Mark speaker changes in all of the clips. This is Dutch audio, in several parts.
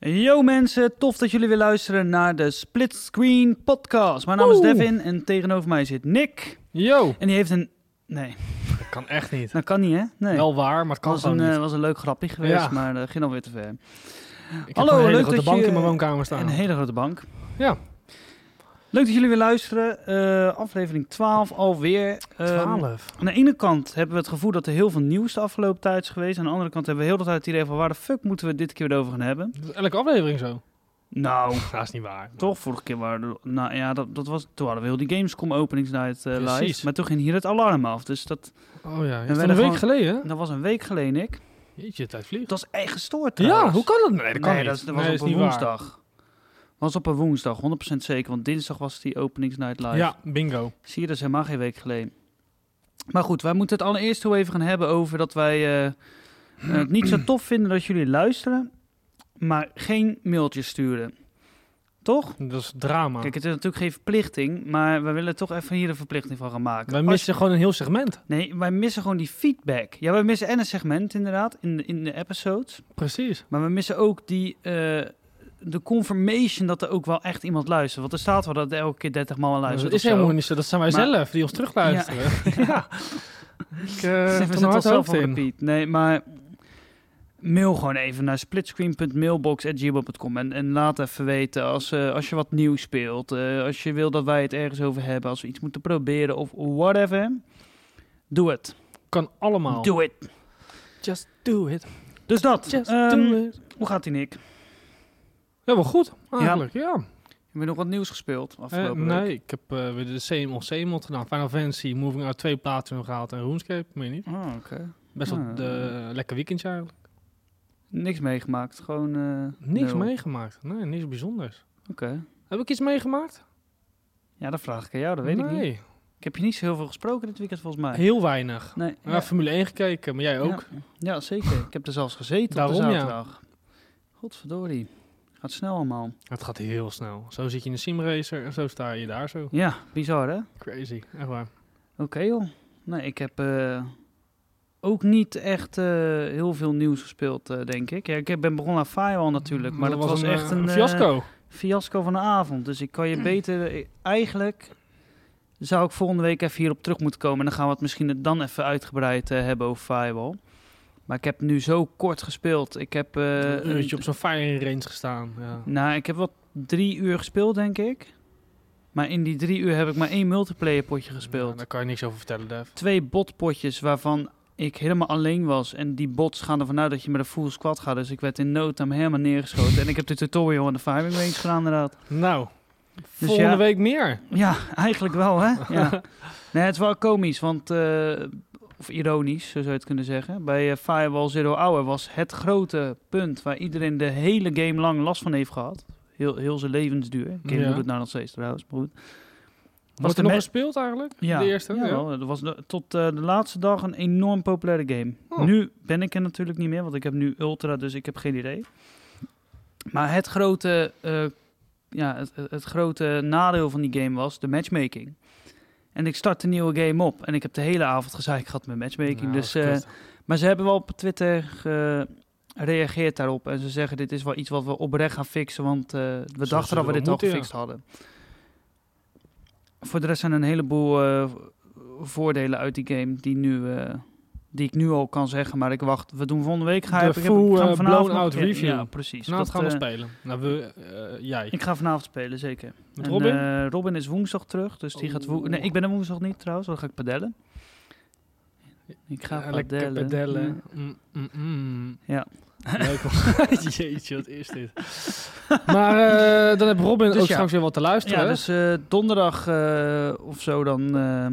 Speaker 1: Yo mensen, tof dat jullie weer luisteren naar de Split Screen Podcast. Mijn naam is
Speaker 2: Woe.
Speaker 1: Devin en tegenover mij zit Nick.
Speaker 2: Yo,
Speaker 1: En die heeft een... Nee,
Speaker 2: dat kan echt niet.
Speaker 1: dat kan niet hè? Nee.
Speaker 2: Wel waar, maar het kan
Speaker 1: was
Speaker 2: gewoon
Speaker 1: een, eh,
Speaker 2: niet.
Speaker 1: was een leuk grapje geweest,
Speaker 2: Ja.
Speaker 1: maar dat ging alweer te ver.
Speaker 2: Ik heb
Speaker 1: hallo,
Speaker 2: een hele
Speaker 1: leuk
Speaker 2: grote
Speaker 1: dat
Speaker 2: bank
Speaker 1: je-
Speaker 2: in mijn woonkamer staan.
Speaker 1: Een hele grote bank.
Speaker 2: Ja.
Speaker 1: Leuk dat jullie weer luisteren. Eh, aflevering 12 alweer. Ehm,
Speaker 2: eh, 12.
Speaker 1: aan de ene kant hebben we het gevoel dat er heel veel nieuws de afgelopen tijd is geweest. Aan de andere kant hebben we heel de tijd het idee van waar de fuck moeten we dit keer weer over gaan hebben.
Speaker 2: Dat is elke aflevering zo.
Speaker 1: Nou,
Speaker 2: Dat is niet waar.
Speaker 1: toch vorige keer waren er- Nou ja, dat, dat was, toen hadden we heel die Gamescom openingsnight eh
Speaker 2: Precies.
Speaker 1: live. Maar toen ging hier het alarm af. Dus dat,
Speaker 2: Oh ja, is
Speaker 1: werden
Speaker 2: dat een week
Speaker 1: gewoon-
Speaker 2: geleden? hè?
Speaker 1: dat was een week geleden, Nick.
Speaker 2: Jeetje, tijd vliegt.
Speaker 1: Dat is echt gestoord
Speaker 2: Ja,
Speaker 1: trouwens.
Speaker 2: hoe kan dat? Nee, dat kan
Speaker 1: nee,
Speaker 2: niet.
Speaker 1: dat, is- dat was
Speaker 2: Nee,
Speaker 1: op
Speaker 2: is
Speaker 1: een
Speaker 2: niet waar.
Speaker 1: woensdag. Was op een woensdag, 100% zeker. Want dinsdag was die openingsnight live.
Speaker 2: Ja, bingo.
Speaker 1: Zie je, dat is helemaal geen week geleden. Maar goed, wij moeten het allereerst heel even gaan hebben over dat wij eh, eh, het niet zo tof vinden dat jullie luisteren, maar geen mailtjes sturen. Toch?
Speaker 2: Dat is drama.
Speaker 1: Kijk, het is natuurlijk geen verplichting, maar we willen toch even hier een verplichting van gaan maken.
Speaker 2: Wij
Speaker 1: Als-
Speaker 2: missen gewoon een heel segment.
Speaker 1: Nee, wij missen gewoon die feedback. Ja, wij missen en een segment inderdaad in de, in de episodes,
Speaker 2: Precies.
Speaker 1: maar we missen ook die, eh, de confirmation dat er ook wel echt iemand luistert. Want er staat wel dat er elke keer 30 man
Speaker 2: Dat
Speaker 1: luistert.
Speaker 2: is
Speaker 1: of zo.
Speaker 2: helemaal niet zo. Dat zijn wij
Speaker 1: Maar-
Speaker 2: zelf die ons terugluisteren. Ja. Ik eh, heb
Speaker 1: Zitten
Speaker 2: er
Speaker 1: we
Speaker 2: een
Speaker 1: zitten
Speaker 2: hard
Speaker 1: zelf
Speaker 2: hoofd
Speaker 1: op
Speaker 2: in.
Speaker 1: repeat. Nee, maar mail gewoon even naar splitscreen.mailbox.gmail.com en, en laat even weten als, eh, als je wat nieuws speelt. eh, als je wil dat wij het ergens over hebben, als we iets moeten proberen of whatever. Doe het.
Speaker 2: Kan allemaal.
Speaker 1: Doe het.
Speaker 2: Just do it.
Speaker 1: Dus dat.
Speaker 2: Just
Speaker 1: Ehm,
Speaker 2: do it.
Speaker 1: hoe gaat die Nick? Heb
Speaker 2: Ja, wel goed. Eigenlijk, ja.
Speaker 1: je nog wat nieuws gespeeld
Speaker 2: Eh,
Speaker 1: afgelopen
Speaker 2: nee,
Speaker 1: week?
Speaker 2: ik heb eh, weer de same old same old gedaan. Final Fantasy, Moving Out 2 Platinum gehaald en RuneScape, meer niet.
Speaker 1: Oh, oké.
Speaker 2: Best wel
Speaker 1: Ah.
Speaker 2: de, eh, lekker weekendje eigenlijk.
Speaker 1: Niks meegemaakt. Gewoon eh,
Speaker 2: Niks
Speaker 1: nul.
Speaker 2: meegemaakt. Nee, niks bijzonders.
Speaker 1: Oké.
Speaker 2: Heb ik iets meegemaakt?
Speaker 1: Ja, dat vraag ik aan jou. Dat weet ik niet.
Speaker 2: nee,
Speaker 1: Ik heb je niet zo heel veel gesproken dit weekend volgens mij.
Speaker 2: heel weinig.
Speaker 1: Nee.
Speaker 2: Ja,
Speaker 1: ja.
Speaker 2: Formule 1 gekeken, maar jij ook.
Speaker 1: Ja, Ja, zeker. Ik heb er zelfs gezeten op de
Speaker 2: Daarom, ja.
Speaker 1: zaterdag. Godverdorie. Gaat snel allemaal.
Speaker 2: Het gaat heel snel. Zo zit je in een simracer en zo sta je daar zo.
Speaker 1: Ja, bizar hè? Oké
Speaker 2: Crazy, echt waar.
Speaker 1: joh. Nee, ik heb eh, ook niet echt eh, heel veel nieuws gespeeld, eh, denk ik. Ja, ik heb- ben begonnen aan Firewall natuurlijk, maar dat, was,
Speaker 2: een,
Speaker 1: echt
Speaker 2: eh,
Speaker 1: een,
Speaker 2: een
Speaker 1: eh,
Speaker 2: fiasco.
Speaker 1: fiasco van de avond. Dus ik kan je beter... eh, Eigenlijk zou ik volgende week even hierop terug moeten komen. En dan gaan we het misschien dan even uitgebreid eh, hebben over Firewall. Maar ik heb nu zo kort gespeeld. Ik heb... eh,
Speaker 2: een uurtje op zo'n firing range gestaan. Ja.
Speaker 1: Nou, ik heb wel drie uur gespeeld, denk ik. Maar in die drie uur heb ik maar één multiplayer potje
Speaker 2: Ja,
Speaker 1: gespeeld.
Speaker 2: daar kan je niks over vertellen, Dev.
Speaker 1: Twee botpotjes waarvan ik helemaal alleen was. En die bots gaan ervan uit dat je met een full squad gaat. Dus ik werd in no time helemaal neergeschoten. en ik heb de tutorial en de firing range gedaan, inderdaad.
Speaker 2: Nou, volgende
Speaker 1: Dus ja.
Speaker 2: week meer.
Speaker 1: Ja, eigenlijk wel, hè? Ja. Nee, het is wel komisch, want... eh, of ironisch, zo zou je het kunnen zeggen. Bij eh, Firewall Zero Hour was het grote punt... waar iedereen de hele game lang last van heeft gehad. Heel, heel zijn levensduur. Ik
Speaker 2: Ja.
Speaker 1: doet het nou nog steeds trouwens, maar goed.
Speaker 2: Wordt
Speaker 1: de
Speaker 2: er nog
Speaker 1: me-
Speaker 2: gespeeld eigenlijk?
Speaker 1: Ja,
Speaker 2: de eerste? Ja.
Speaker 1: jawel. dat was de- tot eh, de laatste dag een enorm populaire game.
Speaker 2: Oh.
Speaker 1: Nu ben ik er natuurlijk niet meer, want ik heb nu Ultra, dus ik heb geen idee. Maar het grote, eh, ja, het, het- het grote nadeel van die game was de matchmaking. En ik start de nieuwe game op en ik heb de hele avond gezeik gehad met matchmaking.
Speaker 2: Nou,
Speaker 1: dus,
Speaker 2: dat is
Speaker 1: eh,
Speaker 2: kut.
Speaker 1: maar ze hebben wel op Twitter gereageerd daarop. En ze zeggen, dit is wel iets wat we oprecht gaan fixen. Want eh, we
Speaker 2: Zoals ze
Speaker 1: dachten dat we
Speaker 2: wel
Speaker 1: dit al
Speaker 2: moeten, ja.
Speaker 1: gefixt hadden. Voor de rest zijn er een heleboel eh, voordelen uit die game die, nu, eh, die ik nu al kan zeggen. Maar ik wacht, we doen volgende week. Ga
Speaker 2: De
Speaker 1: ik, ik heb- ik
Speaker 2: full,
Speaker 1: ga hem
Speaker 2: eh,
Speaker 1: vanavond
Speaker 2: blown-out
Speaker 1: nog- ja,
Speaker 2: review.
Speaker 1: Ja, precies.
Speaker 2: nou, dat gaan we
Speaker 1: eh,
Speaker 2: spelen. Nou, we, eh, jij.
Speaker 1: ik ga vanavond spelen, zeker.
Speaker 2: Met
Speaker 1: En,
Speaker 2: Robin? Oh.
Speaker 1: eh, Robin is woensdag terug, dus die gaat... woe-
Speaker 2: Oeh.
Speaker 1: Nee, ik ben er woensdag niet trouwens, want dan ga ik padellen. Ik ga
Speaker 2: Ja, lekker
Speaker 1: padellen.
Speaker 2: padellen. Mm, mm, mm.
Speaker 1: Ja.
Speaker 2: Leuk. hoor. Jeetje, wat is dit? Maar eh, dan heb Robin
Speaker 1: Dus
Speaker 2: ook
Speaker 1: ja.
Speaker 2: straks weer wat te luisteren.
Speaker 1: Ja,
Speaker 2: hè?
Speaker 1: dus eh, donderdag eh, of zo dan eh,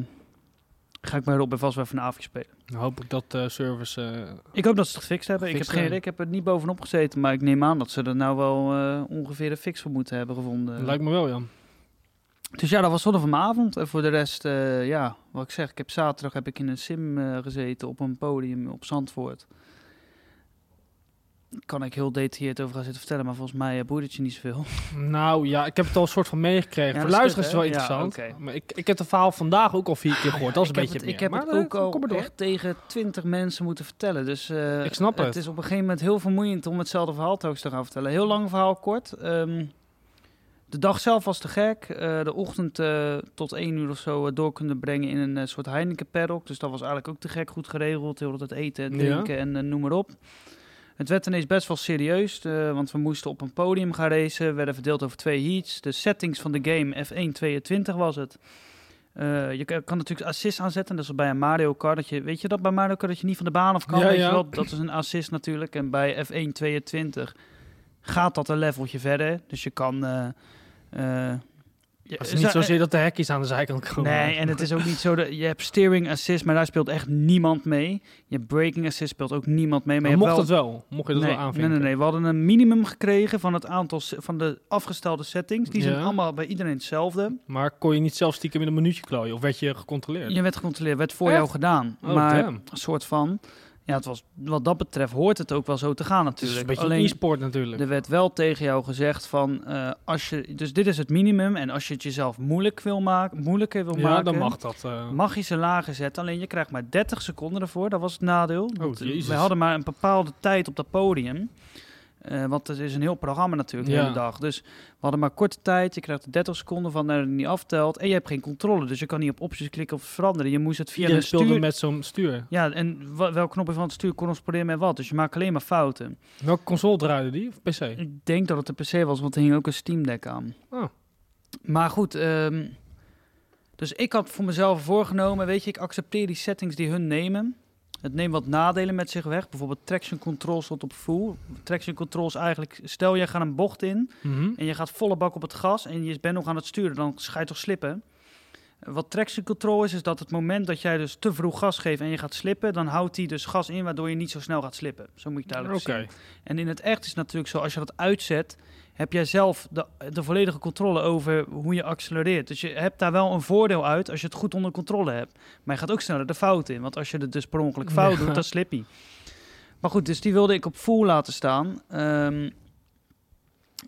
Speaker 1: ga ik bij Robin vast wel even een avondje spelen.
Speaker 2: Dan hoop ik dat de service... eh,
Speaker 1: Ik hoop dat ze het gefixt hebben. ik heb geen
Speaker 2: Gefixt eh.
Speaker 1: idee,
Speaker 2: hebben.
Speaker 1: ik heb er niet bovenop gezeten, maar ik neem aan dat ze er nou wel eh, ongeveer een fix voor moeten hebben gevonden.
Speaker 2: lijkt me wel, Jan.
Speaker 1: Dus ja, dat was zondag vanavond. En voor de rest, eh, ja, wat ik zeg, ik heb zaterdag heb ik in een sim eh, gezeten op een podium op Zandvoort. kan ik heel detailleerd over gaan zitten vertellen, maar volgens mij eh, boeit het je niet zoveel.
Speaker 2: Nou ja, ik heb het al een soort van meegekregen.
Speaker 1: Ja,
Speaker 2: Voor
Speaker 1: dat is
Speaker 2: luisteren is het
Speaker 1: kut,
Speaker 2: wel
Speaker 1: hè? Ja, Ah,
Speaker 2: interessant. Maar ik, ik heb het verhaal vandaag ook al vier keer gehoord. Dat is
Speaker 1: ik
Speaker 2: een
Speaker 1: heb
Speaker 2: beetje
Speaker 1: het,
Speaker 2: meer.
Speaker 1: Ik heb
Speaker 2: maar
Speaker 1: het
Speaker 2: eh,
Speaker 1: ook al
Speaker 2: kom maar door.
Speaker 1: echt tegen twintig mensen moeten vertellen. Dus eh,
Speaker 2: Ik snap het.
Speaker 1: Het is op een gegeven moment heel vermoeiend om hetzelfde verhaal telkens te gaan vertellen. Heel lang verhaal kort. Ehm, de dag zelf was te gek. Eh, de ochtend eh, tot één uur of zo eh, door kunnen brengen in een eh, soort Heineken paddock. Dus dat was eigenlijk ook te gek. Goed geregeld. Heel het eten en
Speaker 2: Ja.
Speaker 1: drinken en eh, noem maar op. Het werd ineens best wel serieus, eh, want we moesten op een podium gaan racen. We werden verdeeld over twee heats. De settings van de game, F1 22 was het. Eh, je kan, kan natuurlijk assist aanzetten, dat is bij een Mario Kart. Dat je, weet je dat bij Mario Kart dat je niet van de baan af kan?
Speaker 2: Ja,
Speaker 1: weet
Speaker 2: ja.
Speaker 1: Je wel? Dat is een assist natuurlijk. En bij F1 22 gaat dat een leveltje verder. Dus je kan... eh, eh, je-
Speaker 2: Het is niet zozeer dat de hekjes aan de zijkant komen.
Speaker 1: Nee, en het is ook niet zo dat je hebt steering assist, maar daar speelt echt niemand mee. Je hebt braking assist, speelt ook niemand mee. Maar,
Speaker 2: Maar
Speaker 1: je hebt
Speaker 2: mocht
Speaker 1: wel
Speaker 2: dat wel? Mocht je dat
Speaker 1: nee,
Speaker 2: wel aanvinken?
Speaker 1: Nee, nee, nee. We hadden een minimum gekregen van het aantal se- van de afgestelde settings. Die zijn
Speaker 2: Ja.
Speaker 1: allemaal bij iedereen hetzelfde.
Speaker 2: Maar kon je niet zelf stiekem in een minuutje klooien? Of werd je gecontroleerd?
Speaker 1: Je werd gecontroleerd, werd voor
Speaker 2: Echt?
Speaker 1: jou gedaan.
Speaker 2: Oh,
Speaker 1: maar
Speaker 2: damn.
Speaker 1: een soort van. Ja, het was, wat dat betreft hoort het ook wel zo te gaan
Speaker 2: het is
Speaker 1: natuurlijk.
Speaker 2: een beetje
Speaker 1: Alleen
Speaker 2: e-sport natuurlijk.
Speaker 1: er werd wel tegen jou gezegd van eh, als je. Dus dit is het minimum. En als je het jezelf moeilijk wil maken, moeilijker wil
Speaker 2: ja,
Speaker 1: maken.
Speaker 2: dan mag dat. eh.
Speaker 1: Mag je ze lager zetten, alleen je krijgt maar 30 seconden ervoor. Dat was het nadeel. Want
Speaker 2: Oh,
Speaker 1: eh,
Speaker 2: Jezus.
Speaker 1: we hadden maar een bepaalde tijd op dat podium. Eh, want het is een heel programma natuurlijk, de
Speaker 2: Ja.
Speaker 1: hele dag. Dus we hadden maar korte tijd. Je krijgt er 30 seconden van dat het niet aftelt. En je hebt geen controle, dus je kan niet op opties klikken of veranderen. Je moest het via
Speaker 2: Iedereen
Speaker 1: een
Speaker 2: speelde
Speaker 1: stuur...
Speaker 2: met zo'n stuur.
Speaker 1: Ja, en wa- welk knopje van het stuur correspondeert met wat. Dus je maakt alleen maar fouten.
Speaker 2: Welke console draaide die? Of PC?
Speaker 1: Ik denk dat het de PC was, want er hing ook een Steam Deck aan.
Speaker 2: Oh.
Speaker 1: Maar goed, ehm, dus ik had voor mezelf voorgenomen, weet je, ik accepteer die settings die hun nemen. Het neemt wat nadelen met zich weg. Bijvoorbeeld traction control stond op full. Traction control is eigenlijk, stel jij gaat een bocht in
Speaker 2: Mhm.
Speaker 1: en je gaat volle bak op het gas en je bent nog aan het sturen, dan ga je toch slippen. Wat traction control is, is dat het moment dat jij dus te vroeg gas geeft en je gaat slippen, dan houdt hij dus gas in waardoor je niet zo snel gaat slippen. Zo moet je het
Speaker 2: Oké.
Speaker 1: duidelijk zien. En in het echt is het natuurlijk zo, als je dat uitzet, heb jij zelf de, de volledige controle over hoe je accelereert. Dus je hebt daar wel een voordeel uit als je het goed onder controle hebt. Maar je gaat ook sneller de fout in, want als je het dus per ongeluk fout
Speaker 2: Ja.
Speaker 1: doet, dan slip je. Maar goed, dus die wilde ik op full laten staan. Ehm,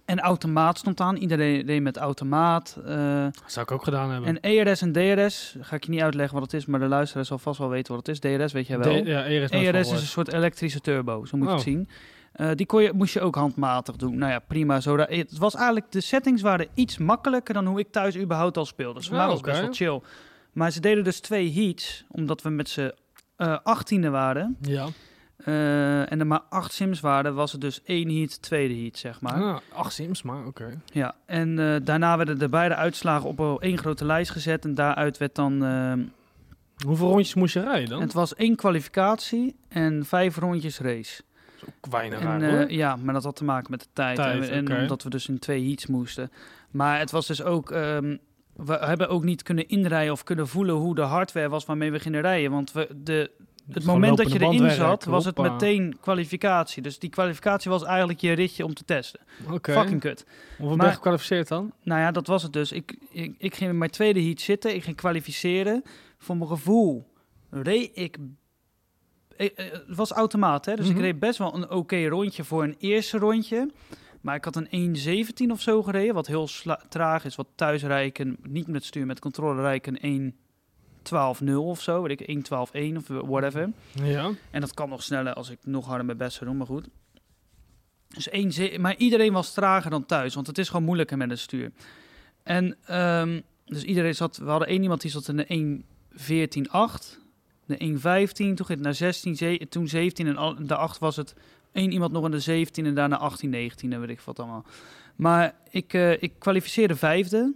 Speaker 1: en automaat stond aan, iedereen deed met automaat. eh,
Speaker 2: Dat zou ik ook gedaan hebben.
Speaker 1: en ERS en DRS, ga ik je niet uitleggen wat het is, maar de luisteraar zal vast wel weten wat het is. DRS weet jij wel.
Speaker 2: D- ja, ERS, nooit
Speaker 1: ERS is dus
Speaker 2: gehoord.
Speaker 1: een soort elektrische turbo, zo moet je het
Speaker 2: Oh.
Speaker 1: zien. Eh, die kon je, moest je ook handmatig doen. Nou ja, prima. Zo daar- het was eigenlijk, de settings waren iets makkelijker dan hoe ik thuis überhaupt al speelde. Dus voor
Speaker 2: Oh,
Speaker 1: mij was het
Speaker 2: oké.
Speaker 1: best wel chill. Maar ze deden dus twee heats, omdat we met z'n eh, achttiende waren.
Speaker 2: Ja.
Speaker 1: eh, en er maar acht sims waren, was het dus één heat, tweede heat, zeg maar.
Speaker 2: Ah, acht sims, maar oké.
Speaker 1: Ja, en eh, daarna werden de beide uitslagen op een- één grote lijst gezet. En daaruit werd dan... ehm,
Speaker 2: Hoeveel rondjes moest je rijden dan?
Speaker 1: het was één kwalificatie en vijf rondjes race.
Speaker 2: Dat is ook weinig
Speaker 1: En,
Speaker 2: raar,
Speaker 1: eh,
Speaker 2: hoor.
Speaker 1: ja, maar dat had te maken met de tijd.
Speaker 2: Tijd,
Speaker 1: en en
Speaker 2: oké.
Speaker 1: omdat we dus in twee heats moesten. Maar het was dus ook. ehm, we hebben ook niet kunnen inrijden of kunnen voelen hoe de hardware was waarmee we gingen rijden. Want we, de, het
Speaker 2: Gewoon
Speaker 1: moment dat je
Speaker 2: lopende
Speaker 1: erin
Speaker 2: bandwerk,
Speaker 1: zat, was het
Speaker 2: hoppa.
Speaker 1: meteen kwalificatie. Dus die kwalificatie was eigenlijk je ritje om te testen.
Speaker 2: Oké.
Speaker 1: Fucking kut.
Speaker 2: Hoeveel ben
Speaker 1: maar-
Speaker 2: je gekwalificeerd dan?
Speaker 1: Nou ja, dat was het dus. Ik, ik, ik ging in mijn tweede heat zitten. Ik ging kwalificeren. Voor mijn gevoel reed ik... eh, eh, Het was automaat, hè? Dus
Speaker 2: Mhm.
Speaker 1: ik reed best wel een oké rondje voor een eerste rondje. Maar ik had een 1.17 of zo gereden, wat heel sla- traag is. Wat thuis rijken, niet met stuur, met controle rijken, een 1.12.0 of zo. Weet ik, 1.12.1 of whatever.
Speaker 2: Ja.
Speaker 1: En dat kan nog sneller als ik nog harder mijn best zou doen, maar goed. Dus één ze- maar iedereen was trager dan thuis, want het is gewoon moeilijker met een stuur. En ehm, dus iedereen zat, we hadden één iemand die zat in de 1.14.8, de 1.15, toen ging het naar 16, ze- toen 17 en al- de 8 was het één iemand nog in de 17 en daarna 18, 19 en weet ik wat allemaal. Maar ik, eh, ik kwalificeerde vijfde.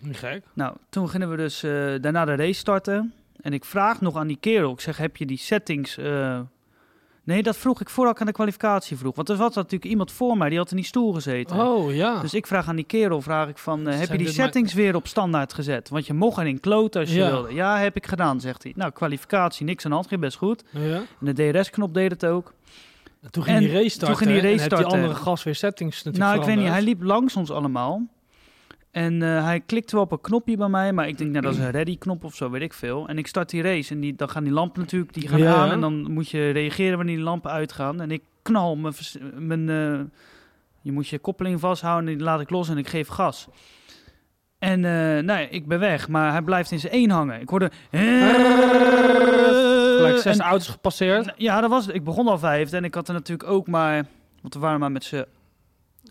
Speaker 2: Niet gek.
Speaker 1: Nou, toen gingen we dus eh, daarna de race starten. En ik vraag nog aan die kerel, ik zeg, heb je die settings... eh, Nee, dat vroeg ik voordat ik aan de kwalificatie vroeg. Want er zat natuurlijk iemand voor mij, die had in die stoel gezeten.
Speaker 2: Oh, ja.
Speaker 1: Dus ik vraag aan die kerel, vraag ik van, eh, heb je
Speaker 2: Zijn
Speaker 1: die
Speaker 2: dit maar-
Speaker 1: settings weer op standaard gezet? Want je mocht erin kloten als je
Speaker 2: Ja.
Speaker 1: wilde. Ja, heb ik gedaan, zegt hij. Nou, kwalificatie, niks aan de hand, ging best goed.
Speaker 2: ja.
Speaker 1: En de DRS-knop deed het ook.
Speaker 2: En Toen ging
Speaker 1: En
Speaker 2: die race starten.
Speaker 1: toen ging die
Speaker 2: hè? En
Speaker 1: race
Speaker 2: heb die
Speaker 1: starten.
Speaker 2: andere gas weer settings natuurlijk
Speaker 1: Nou, ik weet niet, hij
Speaker 2: veranderd.
Speaker 1: liep langs ons allemaal. En eh, hij klikte wel op een knopje bij mij, maar ik denk, nou, dat is een ready-knop of zo, weet ik veel. En ik start die race en die, dan gaan die lampen natuurlijk, die gaan
Speaker 2: Ja,
Speaker 1: aan
Speaker 2: ja.
Speaker 1: en dan moet je reageren wanneer die lampen uitgaan. En ik knal mijn... vers- mijn eh, je moet je koppeling vasthouden, die laat ik los en ik geef gas. En eh, nou ja, ik ben weg, maar hij blijft in zijn één hangen. Ik hoorde... "Eh."
Speaker 2: Gelijk
Speaker 1: Gelijk
Speaker 2: zes auto's gepasseerd.
Speaker 1: Ja, dat was het. Ik begon al vijfde en ik had er natuurlijk ook maar... Want we waren maar met z'n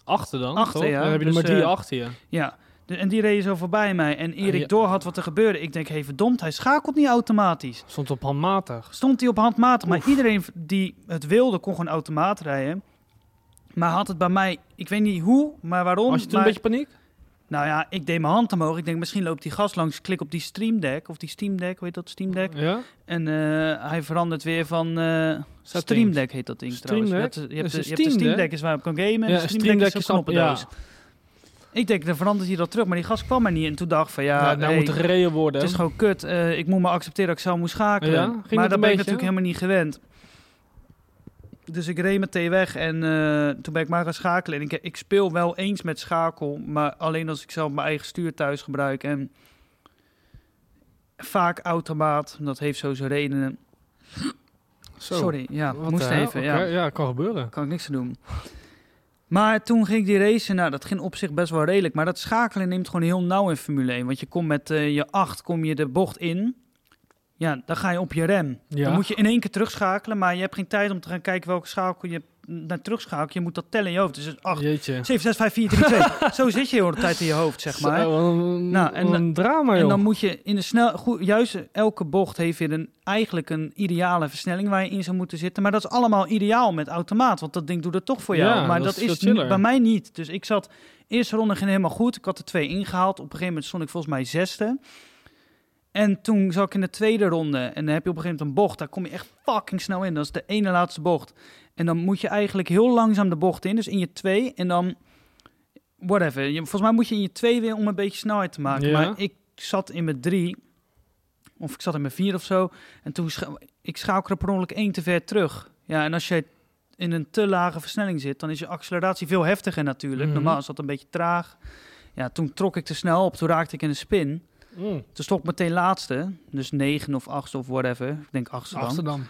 Speaker 2: Achter dan,
Speaker 1: Achter,
Speaker 2: toch?
Speaker 1: ja.
Speaker 2: Dan heb je er
Speaker 1: Dus,
Speaker 2: maar drie
Speaker 1: eh,
Speaker 2: achter je.
Speaker 1: Ja, de- en die reden zo voorbij mij. En eer
Speaker 2: Ah,
Speaker 1: ik
Speaker 2: ja.
Speaker 1: door had wat er gebeurde, ik denk, hé verdomd, hij schakelt niet automatisch.
Speaker 2: Stond op handmatig.
Speaker 1: Stond hij op handmatig, maar iedereen die het wilde kon gewoon automaat rijden. Maar had het bij mij, ik weet niet hoe, maar waarom.
Speaker 2: Was je toen
Speaker 1: maar-
Speaker 2: een beetje paniek?
Speaker 1: Nou ja, ik deed mijn hand omhoog. Ik denk, misschien loopt die gas langs, klik op die Stream Deck, of die Steam Deck, hoe heet dat, Steam Deck?
Speaker 2: Ja?
Speaker 1: En eh, hij verandert weer van... eh Stream Deck heet dat ding
Speaker 2: Stream
Speaker 1: trouwens. Je hebt,
Speaker 2: Deck?
Speaker 1: de- je hebt,
Speaker 2: Is
Speaker 1: de,
Speaker 2: een
Speaker 1: je hebt de
Speaker 2: Steam
Speaker 1: Steam
Speaker 2: Deck
Speaker 1: Deck is waarop ik kan gamen.
Speaker 2: Ja,
Speaker 1: en de Steam,
Speaker 2: Steam
Speaker 1: Deck is
Speaker 2: Deck
Speaker 1: een
Speaker 2: is app-
Speaker 1: knoppendoos. Ik denk, dan verandert hij dat terug. Maar die gast kwam er niet. En toen dacht ik van, ja,
Speaker 2: Ja, nou
Speaker 1: hey,
Speaker 2: moet er gereden worden.
Speaker 1: het is gewoon kut. eh, ik moet maar accepteren dat ik zelf moet schakelen.
Speaker 2: Ja, ging dat
Speaker 1: maar
Speaker 2: een
Speaker 1: dat ben ik
Speaker 2: beetje?
Speaker 1: natuurlijk helemaal niet gewend. Dus ik reed meteen weg en eh, toen ben ik maar gaan schakelen. En ik, ik speel wel eens met schakel, maar alleen als ik zelf mijn eigen stuur thuis gebruik. En vaak automaat, dat heeft zo zijn redenen.
Speaker 2: Zo.
Speaker 1: Sorry, ja,
Speaker 2: Wat
Speaker 1: moest
Speaker 2: de hel?
Speaker 1: even.
Speaker 2: Oké,
Speaker 1: Ja.
Speaker 2: ja, kan gebeuren.
Speaker 1: Kan ik niks aan doen. Maar toen ging ik die race, nou dat ging op zich best wel redelijk. Maar dat schakelen neemt gewoon heel nauw in Formule 1. Want je komt met eh, je 8, kom je de bocht in. Ja, dan ga je op je rem.
Speaker 2: Ja.
Speaker 1: Dan moet je in één keer terugschakelen. Maar je hebt geen tijd om te gaan kijken welke schakel je naar terugschakelt. Je moet dat tellen in je hoofd. Dus 8,
Speaker 2: Jeetje.
Speaker 1: 7, 6, 5, 4, 3, 2. Zo zit je heel de tijd in je hoofd, zeg maar.
Speaker 2: Zo, wat een,
Speaker 1: Nou, en-
Speaker 2: wat een drama, joh.
Speaker 1: En dan moet je in de snel, goed, juist elke bocht heeft weer een, eigenlijk een ideale versnelling waar je in zou moeten zitten. Maar dat is allemaal ideaal met automaat, want dat ding doet het toch voor jou.
Speaker 2: Ja,
Speaker 1: maar
Speaker 2: dat
Speaker 1: dat,
Speaker 2: is veel
Speaker 1: is
Speaker 2: chiller.
Speaker 1: n- bij mij niet. Dus ik zat eerste ronde ging helemaal goed. Ik had er twee ingehaald. Op een gegeven moment stond ik volgens mij zesde. En toen zat ik in de tweede ronde en dan heb je op een gegeven moment een bocht. Daar kom je echt fucking snel in. Dat is de ene laatste bocht. En dan moet je eigenlijk heel langzaam de bocht in. Dus in je twee en dan whatever. Je, volgens mij moet je in je twee weer om een beetje snelheid te maken.
Speaker 2: Ja.
Speaker 1: Maar ik zat in mijn drie, of ik zat in mijn vier of zo. En toen scha ik schakelde per ongeluk één te ver terug. Ja, en als je in een te lage versnelling zit, dan is je acceleratie veel heftiger natuurlijk.
Speaker 2: Mhm.
Speaker 1: Normaal is dat een beetje traag. Ja, toen trok ik te snel op, toen raakte ik in een spin.
Speaker 2: Mm.
Speaker 1: Toen stond ik meteen laatste, dus negen of achtste of whatever. Ik denk achtste dan.
Speaker 2: Amsterdam.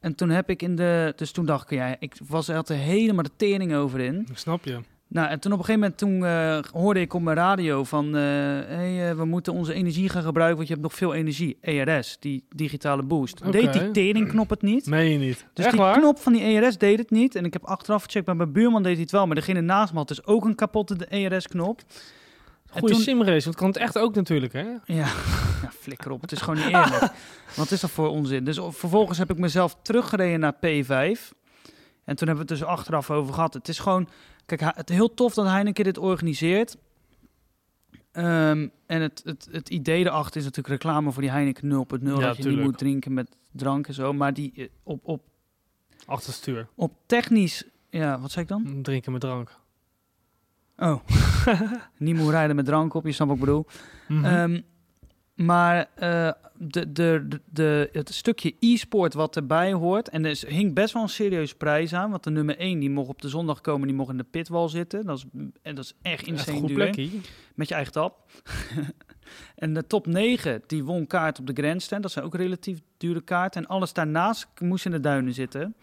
Speaker 1: En toen heb ik in de, dus toen dacht ik, ja, ik was er altijd helemaal de tering over in.
Speaker 2: Ik snap je.
Speaker 1: Nou, en toen op een gegeven moment toen, eh, hoorde ik op mijn radio van... eh, hey, eh, we moeten onze energie gaan gebruiken, want je hebt nog veel energie. ERS, die digitale boost.
Speaker 2: Oké.
Speaker 1: Deed die teringknop het niet?
Speaker 2: Meen je niet.
Speaker 1: Dus
Speaker 2: Echt
Speaker 1: die
Speaker 2: waar?
Speaker 1: knop van die ERS deed het niet. En ik heb achteraf gecheckt, bij mijn buurman deed hij het wel. Maar degene naast me had dus ook een kapotte ERS-knop.
Speaker 2: Goeie
Speaker 1: toen-
Speaker 2: simrace, want kan het echt ook natuurlijk, hè?
Speaker 1: Ja, ja, flikker op. Het is gewoon niet eerlijk. Wat is dat voor onzin? Dus o- vervolgens heb ik mezelf teruggereden naar P5. En toen hebben we het dus achteraf over gehad. Het is gewoon... Kijk, hij- het is heel tof dat Heineken dit organiseert. Ehm, en het, het, het idee erachter is natuurlijk reclame voor die Heineken 0.0. dat je
Speaker 2: tuurlijk.
Speaker 1: niet moet drinken met drank en zo. Maar die eh, op, op,
Speaker 2: Achterstuur.
Speaker 1: op technisch... Ja, wat zei ik dan?
Speaker 2: Drinken met drank.
Speaker 1: Oh, niet moet rijden met drank op. Je snapt wat ik bedoel.
Speaker 2: Mhm.
Speaker 1: Ehm, maar eh, de, de, de, de- het stukje e-sport wat erbij hoort. En er hing best wel een serieuze prijs aan. Want de nummer 1 die mocht op de zondag komen, die mocht in de pitwal zitten. Dat is, en dat is echt
Speaker 2: echt
Speaker 1: insane
Speaker 2: een goed
Speaker 1: duur.
Speaker 2: plekje.
Speaker 1: Met je eigen tap. en de top 9 die won kaart op de Grandstand. Dat zijn ook relatief dure kaarten. En alles daarnaast moest in de duinen zitten.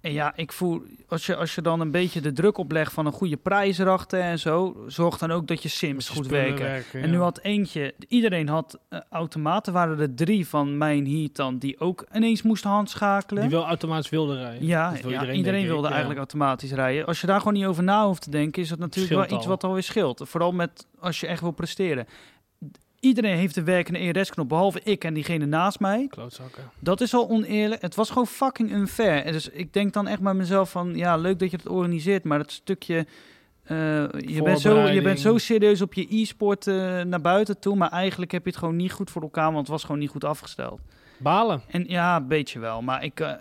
Speaker 1: En ja, ik voel, als je, als je dan een beetje de druk oplegt van een goede prijs erachter en zo, zorg dan ook dat je sims goed
Speaker 2: Spullen
Speaker 1: werken. En
Speaker 2: ja.
Speaker 1: nu had eentje, iedereen had eh, automaten, waren er drie van mijn heat dan, die ook ineens moesten handschakelen.
Speaker 2: Die wel automatisch wilde rijden.
Speaker 1: ja,
Speaker 2: Dat wil
Speaker 1: ja, iedereen,
Speaker 2: denk ik,
Speaker 1: wilde
Speaker 2: ja.
Speaker 1: eigenlijk automatisch rijden. Als je daar gewoon niet over na hoeft te denken, is dat natuurlijk
Speaker 2: Scheelt
Speaker 1: wel iets
Speaker 2: al.
Speaker 1: wat alweer scheelt. Vooral met als je echt wil presteren. Iedereen heeft de werkende ERS-knop, behalve ik en diegene naast mij.
Speaker 2: Klootzakken.
Speaker 1: Dat is al oneerlijk. Het was gewoon fucking unfair. En dus ik denk dan echt bij mezelf van... Ja, leuk dat je het organiseert, maar dat stukje... eh, je, bent zo, je
Speaker 2: Voorbereiding.
Speaker 1: bent zo serieus op je e-sport eh, naar buiten toe... maar eigenlijk heb je het gewoon niet goed voor elkaar... want het was gewoon niet goed afgesteld.
Speaker 2: Balen.
Speaker 1: En ja, een beetje wel. Maar ik, eh,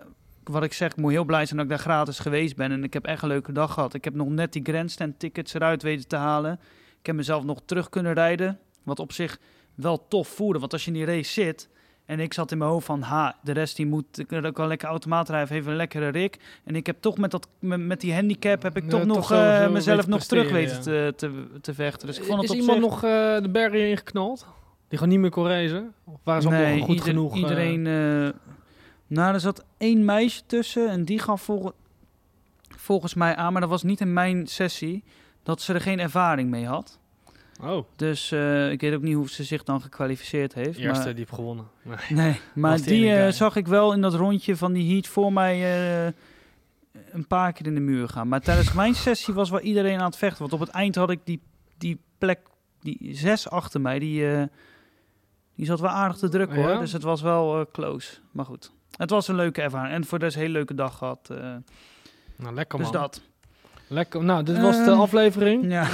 Speaker 1: wat ik zeg, ik moet heel blij zijn dat ik daar gratis geweest ben... en ik heb echt een leuke dag gehad. Ik heb nog net die grandstand tickets eruit weten te halen. Ik heb mezelf nog terug kunnen rijden... wat op zich wel tof voelde. Want als je in die race zit... En ik zat in mijn hoofd van, ha, de rest die moet, ik kan lekker automaat rijden, heeft een lekkere rik. En ik heb toch met, dat, met, met die handicap, heb ik
Speaker 2: Ja,
Speaker 1: toch nog
Speaker 2: toch wel
Speaker 1: eh,
Speaker 2: zo weten
Speaker 1: mezelf
Speaker 2: te
Speaker 1: nog terug
Speaker 2: presteren,
Speaker 1: weten te, te, te vechten. Dus ik vond
Speaker 2: is
Speaker 1: het op
Speaker 2: iemand
Speaker 1: zich-
Speaker 2: nog eh, de bergen ingeknald? Die gewoon niet meer kon racen? Of waren ze allemaal
Speaker 1: nee,
Speaker 2: goed eh.
Speaker 1: ieder-
Speaker 2: genoeg? eh,
Speaker 1: Iedereen, eh, nou, er zat één meisje tussen en die gaf voor volgens mij aan, maar dat was niet in mijn sessie, dat ze er geen ervaring mee had.
Speaker 2: Oh,
Speaker 1: Dus eh, ik weet ook niet hoe ze zich dan gekwalificeerd heeft. maar-
Speaker 2: eerste diep gewonnen. Nee.
Speaker 1: Nee, maar
Speaker 2: Was die
Speaker 1: die
Speaker 2: ene
Speaker 1: eh,
Speaker 2: guy.
Speaker 1: zag ik wel in dat rondje van die heat voor mij eh, een paar keer in de muur gaan. Maar tijdens mijn sessie was wel iedereen aan het vechten. Want op het eind had ik die, die plek, die zes achter mij, die, eh, die zat wel aardig te druk hoor.
Speaker 2: Ja?
Speaker 1: Dus het was wel eh, close. Maar goed, het was een leuke ervaring. En voor des een hele leuke dag gehad. eh,
Speaker 2: Nou, lekker
Speaker 1: dus
Speaker 2: man.
Speaker 1: dat.
Speaker 2: Lekker. Nou, dit was de
Speaker 1: Ehm,
Speaker 2: aflevering.
Speaker 1: Ja.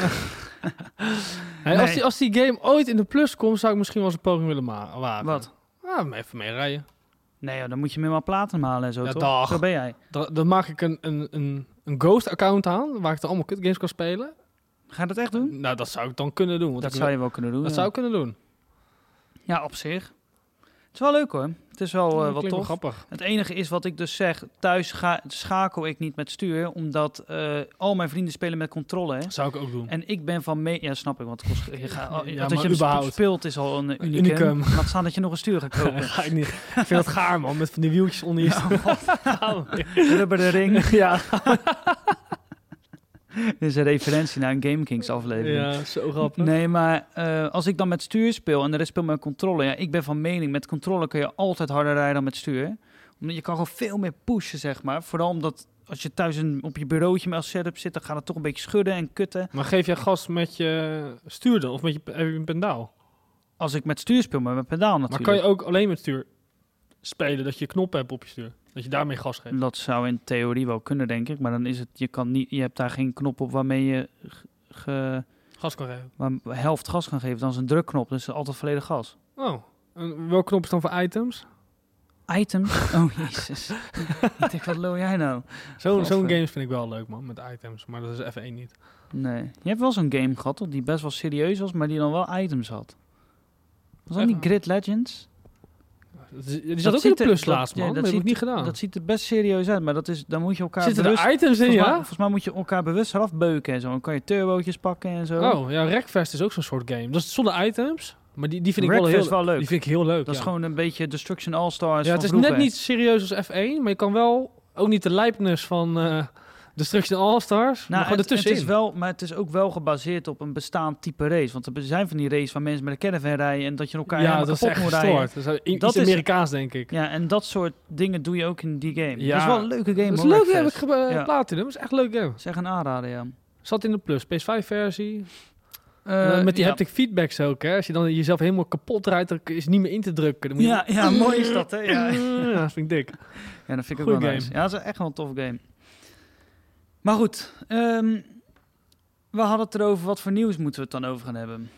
Speaker 2: Hey, als,
Speaker 1: nee.
Speaker 2: die, als die game ooit in de plus komt, zou ik misschien wel eens een poging willen ma- wagen.
Speaker 1: Wat?
Speaker 2: Ah, maar even mee rijden.
Speaker 1: Nee, joh, dan moet je minimaal platen halen en zo
Speaker 2: Ja,
Speaker 1: toch?
Speaker 2: dag.
Speaker 1: Zo ben jij.
Speaker 2: Da- Dan maak ik een, een, een, een ghost-account aan, waar ik dan allemaal kutgames kan spelen.
Speaker 1: Ga je dat echt doen?
Speaker 2: Nou, dat zou ik dan kunnen doen. want
Speaker 1: Dat
Speaker 2: ik-
Speaker 1: zou je wel kunnen doen.
Speaker 2: dat
Speaker 1: ja.
Speaker 2: zou ik kunnen doen.
Speaker 1: Ja, op zich. Het is wel leuk hoor. Het is wel eh,
Speaker 2: Dat
Speaker 1: wat
Speaker 2: klinkt wel
Speaker 1: tof.
Speaker 2: grappig.
Speaker 1: Het enige is wat ik dus zeg, thuis ga, schakel ik niet met stuur, omdat eh, al mijn vrienden spelen met controle. Hè?
Speaker 2: Dat zou ik ook doen.
Speaker 1: En ik ben van mee... Ja, snap ik, want het kost, je gaat, al-
Speaker 2: Ja,
Speaker 1: dat
Speaker 2: maar
Speaker 1: je hem
Speaker 2: überhaupt.
Speaker 1: sp- speelt is al een eh,
Speaker 2: Een
Speaker 1: unicum.
Speaker 2: unicum.
Speaker 1: Laat staan dat je nog een stuur gaat kopen.
Speaker 2: Ga ik niet. Ik vind dat gaar, man. Met van die wieltjes onder je stoel.
Speaker 1: Rubber de ring.
Speaker 2: ja.
Speaker 1: Dit is een referentie naar een Game Kings aflevering.
Speaker 2: ja, zo grappig.
Speaker 1: Nee, maar eh, als ik dan met stuur speel en de rest speelt met controle. Ja, ik ben van mening, met controle kun je altijd harder rijden dan met stuur. Omdat je kan gewoon veel meer pushen, zeg maar. Vooral omdat als je thuis een, op je bureautje met als setup zit, dan gaat het toch een beetje schudden en kutten.
Speaker 2: Maar geef jij gas met je stuurder of met je, heb je een pendaal?
Speaker 1: Als ik met stuur speel, maar met pedaal natuurlijk.
Speaker 2: Maar kan je ook alleen met stuur spelen dat je knoppen hebt op je stuur? Dat je daarmee gas geeft?
Speaker 1: Dat zou in theorie wel kunnen, denk ik. Maar dan is het, je, kan niet, je hebt daar geen knop op waarmee je g- ge-
Speaker 2: Gas kan geven.
Speaker 1: waar helft gas kan geven. Dan is een drukknop, dus altijd volledig gas.
Speaker 2: Oh. En welke knop is dan voor items?
Speaker 1: Item? Oh, jezus. ik denk, wat lul jij nou?
Speaker 2: Zo- Zo'n
Speaker 1: Gadver.
Speaker 2: games vind ik wel leuk, man. Met items. Maar dat is F1 niet.
Speaker 1: Nee. Je hebt wel zo'n game gehad, toch? Die best wel serieus was, maar die dan wel items had. Was dat
Speaker 2: Echt
Speaker 1: niet
Speaker 2: waar?
Speaker 1: Grid Legends?
Speaker 2: Dat is- Die zat ook in
Speaker 1: ziet
Speaker 2: de
Speaker 1: er-
Speaker 2: plus
Speaker 1: dat-
Speaker 2: laatst,
Speaker 1: ja,
Speaker 2: man.
Speaker 1: dat
Speaker 2: dat heb ik
Speaker 1: ziet-
Speaker 2: niet gedaan.
Speaker 1: Dat ziet er best serieus uit, maar dat is, dan moet je elkaar
Speaker 2: Zitten
Speaker 1: bewust...
Speaker 2: er items in,
Speaker 1: volgens, mij,
Speaker 2: ja?
Speaker 1: volgens mij moet je elkaar bewust eraf beuken en zo. Dan kan je turbootjes pakken en zo.
Speaker 2: Oh, ja, Wreckfest is ook zo'n soort game. Dat is zonder items, maar die, die vind ik wel
Speaker 1: Wreckfest
Speaker 2: heel
Speaker 1: is wel leuk.
Speaker 2: Die vind ik heel leuk.
Speaker 1: dat is
Speaker 2: ja.
Speaker 1: gewoon een beetje Destruction All-Stars
Speaker 2: ja,
Speaker 1: van
Speaker 2: het is
Speaker 1: vroeger.
Speaker 2: net niet serieus als F1, maar je kan wel ook niet de Leibniz van eh Destruction All-Stars, maar
Speaker 1: Nou,
Speaker 2: gewoon
Speaker 1: het, het
Speaker 2: ertussenin.
Speaker 1: is wel, maar het is ook wel gebaseerd op een bestaand type race. Want er zijn van die races waar mensen met een caravan rijden... en dat je elkaar
Speaker 2: ja,
Speaker 1: helemaal
Speaker 2: dat is
Speaker 1: kapot
Speaker 2: echt
Speaker 1: moet rijden.
Speaker 2: gestoord. Dat is i-
Speaker 1: Dat
Speaker 2: iets
Speaker 1: is-
Speaker 2: Amerikaans, denk ik.
Speaker 1: Ja, en dat soort dingen doe je ook in die game.
Speaker 2: Ja.
Speaker 1: Dat is wel een leuke game,
Speaker 2: dat is
Speaker 1: hoor,
Speaker 2: leuk, heb ik
Speaker 1: Wreckfest.
Speaker 2: ge- eh,
Speaker 1: Ja.
Speaker 2: platinum. Dat is echt leuk game.
Speaker 1: Zeg een aanrader, ja.
Speaker 2: Zat in de plus, PS5-versie. met
Speaker 1: Eh,
Speaker 2: die
Speaker 1: ja.
Speaker 2: haptic feedbacks ook, hè. Als je dan jezelf helemaal kapot rijdt, dan is het niet meer in te drukken. Dan moet je-
Speaker 1: Ja, ja, mooi is dat, hè? Ja, ja
Speaker 2: Ja, dat vind ik dik.
Speaker 1: dat vind ik ook
Speaker 2: Goeie
Speaker 1: wel
Speaker 2: game.
Speaker 1: nice. Ja, dat is echt wel een tof game. Maar goed, ehm, we hadden het erover wat voor nieuws moeten we het dan over gaan hebben.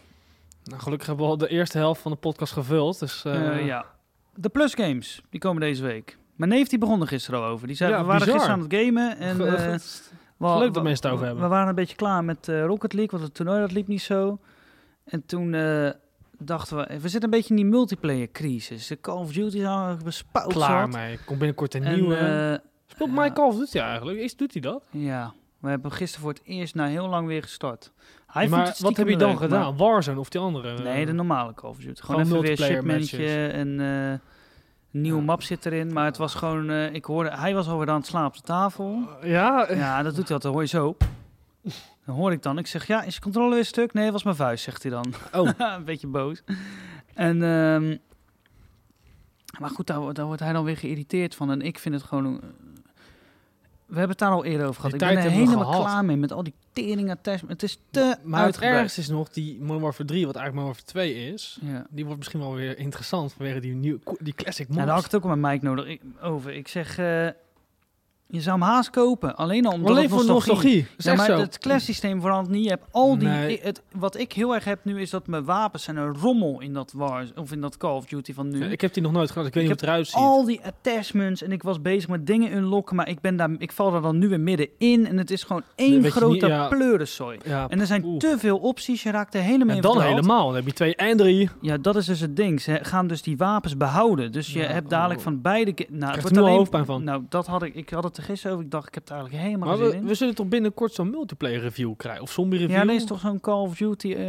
Speaker 2: Nou, gelukkig hebben we al de eerste helft van de podcast gevuld. Dus, eh,
Speaker 1: Eh, ja. De Plus Games, die komen deze week. Mijn neef die begon er gisteren al over. Die zei,
Speaker 2: Ja,
Speaker 1: we waren
Speaker 2: bizar.
Speaker 1: gisteren aan het gamen. En,
Speaker 2: Ge-
Speaker 1: eh,
Speaker 2: ge-
Speaker 1: we-
Speaker 2: leuk dat
Speaker 1: we-
Speaker 2: mensen het over hebben.
Speaker 1: We waren een beetje klaar met eh, Rocket League, want het toernooi dat liep niet zo. En toen eh, dachten we, eh, we zitten een beetje in die multiplayer crisis. De Call of Duty is al bespouwd.
Speaker 2: klaar
Speaker 1: zat.
Speaker 2: mee. Komt binnenkort een
Speaker 1: En,
Speaker 2: nieuwe.
Speaker 1: eh,
Speaker 2: Speelt
Speaker 1: ja.
Speaker 2: Mike Call of Duty eigenlijk? Is, doet hij dat?
Speaker 1: Ja, we hebben gisteren voor het eerst na heel lang weer gestart. Hij vond
Speaker 2: Ja, maar
Speaker 1: het
Speaker 2: wat
Speaker 1: stiekem
Speaker 2: heb je dan
Speaker 1: leuk,
Speaker 2: gedaan? Warzone of die andere?
Speaker 1: maar-
Speaker 2: eh,
Speaker 1: nee, de normale Call of Duty. Gewoon,
Speaker 2: Gewoon
Speaker 1: even weer
Speaker 2: multiplayer
Speaker 1: shipmentje en eh, een nieuwe
Speaker 2: Ja.
Speaker 1: map zit erin. Maar het was gewoon, eh, ik hoorde, hij was alweer aan het slapen op de tafel.
Speaker 2: Ja, eh,
Speaker 1: Ja, dat doet hij altijd, hoor je zo. Dan hoor ik dan, ik zeg, ja, is je controle weer stuk? Nee, was mijn vuist, zegt hij dan.
Speaker 2: Oh.
Speaker 1: een beetje boos. En, ehm, maar goed, daar, wordt- daar wordt hij dan weer geïrriteerd van. En ik vind het gewoon... een- we hebben het daar al eerder over gehad. ik
Speaker 2: Die
Speaker 1: ben
Speaker 2: tijd
Speaker 1: er
Speaker 2: hebben we
Speaker 1: helemaal
Speaker 2: gehad.
Speaker 1: klaar mee met al die tering attachment. Het is te
Speaker 2: maar het
Speaker 1: uitgebreid.
Speaker 2: ergste is nog die Modern Warfare 3, wat eigenlijk Modern Warfare 2 is.
Speaker 1: Ja.
Speaker 2: Die wordt misschien wel weer interessant vanwege die, nieuwe, die classic
Speaker 1: Nou,
Speaker 2: mobs.
Speaker 1: daar had ik het ook al met Mike nodig ik- over. Ik zeg, eh, je zou hem haast kopen. Alleen al omdat
Speaker 2: Alleen
Speaker 1: het
Speaker 2: voor nostalgie. Dat Is
Speaker 1: Ja,
Speaker 2: echt
Speaker 1: maar
Speaker 2: zo.
Speaker 1: het klassysteem verandert niet. Je hebt al die.
Speaker 2: Nee.
Speaker 1: i- Het, wat ik heel erg heb nu is dat mijn wapens zijn een rommel in dat Wars of in dat Call of Duty van nu.
Speaker 2: Ja, ik heb die nog nooit gedaan, dus ik weet
Speaker 1: Ik
Speaker 2: niet hoe het eruit ziet.
Speaker 1: al die attachments en ik was bezig met dingen unlocken, maar ik, ben daar, ik val daar dan nu weer middenin en het is gewoon één
Speaker 2: weet je
Speaker 1: grote
Speaker 2: niet, ja.
Speaker 1: pleurenzooi.
Speaker 2: Ja,
Speaker 1: En er zijn
Speaker 2: Oeh.
Speaker 1: te veel opties, je raakt er helemaal
Speaker 2: en
Speaker 1: in
Speaker 2: dan
Speaker 1: verdwaald.
Speaker 2: helemaal. Dan heb je twee en drie.
Speaker 1: Ja, dat is dus het ding. Ze gaan dus die wapens behouden. Dus je
Speaker 2: Ja,
Speaker 1: hebt dadelijk
Speaker 2: oh.
Speaker 1: van beide... ke- Nou, het
Speaker 2: Krijg
Speaker 1: wordt
Speaker 2: er nu al
Speaker 1: alleen-
Speaker 2: hoofdpijn van.
Speaker 1: Nou, dat had ik, ik had het er gisteren over. Ik dacht, ik heb het eigenlijk helemaal
Speaker 2: Maar
Speaker 1: geen zin
Speaker 2: we,
Speaker 1: in.
Speaker 2: we zullen toch binnenkort zo'n multiplayer review krijgen? Of zombie review?
Speaker 1: ja, er is toch zo'n Call of Duty eh,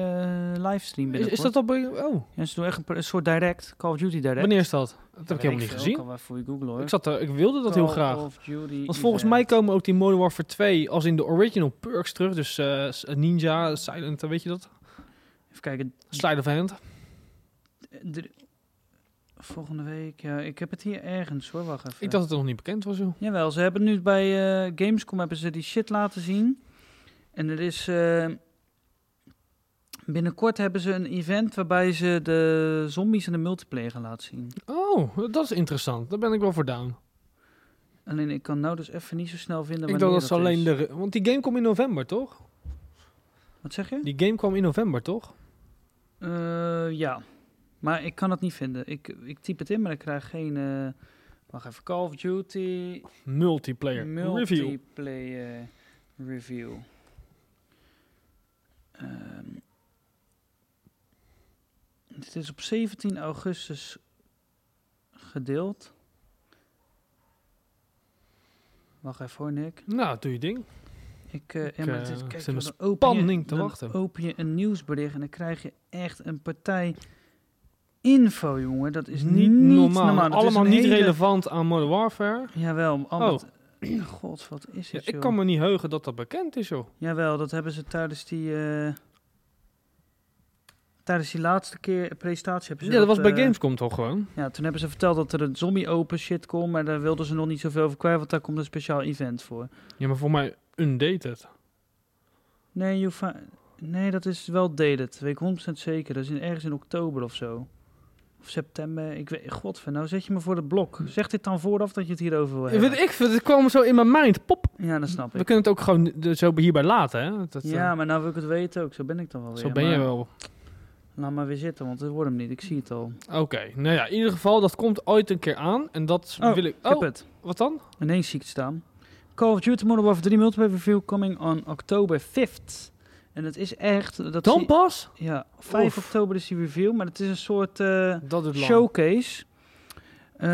Speaker 1: livestream
Speaker 2: Is,
Speaker 1: binnenkort.
Speaker 2: is dat al bij... Oh,
Speaker 1: Ja, ze doen echt een, pr- een soort direct, Call of Duty direct.
Speaker 2: wanneer is dat? Dat heb ik
Speaker 1: Ja,
Speaker 2: helemaal niet
Speaker 1: weet
Speaker 2: gezien.
Speaker 1: Ik kan voor je googlen hoor.
Speaker 2: Ik, zat er, ik wilde dat heel
Speaker 1: Call
Speaker 2: graag.
Speaker 1: of Duty eh,
Speaker 2: Want volgens mij
Speaker 1: event.
Speaker 2: komen ook die Modern Warfare 2 als in de original perks terug. Dus eh, s- Ninja, Silent, eh, weet je dat?
Speaker 1: Even kijken.
Speaker 2: Slide of Hand.
Speaker 1: Eh, drie- Volgende week. Ja, ik heb het hier ergens hoor. Wacht even.
Speaker 2: Ik dacht dat het nog niet bekend was, joh.
Speaker 1: Jawel, ze hebben nu bij eh, Gamescom hebben ze die shit laten zien. En er is. eh, binnenkort hebben ze een event waarbij ze de zombies en de multiplayer gaan laten zien.
Speaker 2: Oh, dat is interessant. Daar ben ik wel voor down.
Speaker 1: Alleen ik kan nou dus even niet zo snel vinden.
Speaker 2: ik dacht
Speaker 1: wanneer
Speaker 2: dat ze alleen
Speaker 1: is.
Speaker 2: de... re- Want die game kwam in november, toch?
Speaker 1: Wat zeg je?
Speaker 2: Die game kwam in november, toch?
Speaker 1: Eh, ja, maar ik kan het niet vinden. Ik, ik typ het in, maar ik krijg geen. eh, wacht even, Call of Duty.
Speaker 2: Multiplayer. Review.
Speaker 1: Multiplayer review. Ehm, dit is op 17 augustus gedeeld. Wacht even hoor, Nick.
Speaker 2: Nou, doe je ding.
Speaker 1: Ik, eh, ja, maar
Speaker 2: eh,
Speaker 1: dit,
Speaker 2: zit
Speaker 1: kijk,
Speaker 2: met
Speaker 1: joh, dan open je-
Speaker 2: spanning te
Speaker 1: dan
Speaker 2: wachten.
Speaker 1: open je een nieuwsbericht en dan krijg je echt een partij info, jongen. Dat is niet, normaal. Dat is
Speaker 2: Allemaal
Speaker 1: een
Speaker 2: niet
Speaker 1: hele-
Speaker 2: relevant aan Modern Warfare.
Speaker 1: Jawel, allemaal. God, wat is
Speaker 2: Ja,
Speaker 1: het,
Speaker 2: ik
Speaker 1: joh.
Speaker 2: kan me niet heugen dat dat bekend is, joh.
Speaker 1: Jawel, dat hebben ze tijdens die. eh, tijdens die laatste keer presentatie hebben ze.
Speaker 2: Ja, dat was bij
Speaker 1: eh,
Speaker 2: Gamescom toch gewoon?
Speaker 1: Ja, toen hebben ze verteld dat er een zombie open shit komt. Maar daar wilden ze nog niet zoveel over kwijt, want daar komt een speciaal event voor.
Speaker 2: Ja, maar voor mij undated.
Speaker 1: Nee, je hoeft- nee dat is wel dated. Weet ik 100% zeker. Dat is in, ergens in oktober of zo. Of september. Ik weet. Godver, nou zet je me voor de blok. Zeg dit dan vooraf dat je het hierover wil hebben.
Speaker 2: Weet Hm. ik, het kwam zo in mijn mind. Pop.
Speaker 1: Ja, dat snap
Speaker 2: We
Speaker 1: ik.
Speaker 2: kunnen het ook gewoon eh, zo hierbij laten, hè? Dat, eh,
Speaker 1: Ja, maar nou wil ik het weten ook. Zo ben ik dan wel weer.
Speaker 2: zo ben je
Speaker 1: maar
Speaker 2: wel.
Speaker 1: Laat maar weer zitten, want het wordt hem niet. Ik zie het al.
Speaker 2: Oké, nou ja, in ieder geval, dat komt ooit een keer aan. En dat
Speaker 1: Oh,
Speaker 2: wil ik...
Speaker 1: Ik heb
Speaker 2: Oh,
Speaker 1: het.
Speaker 2: wat dan?
Speaker 1: ineens zie ik het staan. Call of Duty Modern Warfare 3 multiplayer review coming on October 5th. En het is echt... Dat
Speaker 2: Dan
Speaker 1: zie-
Speaker 2: pas?
Speaker 1: Ja, 5
Speaker 2: Oef.
Speaker 1: oktober is die review, maar het is een soort eh,
Speaker 2: Dat is lang.
Speaker 1: showcase. Eh,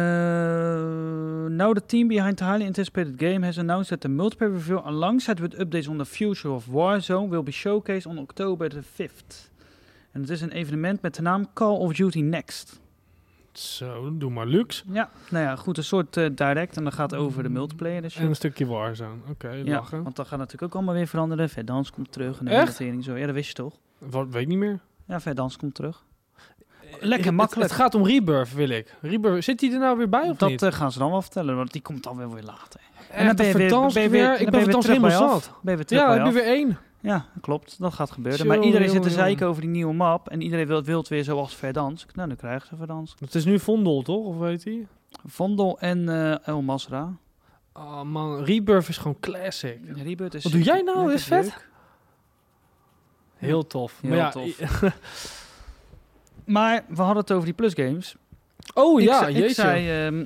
Speaker 1: now the team behind the highly anticipated game has announced that the multiplayer review alongside with updates on the future of Warzone will be showcased on October the 5th. En het is een evenement met de naam Call of Duty Next.
Speaker 2: Zo, doe maar luxe.
Speaker 1: Ja, nou ja, goed, een soort eh, direct en dan gaat over de multiplayer. Dus
Speaker 2: En een stukje Warzone. Oké,
Speaker 1: Ja,
Speaker 2: lachen.
Speaker 1: want dat gaat natuurlijk ook allemaal weer veranderen. Verdans komt terug en de
Speaker 2: Echt?
Speaker 1: investering zo. Ja, dat wist je toch?
Speaker 2: Wat, weet ik niet meer.
Speaker 1: Ja, Verdans komt terug.
Speaker 2: Het- het-
Speaker 1: makkelijk.
Speaker 2: Het, gaat om Rebirth, wil ik. Rebirth, zit die er nou weer bij of
Speaker 1: dat
Speaker 2: niet?
Speaker 1: eh, gaan ze dan wel vertellen, want die komt dan weer weer later.
Speaker 2: en dan ben je weer,
Speaker 1: ben je weer-
Speaker 2: weer,
Speaker 1: dan
Speaker 2: ik
Speaker 1: ben
Speaker 2: ben
Speaker 1: je weer
Speaker 2: Vertans
Speaker 1: terug bij
Speaker 2: helemaal
Speaker 1: af.
Speaker 2: zat.
Speaker 1: Ben je weer terug
Speaker 2: Ja,
Speaker 1: bij
Speaker 2: heb je
Speaker 1: af.
Speaker 2: weer één.
Speaker 1: Ja, klopt. Dat gaat gebeuren.
Speaker 2: Tjonge,
Speaker 1: maar iedereen zit te
Speaker 2: jonge,
Speaker 1: zeiken over die nieuwe map. En iedereen wil het wild weer zoals Verdans. Nou, dan krijgen ze Verdans.
Speaker 2: Het is nu Vondel, toch? Of weet hij?
Speaker 1: Vondel en eh El Masra.
Speaker 2: Oh man, Rebirth is gewoon classic.
Speaker 1: Rebirth is
Speaker 2: Wat doe jij nou?
Speaker 1: Ja, dat
Speaker 2: Is vet.
Speaker 1: leuk.
Speaker 2: Heel tof.
Speaker 1: Heel
Speaker 2: maar ja,
Speaker 1: tof.
Speaker 2: i-
Speaker 1: Maar we hadden het over die plusgames.
Speaker 2: Oh
Speaker 1: Ik
Speaker 2: ja,
Speaker 1: zei-
Speaker 2: jeetje.
Speaker 1: Ik zei, ehm,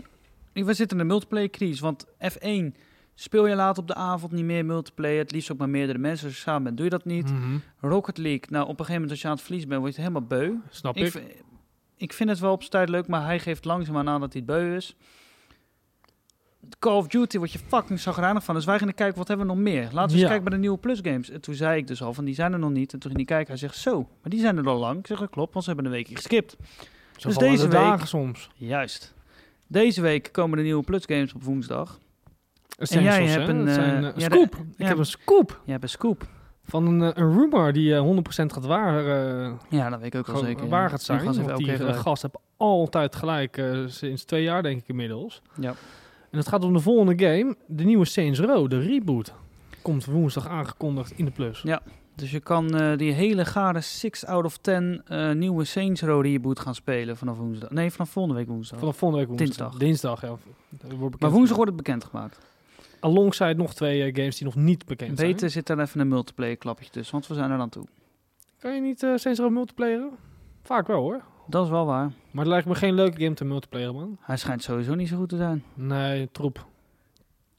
Speaker 1: ik- we zitten in de multiplayer crisis, want F1 speel je laat op de avond niet meer multiplayer, het liefst ook met meerdere mensen. Dus Als je samen bent, doe je dat niet.
Speaker 2: Mhm,
Speaker 1: Rocket League, nou op een gegeven moment als je aan het verliezen bent, word je helemaal beu.
Speaker 2: Snap ik.
Speaker 1: Ik, v- ik vind het wel op zijn tijd leuk, maar hij geeft langzaamaan aan dat hij het beu is. Call of Duty word je fucking zagrijnig van. Dus wij gingen kijken, wat hebben we nog meer? Laten we eens
Speaker 2: Ja.
Speaker 1: kijken bij de nieuwe Plus Games. En toen zei ik dus al, van die zijn er nog niet. En toen ging hij kijken, hij zegt zo, maar die zijn er al lang. Ik zeg, dat klopt, want ze hebben een weekje geskipt.
Speaker 2: Zo
Speaker 1: dus
Speaker 2: vallen
Speaker 1: deze
Speaker 2: de
Speaker 1: week-
Speaker 2: dagen soms.
Speaker 1: Juist. Deze week komen de nieuwe Plus Games op woensdag.
Speaker 2: Essentials,
Speaker 1: jij
Speaker 2: hè?
Speaker 1: hebt een,
Speaker 2: Dat zijn,
Speaker 1: eh,
Speaker 2: eh,
Speaker 1: ja, de-
Speaker 2: scoop. ik
Speaker 1: ja.
Speaker 2: heb een scoop
Speaker 1: Ja, bij Scoop.
Speaker 2: van een, eh, een rumor die eh, 100% gaat waar, eh,
Speaker 1: Ja, dat weet ik ook wel
Speaker 2: gewoon
Speaker 1: zeker.
Speaker 2: waar gaat zijn.
Speaker 1: Ik was even
Speaker 2: want
Speaker 1: elke
Speaker 2: die
Speaker 1: keer
Speaker 2: eh,
Speaker 1: gelijk.
Speaker 2: gast heeft altijd gelijk eh, sinds twee jaar, denk ik inmiddels.
Speaker 1: Ja.
Speaker 2: En het gaat om de volgende game, de nieuwe Saints Row, de reboot. Komt woensdag aangekondigd in de plus.
Speaker 1: Ja. Dus je kan eh, die hele gare 6 out of 10 eh, nieuwe Saints Row reboot gaan spelen vanaf woensdag. Nee, vanaf volgende week woensdag.
Speaker 2: Vanaf volgende week woensdag.
Speaker 1: Dinsdag.
Speaker 2: Dinsdag, ja. Dat wordt bekend.
Speaker 1: maar woensdag wordt het bekendgemaakt.
Speaker 2: Alongside nog twee eh, games die nog niet bekend zijn.
Speaker 1: Beter zit daar even een multiplayer klapje tussen, want we zijn er aan toe.
Speaker 2: Kan je niet eh Saints Row multiplayeren? Vaak wel hoor.
Speaker 1: Dat is wel waar.
Speaker 2: Maar het lijkt me geen leuke game te multiplayeren, man.
Speaker 1: Hij schijnt sowieso niet zo goed te zijn.
Speaker 2: Nee, troep.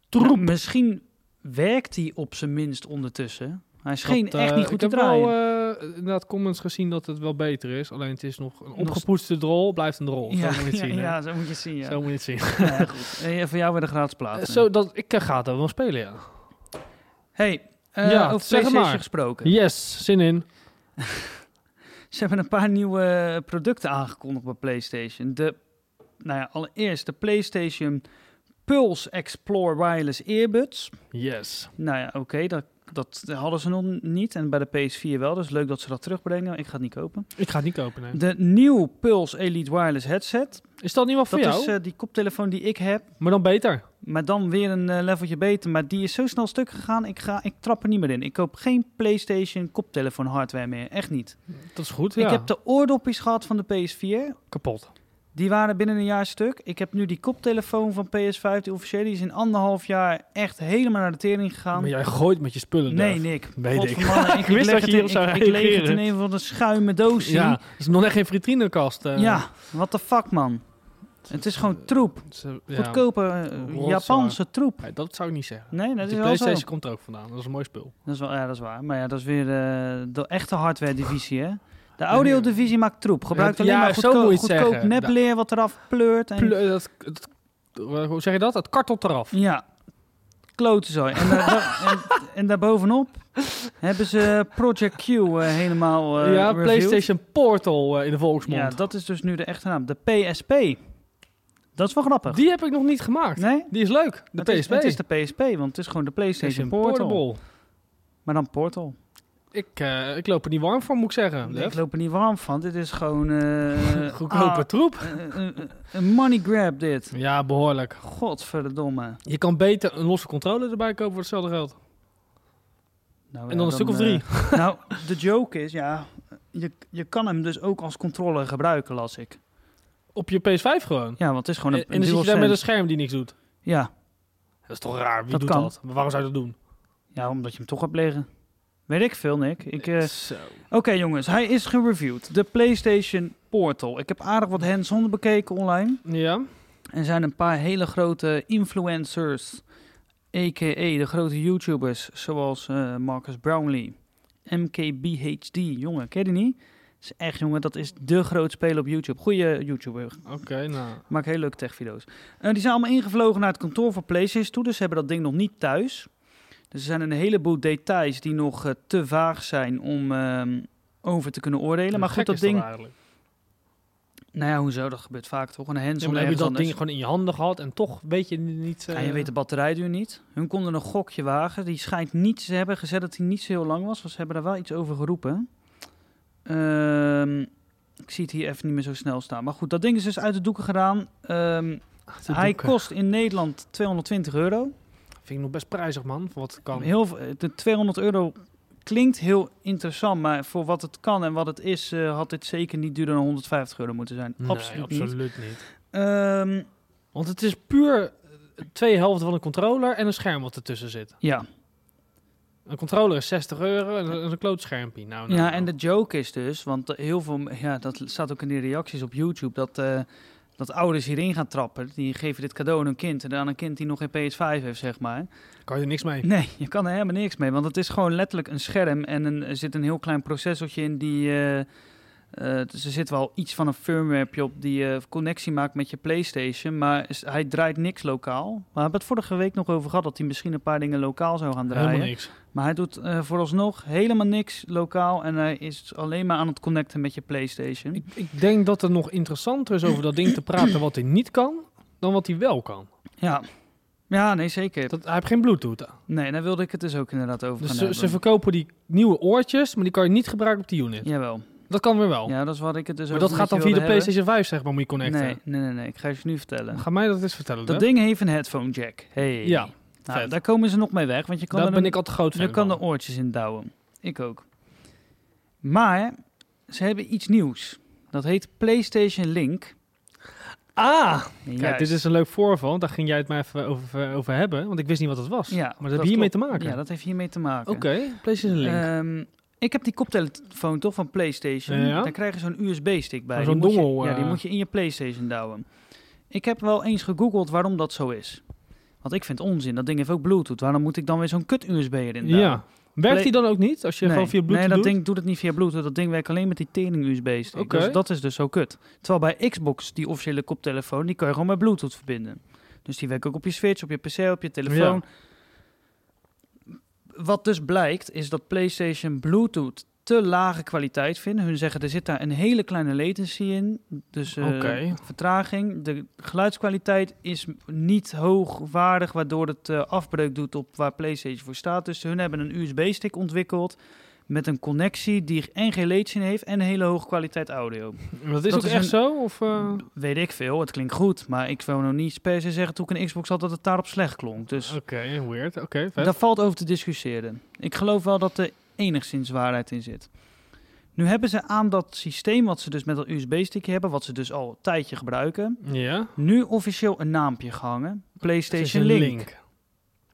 Speaker 1: Nou, misschien werkt hij op zijn minst ondertussen. Hij is geen,
Speaker 2: Dat,
Speaker 1: echt
Speaker 2: eh,
Speaker 1: niet goed te
Speaker 2: Ik heb wel
Speaker 1: draaien.
Speaker 2: eh, inderdaad comments gezien dat het wel beter is. Alleen het is nog een
Speaker 1: Nog-
Speaker 2: opgepoetste drol, blijft een drol. zo
Speaker 1: ja,
Speaker 2: moet je het
Speaker 1: ja,
Speaker 2: oh, zien. hè.
Speaker 1: ja, zo moet je het zien, ja.
Speaker 2: Zo moet je het zien.
Speaker 1: Nou ja, goed. Eh, voor jou weer de gratis plaat.
Speaker 2: Zo, dat, ik eh, ga het wel spelen, ja.
Speaker 1: hey, eh
Speaker 2: Ja,
Speaker 1: over
Speaker 2: zeg het
Speaker 1: PlayStation
Speaker 2: maar.
Speaker 1: gesproken.
Speaker 2: Yes, zin in.
Speaker 1: Ze hebben een paar nieuwe eh, producten aangekondigd bij PlayStation. De, nou ja, allereerst de PlayStation Pulse Explore Wireless Earbuds.
Speaker 2: Yes.
Speaker 1: Nou ja, oké, dat, dat hadden ze nog niet. En bij de PS4 wel, dus leuk dat ze dat terugbrengen. Ik ga het niet kopen.
Speaker 2: Ik ga het niet kopen, nee.
Speaker 1: De nieuwe Pulse Elite Wireless Headset.
Speaker 2: Is dat niet wel voor
Speaker 1: Dat
Speaker 2: jou?
Speaker 1: is eh, die koptelefoon die ik heb.
Speaker 2: maar dan beter.
Speaker 1: Maar dan weer een eh, leveltje beter. Maar die is zo snel stuk gegaan. Ik, ga, ik trap er niet meer in. Ik koop geen PlayStation koptelefoon hardware meer. Echt niet.
Speaker 2: Dat is goed, ja.
Speaker 1: Ik heb de oordopjes gehad van de PS4.
Speaker 2: kapot.
Speaker 1: Die waren binnen een jaar stuk. Ik heb nu die koptelefoon van PS5, die officiële, die is in anderhalf jaar echt helemaal naar de tering gegaan.
Speaker 2: Maar jij gooit met je spullen,
Speaker 1: nee,
Speaker 2: Durf.
Speaker 1: Nick.
Speaker 2: Weet ik.
Speaker 1: Godverdomme,
Speaker 2: Ik wist
Speaker 1: leg
Speaker 2: dat je
Speaker 1: het in-
Speaker 2: hierop zou
Speaker 1: ik- Ik leeg het in
Speaker 2: reageren.
Speaker 1: een van de schuime doos.
Speaker 2: Ja, het is nog net geen vitrinekast. eh.
Speaker 1: ja, what the fuck, man. Het is gewoon troep.
Speaker 2: Het is, eh, ja.
Speaker 1: Goedkope eh,
Speaker 2: Rotzooi.
Speaker 1: Japanse troep.
Speaker 2: Nee, dat zou ik niet zeggen.
Speaker 1: Nee, dat
Speaker 2: Want
Speaker 1: is
Speaker 2: die
Speaker 1: wel zo.
Speaker 2: PlayStation komt er ook vandaan. Dat is een mooi spul.
Speaker 1: Dat is wel, ja, dat is waar. Maar ja, dat is weer eh, de echte hardware-divisie, hè? De audio-divisie maakt troep. Gebruikt
Speaker 2: Ja,
Speaker 1: alleen maar
Speaker 2: zo
Speaker 1: goedkoop,
Speaker 2: moet je het
Speaker 1: goedkoop
Speaker 2: zeggen.
Speaker 1: nepleer wat eraf pleurt. En,
Speaker 2: Pl- dat, dat- eh, hoe zeg je dat? Het kartelt eraf.
Speaker 1: Ja, klotenzooi. En, daar, da- en, en daarbovenop hebben ze Project Q eh, helemaal eh,
Speaker 2: ja,
Speaker 1: reviewed.
Speaker 2: PlayStation Portal eh, in de
Speaker 1: Ja,
Speaker 2: volksmond.
Speaker 1: dat is dus nu de echte naam. De PSP. Dat is wel grappig.
Speaker 2: die heb ik nog niet gemaakt.
Speaker 1: Nee?
Speaker 2: Die is leuk. De
Speaker 1: het is-
Speaker 2: PSP.
Speaker 1: het is de PSP, want het is gewoon de PlayStation Portal.
Speaker 2: Portable.
Speaker 1: Maar dan Portal.
Speaker 2: Ik, eh, ik loop er niet warm voor, moet ik zeggen.
Speaker 1: Ik loop er niet warm van. Dit is gewoon... eh,
Speaker 2: Goedkope
Speaker 1: ah,
Speaker 2: troep.
Speaker 1: eh, eh, eh, Een money grab dit.
Speaker 2: Ja, behoorlijk.
Speaker 1: Godverdomme.
Speaker 2: Je kan beter een losse controller erbij kopen voor hetzelfde geld.
Speaker 1: Nou,
Speaker 2: En
Speaker 1: ja,
Speaker 2: dan een stuk
Speaker 1: eh,
Speaker 2: of drie.
Speaker 1: nou, de joke is, ja, je, je kan hem dus ook als controller gebruiken, las ik.
Speaker 2: Op je PS5 gewoon.
Speaker 1: Ja, want het is gewoon
Speaker 2: En,
Speaker 1: een,
Speaker 2: en
Speaker 1: een
Speaker 2: dan zit je daar met een
Speaker 1: DualSense.
Speaker 2: scherm die niks doet.
Speaker 1: Ja.
Speaker 2: Dat is toch raar? Wie
Speaker 1: Dat
Speaker 2: doet
Speaker 1: kan.
Speaker 2: dat? Maar waarom zou je dat doen?
Speaker 1: ja, omdat je hem toch hebt liggen. Weet ik veel, Nick. Ik, eh,
Speaker 2: Zo.
Speaker 1: Oké, jongens, hij is gereviewd. De PlayStation Portal. Ik heb aardig wat hands-on bekeken online.
Speaker 2: Ja.
Speaker 1: Er zijn een paar hele grote influencers, a.k.a. de grote YouTubers, zoals eh, Marcus Brownlee, MKBHD. Jongen, ken je die niet? Dat is echt, jongen, dat is de groot speler op YouTube. Goeie YouTuber,
Speaker 2: Oké, nou.
Speaker 1: maakt hele leuke techvideo's. Eh die zijn allemaal ingevlogen naar het kantoor van PlayStation toe, dus ze hebben dat ding nog niet thuis. Dus er zijn een heleboel details die nog eh, te vaag zijn om ehm, over te kunnen oordelen. Maar
Speaker 2: Gek
Speaker 1: goed, dat
Speaker 2: is
Speaker 1: ding...
Speaker 2: eigenlijk.
Speaker 1: Nou ja, hoezo? Dat gebeurt vaak toch? Een hands
Speaker 2: Ja, maar dan heb je dat ding gewoon in je handen gehad en toch weet je niet... eh,
Speaker 1: Ja, je weet de batterijduur niet. Hun konden een gokje wagen. Die schijnt niet te hebben gezegd dat hij niet zo heel lang was. Want ze hebben daar wel iets over geroepen. Ehm, ik zie het hier even niet meer zo snel staan. Maar goed, dat ding is dus uit de doeken gedaan. Ehm,
Speaker 2: Ah, die
Speaker 1: hij
Speaker 2: doeken.
Speaker 1: kost in Nederland 220 euro.
Speaker 2: Vind ik nog best prijzig, man, voor wat het kan.
Speaker 1: Heel, v- eh, de 200 euro klinkt heel interessant. Maar voor wat het kan en wat het is, eh, had dit zeker niet duurder dan 150 euro moeten zijn.
Speaker 2: Nee,
Speaker 1: absoluut, niet.
Speaker 2: absoluut niet.
Speaker 1: Ehm,
Speaker 2: Want het is puur eh, twee helften van een controller en een scherm wat ertussen zit.
Speaker 1: ja.
Speaker 2: Een controller is 60 euro en een, en een kloot schermpje. Nou, nou,
Speaker 1: Ja,
Speaker 2: nou.
Speaker 1: en de joke is dus, want heel veel, ja, dat staat ook in die reacties op YouTube, dat, eh, dat ouders hierin gaan trappen. Die geven dit cadeau aan hun kind en aan een kind die nog geen PS5 heeft, zeg maar.
Speaker 2: Kan je niks mee.
Speaker 1: Nee, je kan er helemaal niks mee, want het is gewoon letterlijk een scherm en een, er zit een heel klein processortje in die... eh, eh, dus er zit wel iets van een firmware op die eh, connectie maakt met je PlayStation, maar is- hij draait niks lokaal. Maar we hebben het vorige week nog over gehad dat hij misschien een paar dingen lokaal zou gaan draaien.
Speaker 2: Helemaal niks.
Speaker 1: Maar hij doet eh, vooralsnog helemaal niks lokaal en hij is alleen maar aan het connecten met je PlayStation.
Speaker 2: Ik, ik denk dat er nog interessanter is over dat ding te praten wat hij niet kan, dan wat hij wel kan.
Speaker 1: Ja. ja, nee zeker.
Speaker 2: Dat, hij heeft geen bluetooth.
Speaker 1: Nee, daar wilde ik het dus ook inderdaad over
Speaker 2: Dus
Speaker 1: gaan
Speaker 2: ze,
Speaker 1: hebben.
Speaker 2: ze verkopen die nieuwe oortjes, maar die kan je niet gebruiken op die unit.
Speaker 1: Jawel.
Speaker 2: Dat kan weer wel.
Speaker 1: Ja, dat is wat ik het dus
Speaker 2: Oh. maar
Speaker 1: ook
Speaker 2: dat
Speaker 1: een
Speaker 2: gaat dan via
Speaker 1: beetje
Speaker 2: de
Speaker 1: wilde hebben.
Speaker 2: PlayStation 5, zeg maar, moet je connecten.
Speaker 1: Nee, nee, nee, nee. Ik ga het je nu vertellen.
Speaker 2: Ga mij dat eens vertellen.
Speaker 1: Dat
Speaker 2: hè?
Speaker 1: ding heeft een headphone jack. Hey.
Speaker 2: Ja,
Speaker 1: nou,
Speaker 2: vet.
Speaker 1: daar komen ze nog mee weg, want je kan
Speaker 2: Daar
Speaker 1: er
Speaker 2: ben
Speaker 1: een-
Speaker 2: ik al te groot
Speaker 1: je
Speaker 2: van.
Speaker 1: kan er oortjes in douwen. Ik ook. Maar ze hebben iets nieuws. Dat heet PlayStation Link.
Speaker 2: Ah! Kijk,
Speaker 1: Juist.
Speaker 2: dit is een leuk voorval. Daar ging jij het maar even over, eh, over hebben, want ik wist niet wat het was.
Speaker 1: Ja,
Speaker 2: maar dat heb je hiermee te
Speaker 1: klopt.
Speaker 2: maken.
Speaker 1: Ja, dat heeft hiermee te maken.
Speaker 2: Oké, PlayStation Link.
Speaker 1: Ehm, ik heb die koptelefoon toch van PlayStation.
Speaker 2: Ja.
Speaker 1: Daar krijg je zo'n USB-stick bij.
Speaker 2: Van zo'n
Speaker 1: Die moet je-
Speaker 2: dongel,
Speaker 1: Ja, die
Speaker 2: eh.
Speaker 1: moet je in je PlayStation douwen. Ik heb wel eens gegoogeld waarom dat zo is. Want ik vind het onzin. Dat ding heeft ook Bluetooth. Waarom moet ik dan weer zo'n kut USB erin douwen?
Speaker 2: ja, Werkt
Speaker 1: Play-
Speaker 2: die dan ook niet? Als je
Speaker 1: nee,
Speaker 2: gewoon via Bluetooth
Speaker 1: nee, dat
Speaker 2: doet?
Speaker 1: ding doet het niet via Bluetooth. Dat ding werkt alleen met die tering USB-stick.
Speaker 2: Oké.
Speaker 1: Dus dat is dus zo kut. Terwijl bij Xbox, die officiële koptelefoon, die kan je gewoon met Bluetooth verbinden. Dus die werkt ook op je Switch, op je PC, op je telefoon. Wat dus blijkt, is dat PlayStation Bluetooth te lage kwaliteit vinden. Hun zeggen, er zit daar een hele kleine latency in. Dus eh,
Speaker 2: Oké.
Speaker 1: vertraging. De geluidskwaliteit is niet hoogwaardig, waardoor het eh, afbreuk doet op waar PlayStation voor staat. Dus hun hebben een USB-stick ontwikkeld met een connectie die en geen latency heeft en hele hoge kwaliteit audio.
Speaker 2: Dat is
Speaker 1: dat
Speaker 2: ook
Speaker 1: is
Speaker 2: echt
Speaker 1: een-
Speaker 2: zo? Of, eh?
Speaker 1: B- Weet ik veel, het klinkt goed, maar ik wil nog niet per se zeggen toen ik een Xbox had dat het daarop slecht klonk. Dus
Speaker 2: Oké, weird. Oké, vet.
Speaker 1: daar valt over te discussiëren. Ik geloof wel dat er enigszins waarheid in zit. Nu hebben ze aan dat systeem wat ze dus met dat USB-stickje hebben, wat ze dus al een tijdje gebruiken,
Speaker 2: Ja.
Speaker 1: nu officieel een naampje gehangen.
Speaker 2: Het is
Speaker 1: PlayStation
Speaker 2: een
Speaker 1: Link.
Speaker 2: Link,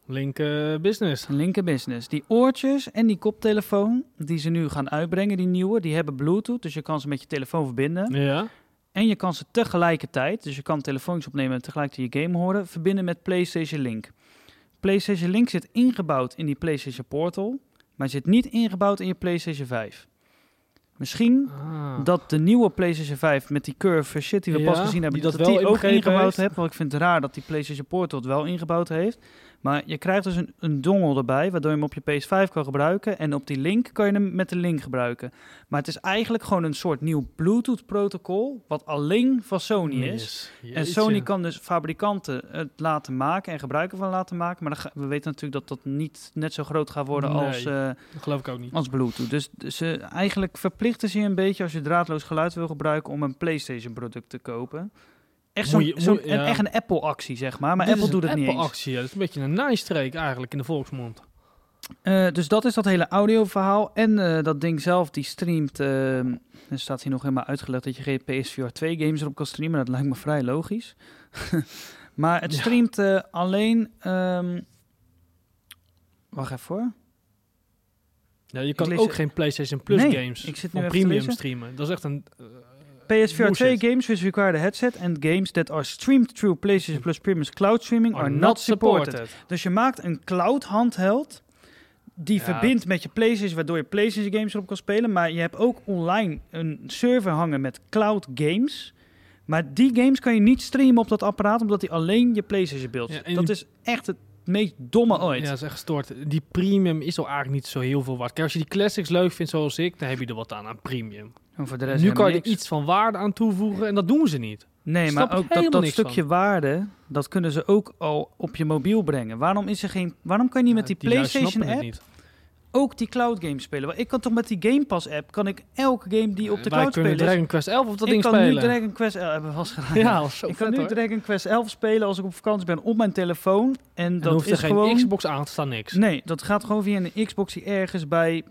Speaker 2: Link, eh, Business.
Speaker 1: Een linker business. Die oortjes en die koptelefoon die ze nu gaan uitbrengen, die nieuwe, die hebben Bluetooth. Dus je kan ze met je telefoon verbinden.
Speaker 2: Ja.
Speaker 1: En je kan ze tegelijkertijd, dus je kan telefoons opnemen en tegelijkertijd je game horen, verbinden met PlayStation Link. PlayStation Link zit ingebouwd in die PlayStation Portal, maar zit niet ingebouwd in je PlayStation 5. Misschien
Speaker 2: Ah.
Speaker 1: dat de nieuwe PlayStation 5 met die curve shit die we pas
Speaker 2: Ja,
Speaker 1: gezien hebben,
Speaker 2: die
Speaker 1: dat,
Speaker 2: dat
Speaker 1: die
Speaker 2: wel
Speaker 1: ook
Speaker 2: inbegrepen
Speaker 1: ingebouwd
Speaker 2: heeft.
Speaker 1: heeft. Want ik vind het raar dat die PlayStation Portal het wel ingebouwd heeft. Maar je krijgt dus een, een dongle erbij, waardoor je hem op je PS5 kan gebruiken. En op die link kan je hem met de link gebruiken. Maar het is eigenlijk gewoon een soort nieuw Bluetooth-protocol, wat alleen van Sony is. En Sony kan dus fabrikanten het laten maken en gebruiken van laten maken. Maar dan ga- we weten natuurlijk dat dat niet net zo groot gaat worden
Speaker 2: Nee.
Speaker 1: als... eh,
Speaker 2: Dat geloof ik ook niet.
Speaker 1: als Bluetooth. Dus ze, eigenlijk verplichten ze je een beetje als je draadloos geluid wil gebruiken om een PlayStation product te kopen. Echt, zo'n,
Speaker 2: Moet je-
Speaker 1: zo'n-
Speaker 2: moet- ja.
Speaker 1: een, echt een Apple actie, zeg maar. Maar
Speaker 2: Dit
Speaker 1: Apple
Speaker 2: is
Speaker 1: doet
Speaker 2: een
Speaker 1: het niet eens.
Speaker 2: Apple-actie, ja. Dat is een beetje een naaistreek eigenlijk in de volksmond.
Speaker 1: Eh, dus dat is dat hele audioverhaal. En eh, dat ding zelf, die streamt... eh, er staat hier nog helemaal uitgelegd dat je geen PSVR 2 games erop kan streamen. Dat lijkt me vrij logisch. maar het
Speaker 2: Ja.
Speaker 1: streamt eh, alleen... ehm, wacht even hoor.
Speaker 2: Ja, je
Speaker 1: Ik
Speaker 2: kan
Speaker 1: lees-
Speaker 2: ook geen PlayStation Plus
Speaker 1: Nee,
Speaker 2: games
Speaker 1: ik zit nu
Speaker 2: op
Speaker 1: even te
Speaker 2: premium
Speaker 1: lezen.
Speaker 2: streamen. Dat is echt een... eh,
Speaker 1: PSVR 2
Speaker 2: Bullshit.
Speaker 1: games which require the headset and games that are streamed through PlayStation Plus Premium's cloud streaming are, not, supported. Dus je maakt een cloud handheld die
Speaker 2: Ja.
Speaker 1: verbindt met je PlayStation, waardoor je PlayStation games erop kan spelen. Maar je hebt ook online een server hangen met cloud games. Maar die games kan je niet streamen op dat apparaat, omdat die alleen je PlayStation beeld.
Speaker 2: Ja,
Speaker 1: ziet.
Speaker 2: en
Speaker 1: dat
Speaker 2: die-
Speaker 1: is echt het meest domme ooit.
Speaker 2: Ja, dat is echt gestoord. Die premium is al eigenlijk niet zo heel veel waard. Kijk, als je die classics leuk vindt zoals ik, dan heb je er wat aan aan premium.
Speaker 1: En voor de rest
Speaker 2: nu
Speaker 1: helemaal
Speaker 2: kan je er
Speaker 1: niks.
Speaker 2: iets van waarde aan toevoegen en dat doen ze niet.
Speaker 1: Nee,
Speaker 2: Snap
Speaker 1: maar
Speaker 2: ik
Speaker 1: ook dat,
Speaker 2: helemaal
Speaker 1: dat
Speaker 2: niks
Speaker 1: stukje waarde, dat kunnen ze ook al op je mobiel brengen. Waarom is er geen? Waarom kan je niet met die,
Speaker 2: Ja, lui snappen
Speaker 1: PlayStation
Speaker 2: het
Speaker 1: app
Speaker 2: niet.
Speaker 1: ook die cloud games spelen? Want Ik kan toch met die Game Pass app kan ik elke game die op de
Speaker 2: Wij
Speaker 1: cloud
Speaker 2: kunnen
Speaker 1: spelen. is-
Speaker 2: Dragon Quest 11 of dat
Speaker 1: ik
Speaker 2: ding
Speaker 1: kan nu
Speaker 2: spelen.
Speaker 1: Dragon Quest 11 hebben we vast gedaan.
Speaker 2: Ja, dat is zo
Speaker 1: ik kan
Speaker 2: vet,
Speaker 1: nu
Speaker 2: hoor.
Speaker 1: Dragon Quest 11 spelen als ik op vakantie ben op mijn telefoon en,
Speaker 2: En
Speaker 1: dat
Speaker 2: dan hoeft er
Speaker 1: is
Speaker 2: geen
Speaker 1: gewoon
Speaker 2: Xbox aan te staan, niks.
Speaker 1: Nee, dat gaat gewoon via een Xbox die ergens bij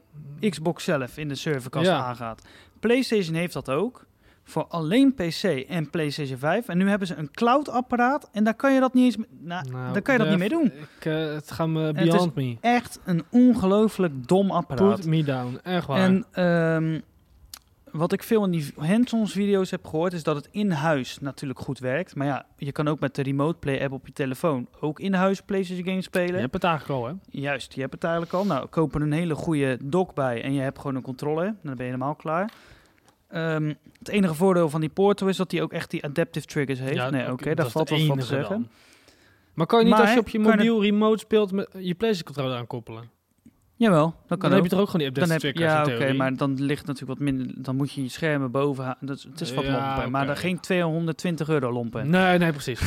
Speaker 1: Xbox zelf in de serverkast
Speaker 2: Ja.
Speaker 1: aangaat. PlayStation heeft dat ook. Voor alleen PC en PlayStation 5. En nu hebben ze een cloud-apparaat. En daar kan je dat niet eens. m- Nou,
Speaker 2: Nou,
Speaker 1: daar kan je dat niet
Speaker 2: Jeff,
Speaker 1: mee doen.
Speaker 2: Ik, eh, het gaat me
Speaker 1: het is
Speaker 2: beyond me.
Speaker 1: Echt een ongelooflijk dom apparaat.
Speaker 2: Put me down, echt waar.
Speaker 1: En ehm, wat ik veel in die hands-ons video's heb gehoord, is dat het in huis natuurlijk goed werkt. Maar ja, je kan ook met de Remote Play app op je telefoon ook in huis PlayStation games
Speaker 2: je
Speaker 1: spelen.
Speaker 2: hebt het eigenlijk al, hè?
Speaker 1: Juist, je hebt het eigenlijk al. Nou, koop er een hele goede dock bij en je hebt gewoon een controller. Dan ben je helemaal klaar. Ehm, het enige voordeel van die Porto is dat die ook echt die adaptive triggers heeft. nee, oké, daar
Speaker 2: is
Speaker 1: valt
Speaker 2: het
Speaker 1: wat van te
Speaker 2: enige
Speaker 1: zeggen.
Speaker 2: dan. Maar kan je niet
Speaker 1: Maar
Speaker 2: als je
Speaker 1: hè,
Speaker 2: op je
Speaker 1: kan je
Speaker 2: mobiel remote speelt met je PlayStation controller aankoppelen?
Speaker 1: Jawel, dat
Speaker 2: Dan,
Speaker 1: kan
Speaker 2: heb
Speaker 1: ook.
Speaker 2: je toch ook gewoon die
Speaker 1: Dan
Speaker 2: update
Speaker 1: heb,
Speaker 2: triggers
Speaker 1: ja,
Speaker 2: in
Speaker 1: oké,
Speaker 2: theorie?
Speaker 1: maar dan ligt natuurlijk wat minder. Dan moet je je schermen boven. ha- Dat, is- het is wat
Speaker 2: Ja,
Speaker 1: lompen, maar
Speaker 2: oké.
Speaker 1: dan geen 220 euro lompen.
Speaker 2: Nee, nee, precies.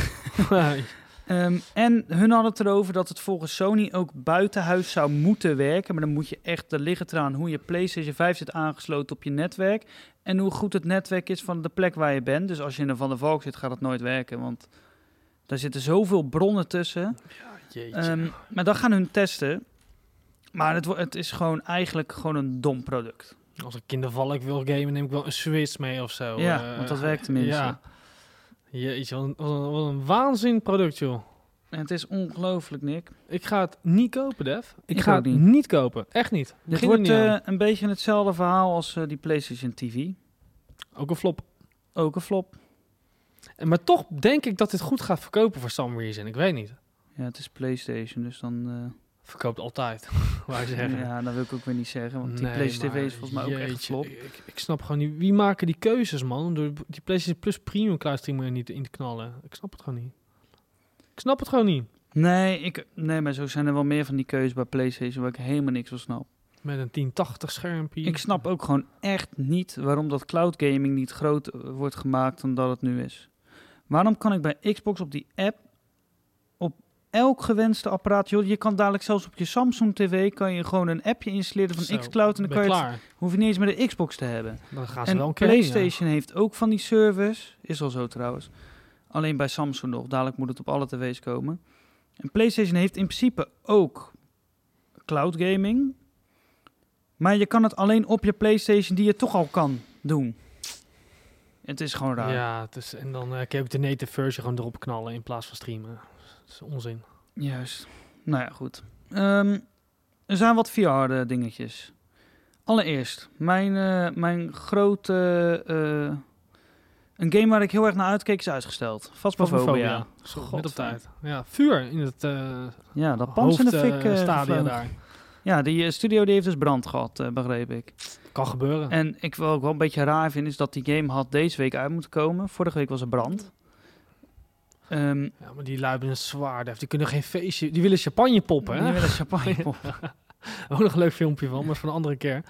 Speaker 1: Ehm, en hun hadden het erover dat het volgens Sony ook buitenhuis zou moeten werken. Maar dan moet je echt, er liggen eraan hoe je PlayStation 5 zit aangesloten op je netwerk. En hoe goed het netwerk is van de plek waar je bent. Dus als je in een Van der Valk zit, gaat het nooit werken. Want daar zitten zoveel bronnen tussen.
Speaker 2: Jeetje.
Speaker 1: Ehm, maar dat gaan hun testen. Maar het, wo- het is gewoon eigenlijk gewoon een dom product.
Speaker 2: Als ik kindervallig wil gamen, neem ik wel een Switch mee of zo.
Speaker 1: ja,
Speaker 2: eh,
Speaker 1: want dat werkt tenminste.
Speaker 2: Ja. Jeetje, wat een, wat een, wat een waanzin product, joh.
Speaker 1: En het is ongelooflijk, Nick.
Speaker 2: Ik ga het niet kopen, Def. Ik,
Speaker 1: Ik
Speaker 2: ga
Speaker 1: ook
Speaker 2: het
Speaker 1: niet.
Speaker 2: niet. kopen. Echt niet.
Speaker 1: Dit
Speaker 2: Begin er
Speaker 1: wordt
Speaker 2: niet aan.
Speaker 1: eh, een beetje hetzelfde verhaal als eh, die PlayStation TV.
Speaker 2: Ook een flop.
Speaker 1: Ook een flop.
Speaker 2: En, maar toch denk ik dat dit goed gaat verkopen voor some reason. Ik weet niet.
Speaker 1: Ja, het is PlayStation, dus dan. eh,
Speaker 2: Verkoopt altijd, wou je zeggen.
Speaker 1: Ja, dat wil ik ook weer niet zeggen, want die
Speaker 2: Nee,
Speaker 1: PlayStation
Speaker 2: maar
Speaker 1: TV is volgens mij ook echt
Speaker 2: jeetje,
Speaker 1: flop.
Speaker 2: Ik, ik snap gewoon niet. Wie maken die keuzes, man? Door die PlayStation Plus Premium kluistering er niet in te knallen. Ik snap het gewoon niet. Ik snap het gewoon niet.
Speaker 1: Nee, ik, nee, maar zo zijn er wel meer van die keuzes bij PlayStation waar ik helemaal niks van snap.
Speaker 2: Met een 1080 schermpje.
Speaker 1: Ik snap ook gewoon echt niet waarom dat cloud gaming niet groot eh, wordt gemaakt dan dat het nu is. Waarom kan ik bij Xbox op die app op elk gewenste apparaat, joh, je kan dadelijk zelfs op je Samsung TV kan je gewoon een appje installeren van
Speaker 2: Zo,
Speaker 1: xCloud en dan
Speaker 2: ben
Speaker 1: kan je het-
Speaker 2: klaar.
Speaker 1: hoef je niet eens meer de Xbox te hebben.
Speaker 2: Dan gaan ze wel
Speaker 1: En
Speaker 2: een keer heen, ja.
Speaker 1: PlayStation heeft ook van die service, is al zo trouwens. Alleen bij Samsung nog, dadelijk moet het op alle tv's komen. En PlayStation heeft in principe ook cloud gaming. Maar je kan het alleen op je PlayStation die je toch al kan doen. Het is gewoon raar. Ja,
Speaker 2: Ja, het is, en dan eh, kan je ook de native version gewoon erop knallen in plaats van streamen. Dat is onzin.
Speaker 1: Juist. Nou ja, goed. Ehm, er zijn wat VR-dingetjes. Allereerst, mijn, eh, mijn grote... eh, een game waar ik heel erg naar uitkeek is uitgesteld. Phasmophobia.
Speaker 2: Phasmophobia. Net op
Speaker 1: Godver-
Speaker 2: tijd. Ja, vuur in het eh
Speaker 1: Ja, dat pand in de fik eh,
Speaker 2: hoofdstadion
Speaker 1: gevlogen.
Speaker 2: daar.
Speaker 1: Ja, die eh, studio die heeft dus brand gehad, eh, begreep ik.
Speaker 2: Kan gebeuren.
Speaker 1: En ik wil ook wel een beetje raar vind is dat die game had deze week uit moeten komen. Vorige week was er brand. Ehm
Speaker 2: Ja, maar die lui hebben een zwaar def. Die kunnen geen feestje... Die willen champagne poppen, hè?
Speaker 1: die willen champagne poppen.
Speaker 2: Ook nog een leuk filmpje van, maar van een andere keer.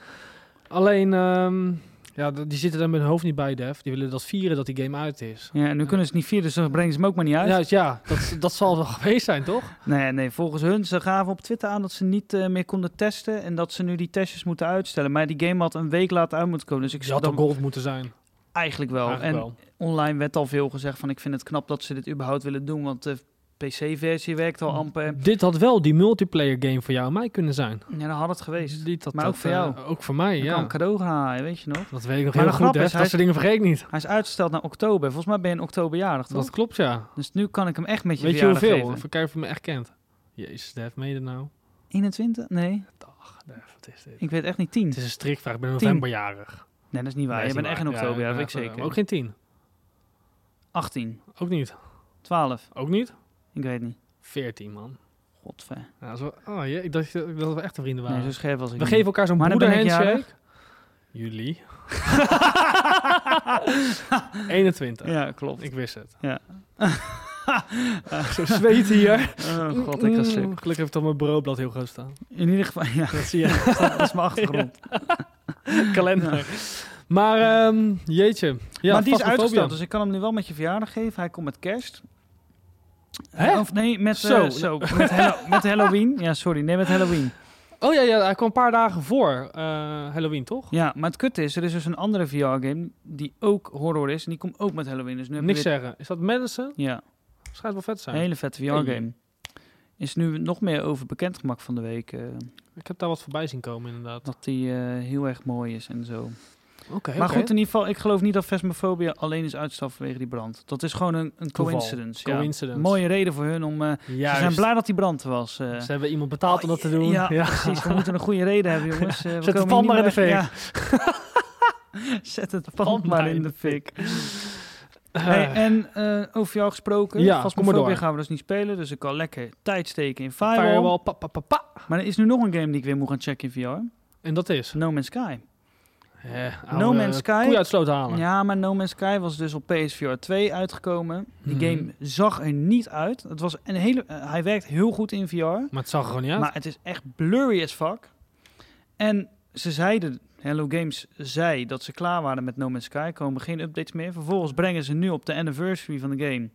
Speaker 2: Alleen, ehm, ja, d- die zitten daar met hun hoofd niet bij, Def. Die willen dat vieren dat die game uit is.
Speaker 1: Ja, en nu kunnen ze het niet vieren, dus dan brengen ze hem ook maar niet uit.
Speaker 2: Ja, ja dat, dat zal wel geweest zijn, toch?
Speaker 1: Nee, nee, volgens hun, ze gaven op Twitter aan dat ze niet eh, meer konden testen en dat ze nu die testjes moeten uitstellen. Maar die game had een week later uit moeten komen, dus ik
Speaker 2: Ze had
Speaker 1: zat
Speaker 2: dan
Speaker 1: dan
Speaker 2: gold moeten zijn.
Speaker 1: eigenlijk wel.
Speaker 2: eigenlijk
Speaker 1: en
Speaker 2: wel.
Speaker 1: online werd al veel gezegd van ik vind het knap dat ze dit überhaupt willen doen, want de PC-versie werkt
Speaker 2: Mm.
Speaker 1: al amper.
Speaker 2: Dit had wel die multiplayer game voor jou en mij kunnen zijn.
Speaker 1: Ja, dan had het geweest.
Speaker 2: Dit had
Speaker 1: Maar
Speaker 2: dat,
Speaker 1: ook voor
Speaker 2: eh,
Speaker 1: jou.
Speaker 2: ook voor mij,
Speaker 1: Je
Speaker 2: ja.
Speaker 1: kan een cadeau gaan halen, weet je nog?
Speaker 2: Dat weet ik nog
Speaker 1: Maar de
Speaker 2: heel goed,
Speaker 1: grap
Speaker 2: Def.
Speaker 1: is, hij
Speaker 2: Dat
Speaker 1: is-
Speaker 2: soort dingen vergeet ik niet.
Speaker 1: Hij is uitgesteld naar oktober. Volgens mij ben je in oktoberjarig, toch?
Speaker 2: Dat klopt, ja.
Speaker 1: Dus nu kan ik hem echt met je
Speaker 2: Weet je
Speaker 1: verjaardag
Speaker 2: hoeveel?
Speaker 1: geven.
Speaker 2: Even kijken of je me echt kent. Jezus, Def, meen je dat nou?
Speaker 1: 21? Nee,
Speaker 2: Dag, Def, wat is dit?
Speaker 1: ik weet echt niet 10.
Speaker 2: Het is een strikvraag. Ik ben
Speaker 1: Tien.
Speaker 2: novemberjarig.
Speaker 1: Nee, dat is niet waar.
Speaker 2: Nee,
Speaker 1: je
Speaker 2: is
Speaker 1: bent
Speaker 2: niet
Speaker 1: echt in
Speaker 2: waar. Ja,
Speaker 1: oktober, dat
Speaker 2: ja,
Speaker 1: weet ik
Speaker 2: maar
Speaker 1: zeker.
Speaker 2: Ook geen tien.
Speaker 1: 18,
Speaker 2: Ook niet.
Speaker 1: 12,
Speaker 2: Ook niet?
Speaker 1: ik weet niet.
Speaker 2: 14, man.
Speaker 1: Godver.
Speaker 2: Ja, zo, oh, jee, ik dacht dat dat we echte vrienden waren.
Speaker 1: Nee, zo scherp was ik
Speaker 2: we
Speaker 1: niet.
Speaker 2: geven elkaar zo'n
Speaker 1: Maar dan ben ik
Speaker 2: broederhandshake. Jullie. 21.
Speaker 1: Ja, klopt.
Speaker 2: Ik wist het.
Speaker 1: Ja.
Speaker 2: Zo zweet hier.
Speaker 1: Oh god,
Speaker 2: Mm.
Speaker 1: ik ga stuk.
Speaker 2: Gelukkig heeft dan mijn bureaublad heel groot staan.
Speaker 1: In ieder geval, ja,
Speaker 2: Dat zie je.
Speaker 1: dat is mijn achtergrond.
Speaker 2: Kalender. Maar ehm, jeetje. Ja,
Speaker 1: maar die is
Speaker 2: fasmofobia.
Speaker 1: uitgesteld, dus ik kan hem nu wel met je verjaardag geven. Hij komt met kerst.
Speaker 2: Hè?
Speaker 1: Of nee, met, eh,
Speaker 2: Zo.
Speaker 1: zo, met, Hallo- met Halloween. Ja, sorry, nee, met Halloween.
Speaker 2: Oh ja, ja, hij kwam een paar dagen voor eh, Halloween, toch?
Speaker 1: Ja, maar het kut is, er is dus een andere VR-game die ook horror is. En die komt ook met Halloween. Dus nu heb je
Speaker 2: Niks
Speaker 1: weer-
Speaker 2: zeggen. Is dat Madison?
Speaker 1: Ja,
Speaker 2: Schijnt wel vet te
Speaker 1: een
Speaker 2: zijn.
Speaker 1: hele vette VR-game. Is nu nog meer over bekendgemaakt van de week. eh,
Speaker 2: Ik heb daar wat voorbij zien komen, inderdaad.
Speaker 1: dat die eh, heel erg mooi is en zo.
Speaker 2: Oké,
Speaker 1: Maar goed, in ieder geval, ik geloof niet dat Vesmofobia alleen is uitgesteld vanwege die brand. Dat is gewoon een, een
Speaker 2: Toeval.
Speaker 1: coincidence. Ja.
Speaker 2: Coincidence.
Speaker 1: Mooie reden voor hun om. eh, ze zijn blij dat die brand er was. eh.
Speaker 2: Ze hebben iemand betaald om dat te doen.
Speaker 1: Ja, precies. We moeten een goede reden hebben, jongens. Eh, we
Speaker 2: Zet het
Speaker 1: komen hier
Speaker 2: pand
Speaker 1: niet
Speaker 2: maar in
Speaker 1: meer weg. Ja. Zet het pand maar in de fik.
Speaker 2: Eh,
Speaker 1: Hey, en eh over jou gesproken,
Speaker 2: Ja,
Speaker 1: vast
Speaker 2: kom maar door.
Speaker 1: gaan we dus niet spelen. Dus ik kan lekker tijd steken in Firewall.
Speaker 2: firewall, pa, pa, pa, pa.
Speaker 1: Maar er is nu nog een game die ik weer moet gaan checken in
Speaker 2: En dat is.
Speaker 1: VR. No Man's Sky.
Speaker 2: Eh,
Speaker 1: No
Speaker 2: oude
Speaker 1: Man's Sky.
Speaker 2: Koeien uit sloot halen.
Speaker 1: Ja, maar No Man's Sky was dus op PSVR 2 uitgekomen. Die
Speaker 2: Mhm.
Speaker 1: game zag er niet uit. Het was een hele, eh, hij werkt heel goed in VR,
Speaker 2: Maar het zag er gewoon niet uit.
Speaker 1: maar het is echt blurry as fuck. En ze zeiden, Hello Games zei dat ze klaar waren met No Man's Sky. Komen geen updates meer. Vervolgens brengen ze nu op de anniversary van de game.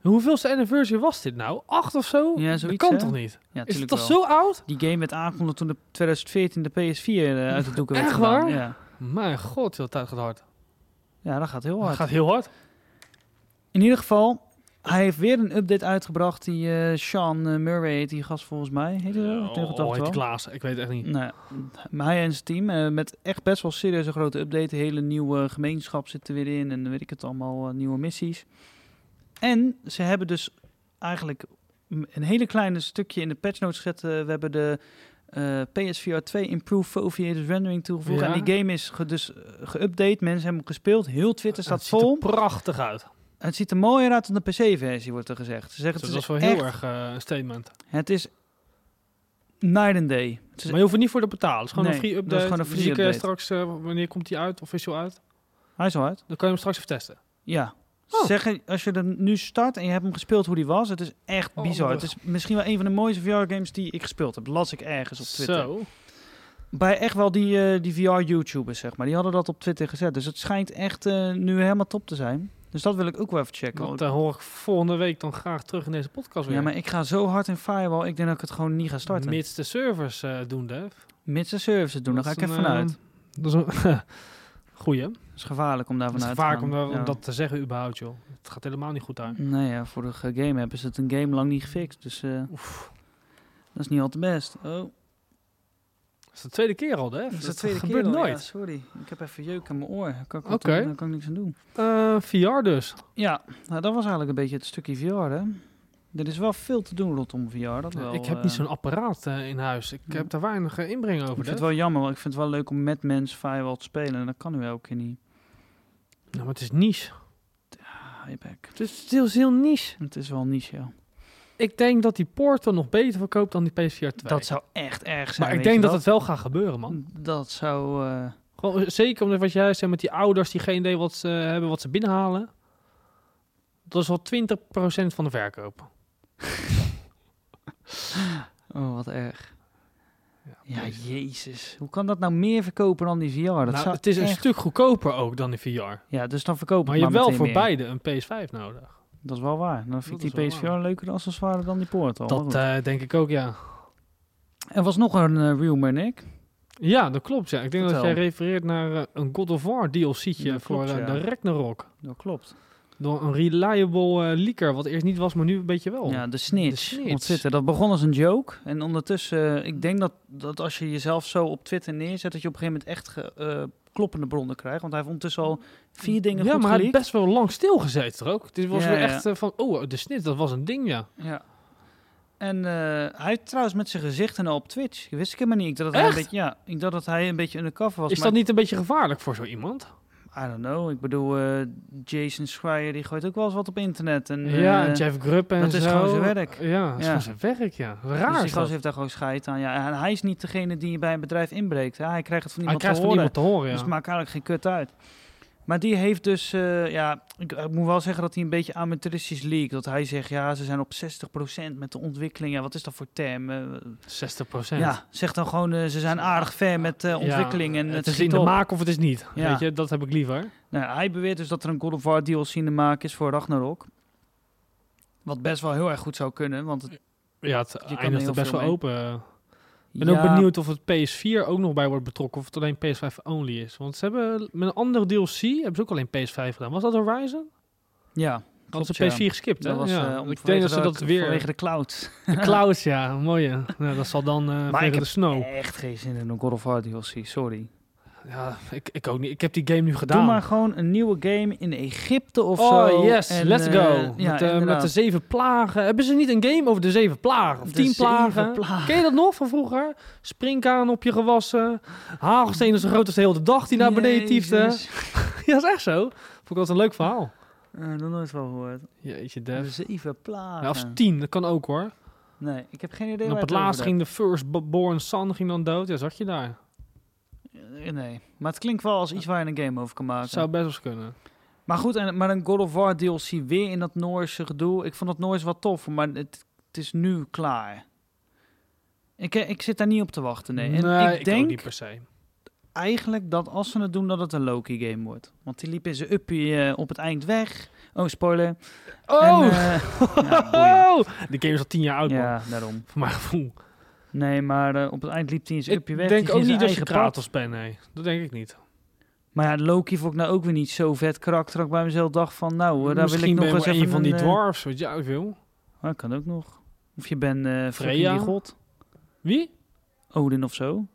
Speaker 2: Hoeveelste anniversary was dit nou? Acht of zo?
Speaker 1: Ja,
Speaker 2: dat
Speaker 1: zoiets,
Speaker 2: kan
Speaker 1: hè?
Speaker 2: toch niet?
Speaker 1: Ja,
Speaker 2: is het
Speaker 1: tuurlijk
Speaker 2: toch
Speaker 1: wel.
Speaker 2: zo oud?
Speaker 1: Die game werd aangekondigd toen de 2014 de PS4 eh, uit de doeken werd
Speaker 2: Echt
Speaker 1: gedaan.
Speaker 2: waar?
Speaker 1: Ja.
Speaker 2: Mijn god, joh, tijd gaat hard.
Speaker 1: ja, dat gaat heel
Speaker 2: Het
Speaker 1: hard.
Speaker 2: gaat heel hard.
Speaker 1: In ieder geval, hij heeft weer een update uitgebracht. Die eh, Sean eh, Murray heet die gast volgens mij. Heet hij zo? Ik denk dat
Speaker 2: oh,
Speaker 1: dat
Speaker 2: heet die
Speaker 1: wel.
Speaker 2: Klaas? Ik weet het echt niet.
Speaker 1: Nee, maar hij en zijn team eh, met echt best wel serieuze grote update. Een hele nieuwe gemeenschap zit er weer in en weet ik het allemaal, eh, nieuwe missies. En ze hebben dus eigenlijk m- een hele kleine stukje in de patch notes gezet. Eh, we hebben de eh, PSVR 2 Improved Foveated Rendering toegevoegd.
Speaker 2: Ja.
Speaker 1: En die game is ge- dus eh, geüpdate, mensen hebben hem gespeeld. Heel Twitter
Speaker 2: Eh, Het
Speaker 1: staat
Speaker 2: ziet er
Speaker 1: vol.
Speaker 2: prachtig uit.
Speaker 1: Het ziet er mooier uit dan de PC-versie, wordt er gezegd. Ze zeggen,
Speaker 2: Dus
Speaker 1: het
Speaker 2: dat
Speaker 1: is
Speaker 2: is wel
Speaker 1: echt
Speaker 2: heel erg eh, een statement.
Speaker 1: het is night and day. Het is-
Speaker 2: Maar je hoeft er niet voor te betalen. Het is gewoon
Speaker 1: Nee,
Speaker 2: een free
Speaker 1: dat is
Speaker 2: update.
Speaker 1: gewoon een free
Speaker 2: dus je kan
Speaker 1: update.
Speaker 2: straks, eh, wanneer komt die uit, official uit?
Speaker 1: hij is al uit.
Speaker 2: Dan kan je hem straks even testen.
Speaker 1: Ja.
Speaker 2: Oh.
Speaker 1: Zeggen, als je er nu start en je hebt hem gespeeld hoe die was, het is echt
Speaker 2: Oh,
Speaker 1: bizar. Het
Speaker 2: handig.
Speaker 1: is misschien wel een van de mooiste VR-games die ik gespeeld heb. Las ik ergens op Twitter.
Speaker 2: Zo.
Speaker 1: Bij echt wel die, eh, die VR-YouTubers, zeg maar. Die hadden dat op Twitter gezet. Dus het schijnt echt eh, nu helemaal top te zijn. Dus dat wil ik ook wel even checken.
Speaker 2: Dat eh, hoor ik volgende week dan graag terug in deze podcast weer.
Speaker 1: oh. ja, maar ik ga zo hard in Firewall, ik denk dat ik het gewoon niet ga starten.
Speaker 2: Mits de servers eh, doen, Def.
Speaker 1: Mits de services doen, daar ga
Speaker 2: Dat
Speaker 1: ik
Speaker 2: is
Speaker 1: even
Speaker 2: een,
Speaker 1: vanuit.
Speaker 2: eh, Dat is een goeie.
Speaker 1: Het is gevaarlijk om daar
Speaker 2: Het is
Speaker 1: vanuit te
Speaker 2: vaak
Speaker 1: gaan.
Speaker 2: om, daar- om
Speaker 1: Ja. Hm.
Speaker 2: dat te zeggen überhaupt, joh. Het gaat helemaal niet goed daar.
Speaker 1: Nee, ja, voor de ge- game hebben ze het een game lang niet gefixt. Dus eh,
Speaker 2: Oef.
Speaker 1: dat is niet al te best. Oh,
Speaker 2: Dat is de tweede keer al, Def.
Speaker 1: dat is de
Speaker 2: Dat
Speaker 1: tweede
Speaker 2: gebeurt
Speaker 1: keer al, ja,
Speaker 2: nooit.
Speaker 1: sorry, ik heb even jeuk aan mijn oor. Daar kan ik,
Speaker 2: Oké.
Speaker 1: okay. kan ik niks aan doen.
Speaker 2: Eh, VR dus.
Speaker 1: Ja, nou, dat was eigenlijk een beetje het stukje VR, hè. Er is wel veel te doen rondom VR, dat wel.
Speaker 2: ik heb
Speaker 1: eh.
Speaker 2: niet zo'n apparaat eh, in huis. Ik
Speaker 1: Ja.
Speaker 2: heb daar weinig eh, inbreng over,
Speaker 1: Ik vind
Speaker 2: Def.
Speaker 1: het wel jammer, want ik vind het wel leuk om met mensen Firewall te spelen. En dat kan nu elke keer niet.
Speaker 2: Nou, maar het is niche.
Speaker 1: Ah, je bek.
Speaker 2: Het is heel, heel niche.
Speaker 1: Het is wel een niche, ja.
Speaker 2: Ik denk dat die Portal nog beter verkoopt dan die PSVR 2.
Speaker 1: Dat zou echt erg zijn.
Speaker 2: maar ik
Speaker 1: weet
Speaker 2: denk
Speaker 1: je Hmm.
Speaker 2: dat het wel gaat gebeuren, man.
Speaker 1: Dat zou... eh,
Speaker 2: Gewoon, eh, zeker omdat wat jij zei met die ouders die geen idee wat ze eh, hebben, wat ze binnenhalen. Dat is wel 20% van de verkoop.
Speaker 1: Oh, wat erg. Ja, jezus. Hoe kan dat nou meer verkopen dan die VR? Dat
Speaker 2: Nou,
Speaker 1: zou
Speaker 2: het is een
Speaker 1: echt-
Speaker 2: stuk goedkoper ook dan de VR. Maar,
Speaker 1: Ja, dus dan verkopen
Speaker 2: je
Speaker 1: het
Speaker 2: hebt wel
Speaker 1: meteen
Speaker 2: voor
Speaker 1: meer.
Speaker 2: beide een PS5 nodig.
Speaker 1: Dat is wel waar. Dan vind
Speaker 2: Dat
Speaker 1: ik
Speaker 2: is
Speaker 1: die
Speaker 2: wel
Speaker 1: PSVR
Speaker 2: waar.
Speaker 1: leuker als accessoire dan die Portal. Maar
Speaker 2: Dat
Speaker 1: goed.
Speaker 2: eh, denk ik ook, ja.
Speaker 1: er was nog een eh, rumor, Nick.
Speaker 2: Ja, dat klopt. Ja. Ik denk dat
Speaker 1: Vertel.
Speaker 2: jij refereert naar eh, een God of War DLC'tje
Speaker 1: Dat
Speaker 2: voor
Speaker 1: klopt,
Speaker 2: eh,
Speaker 1: ja.
Speaker 2: de Ragnarok.
Speaker 1: Dat klopt.
Speaker 2: Door een reliable eh, leaker, wat eerst niet was, maar nu een beetje wel.
Speaker 1: Ja, de snitch,
Speaker 2: Oh, De snitch.
Speaker 1: op Twitter. Dat begon als een joke. En ondertussen, eh, ik denk dat, dat als je jezelf zo op Twitter neerzet, dat je op een gegeven moment echt ge- eh, kloppende bronnen krijgt. Want hij heeft ondertussen al vier dingen
Speaker 2: ja
Speaker 1: goed
Speaker 2: maar hij heeft
Speaker 1: geleakt.
Speaker 2: best wel lang stilgezeten er ook. Dit was
Speaker 1: Ja,
Speaker 2: weer
Speaker 1: ja.
Speaker 2: echt eh, van, oh, de snit, dat was een ding, ja.
Speaker 1: Ja. En eh, hij trouwens met zijn gezicht en al op Twitch. Wist ik helemaal niet. Ik dacht dat hij
Speaker 2: Echt?
Speaker 1: een beetje, ja, ik dacht dat hij een beetje undercover was.
Speaker 2: Is
Speaker 1: maar
Speaker 2: dat niet een beetje gevaarlijk voor zo iemand?
Speaker 1: I don't know. Ik bedoel, eh, Jason Schreier die gooit ook wel eens wat op internet. En,
Speaker 2: ja,
Speaker 1: eh,
Speaker 2: en Jeff Grubb en
Speaker 1: dat is
Speaker 2: zo.
Speaker 1: gewoon zijn werk.
Speaker 2: Ja, dat is
Speaker 1: Ja.
Speaker 2: gewoon zijn werk, ja.
Speaker 1: dus
Speaker 2: Raar
Speaker 1: die
Speaker 2: is
Speaker 1: gast
Speaker 2: dat.
Speaker 1: heeft daar gewoon scheid aan. Ja, en hij is niet degene die bij een bedrijf inbreekt. hè. Hij krijgt het van
Speaker 2: Hij
Speaker 1: iemand
Speaker 2: krijgt
Speaker 1: te
Speaker 2: van
Speaker 1: horen.
Speaker 2: iemand te horen, ja.
Speaker 1: Dus het maakt eigenlijk geen kut uit. Maar die heeft dus, eh, ja, ik, ik moet wel zeggen dat hij een beetje amateuristisch leak. Dat hij zegt, ja, ze zijn op 60% met de ontwikkeling. Ja, wat is dat voor term? Eh,
Speaker 2: 60
Speaker 1: ja, zeg dan gewoon, eh, ze zijn aardig ver met eh, ontwikkeling. en
Speaker 2: het
Speaker 1: het
Speaker 2: is
Speaker 1: schiet
Speaker 2: in de
Speaker 1: op.
Speaker 2: maak of het is niet.
Speaker 1: Ja.
Speaker 2: Weet je, dat heb ik liever.
Speaker 1: Nou, ja, hij beweert dus dat er een God of War DLC in de maak is voor Ragnarok. Wat best wel heel erg goed zou kunnen, want het,
Speaker 2: Ja, het
Speaker 1: kan er
Speaker 2: eindigt
Speaker 1: heel
Speaker 2: er best
Speaker 1: veel
Speaker 2: wel
Speaker 1: mee.
Speaker 2: open. Ik ben
Speaker 1: Ja,
Speaker 2: ook benieuwd of het PS4 ook nog bij wordt betrokken. Of het alleen PS5 only is. Want ze hebben met een andere DLC hebben ze ook alleen PS5 gedaan. Was dat Horizon?
Speaker 1: Ja,
Speaker 2: Dat
Speaker 1: klopt,
Speaker 2: ze
Speaker 1: ja.
Speaker 2: PS4 geskipt, hè?
Speaker 1: Dat was,
Speaker 2: ja.
Speaker 1: eh, om-
Speaker 2: ik denk dat ze
Speaker 1: vanwege
Speaker 2: dat
Speaker 1: de-
Speaker 2: weer...
Speaker 1: Vanwege de cloud.
Speaker 2: De clouds, ja. Mooie. Ja, dat zal dan eh vanwege
Speaker 1: ik
Speaker 2: de
Speaker 1: heb
Speaker 2: snow.
Speaker 1: Echt geen zin in een God of War DLC, sorry.
Speaker 2: Ja, ik, ik ook niet. Ik heb die game nu gedaan.
Speaker 1: Doe maar gewoon een nieuwe game in Egypte of
Speaker 2: oh,
Speaker 1: zo.
Speaker 2: yes,
Speaker 1: En,
Speaker 2: let's
Speaker 1: eh,
Speaker 2: go.
Speaker 1: ja,
Speaker 2: met, eh, met
Speaker 1: inderdaad.
Speaker 2: de zeven plagen. Hebben ze niet een game over de zeven plagen? Of
Speaker 1: De
Speaker 2: tien
Speaker 1: zeven
Speaker 2: plagen?
Speaker 1: plagen.
Speaker 2: Ken je dat nog van vroeger? Springkaan op je gewassen. Hagelsteen is zo groot als de hele dag die naar beneden tiefde.
Speaker 1: Jezus.
Speaker 2: Ja, dat is echt zo. Vond ik altijd een leuk verhaal.
Speaker 1: Eh, nog nooit van gehoord.
Speaker 2: Jeetje,
Speaker 1: De
Speaker 2: Dev.
Speaker 1: zeven plagen.
Speaker 2: Ja, of Nou, tien, dat kan ook hoor.
Speaker 1: Nee, ik heb geen idee
Speaker 2: En op
Speaker 1: waar
Speaker 2: het
Speaker 1: over
Speaker 2: laatst
Speaker 1: hebt.
Speaker 2: ging de firstborn son ging dan dood. Ja, zag je daar.
Speaker 1: Eh, Nee, maar het klinkt wel als iets waar je een game over kan maken.
Speaker 2: Dat zou best wel eens kunnen.
Speaker 1: Maar goed, en, maar een God of War DLC weer in dat Noorse gedoe. Ik vond dat Noorse wat tof, maar het, het is nu klaar. Ik, eh, ik zit daar niet op te wachten, nee. En ik
Speaker 2: ook
Speaker 1: denk
Speaker 2: niet per se.
Speaker 1: eigenlijk dat als ze het doen, dat het een Loki-game wordt. Want die liep in zijn uppie eh, op het eind weg. Oh, spoiler.
Speaker 2: Oh!
Speaker 1: En, eh, ja, boeien.
Speaker 2: de game is al tien jaar oud, man.
Speaker 1: ja, Dus daarom.
Speaker 2: Voor mijn gevoel.
Speaker 1: Nee, maar eh, op het eind liep hij in zijn
Speaker 2: Ik
Speaker 1: uppie weg. die
Speaker 2: denk
Speaker 1: ging
Speaker 2: ook
Speaker 1: zijn
Speaker 2: niet dat je
Speaker 1: eigen pad.
Speaker 2: Kratos bent, nee. Dat denk ik niet.
Speaker 1: Maar ja, Loki vond ik nou ook weer niet zo vet karakter. Dat ik bij mezelf dacht van, nou, eh, daar wil
Speaker 2: Misschien
Speaker 1: ik nog
Speaker 2: ben je
Speaker 1: eens
Speaker 2: wel
Speaker 1: even
Speaker 2: een van die
Speaker 1: een, eh,
Speaker 2: dwarfs, weet je, ik wil.
Speaker 1: Ah, kan ook nog. Of je bent eh
Speaker 2: Freya?
Speaker 1: Freya. god.
Speaker 2: Wie?
Speaker 1: Odin of zo.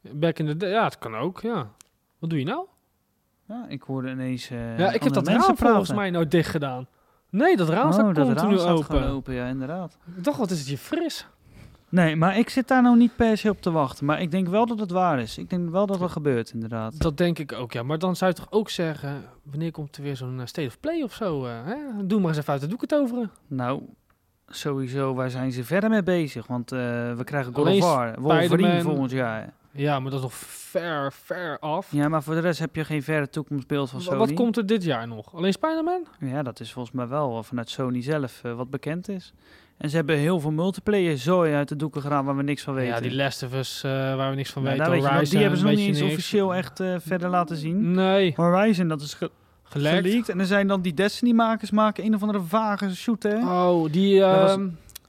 Speaker 2: Back in the day. Ja, het kan ook, ja. Wat doe je nou?
Speaker 1: Ja, ik hoorde ineens. eh,
Speaker 2: ja, ik heb
Speaker 1: andere
Speaker 2: dat
Speaker 1: mensen
Speaker 2: raam
Speaker 1: praten.
Speaker 2: volgens mij nou dicht gedaan. Nee, dat raam
Speaker 1: Oh,
Speaker 2: staat
Speaker 1: dat raam
Speaker 2: continu
Speaker 1: staat
Speaker 2: open.
Speaker 1: gewoon open, ja, inderdaad.
Speaker 2: Ik dacht, wat is het hier fris?
Speaker 1: Nee, maar ik zit daar nou niet per se op te wachten. Maar ik denk wel dat het waar is. Ik denk wel dat dat gebeurt, inderdaad.
Speaker 2: Dat denk ik ook, ja. Maar dan zou je toch ook zeggen, wanneer komt er weer zo'n eh, State of Play of zo? eh, hè? Doe maar eens even uit de doeken toveren.
Speaker 1: Nou, sowieso, waar zijn ze verder mee bezig? Want eh, we krijgen God of
Speaker 2: Alleen
Speaker 1: War, Wolverine
Speaker 2: Spider-Man.
Speaker 1: volgend jaar.
Speaker 2: Ja, maar dat is nog ver, ver af.
Speaker 1: Ja, maar voor de rest heb je geen verre toekomstbeeld van
Speaker 2: Wa-
Speaker 1: Sony.
Speaker 2: Wat komt er dit jaar nog? Alleen Spider-Man?
Speaker 1: Ja, dat is volgens mij wel eh, vanuit Sony zelf eh, wat bekend is. En ze hebben heel veel multiplayer zooi uit de doeken gedaan waar we niks van weten.
Speaker 2: Ja, die Last of Us, eh, waar we niks van
Speaker 1: Nou,
Speaker 2: weten.
Speaker 1: daar weet je nog,
Speaker 2: Horizon,
Speaker 1: die hebben ze nog
Speaker 2: weet
Speaker 1: niet
Speaker 2: je
Speaker 1: eens
Speaker 2: niks.
Speaker 1: officieel echt eh, verder laten zien.
Speaker 2: Nee,
Speaker 1: Horizon, dat is ge-
Speaker 2: gelekt.
Speaker 1: geleakt. En er zijn dan die Destiny-makers maken een of andere vage shooter.
Speaker 2: Oh, die,
Speaker 1: Dat was-
Speaker 2: ehm,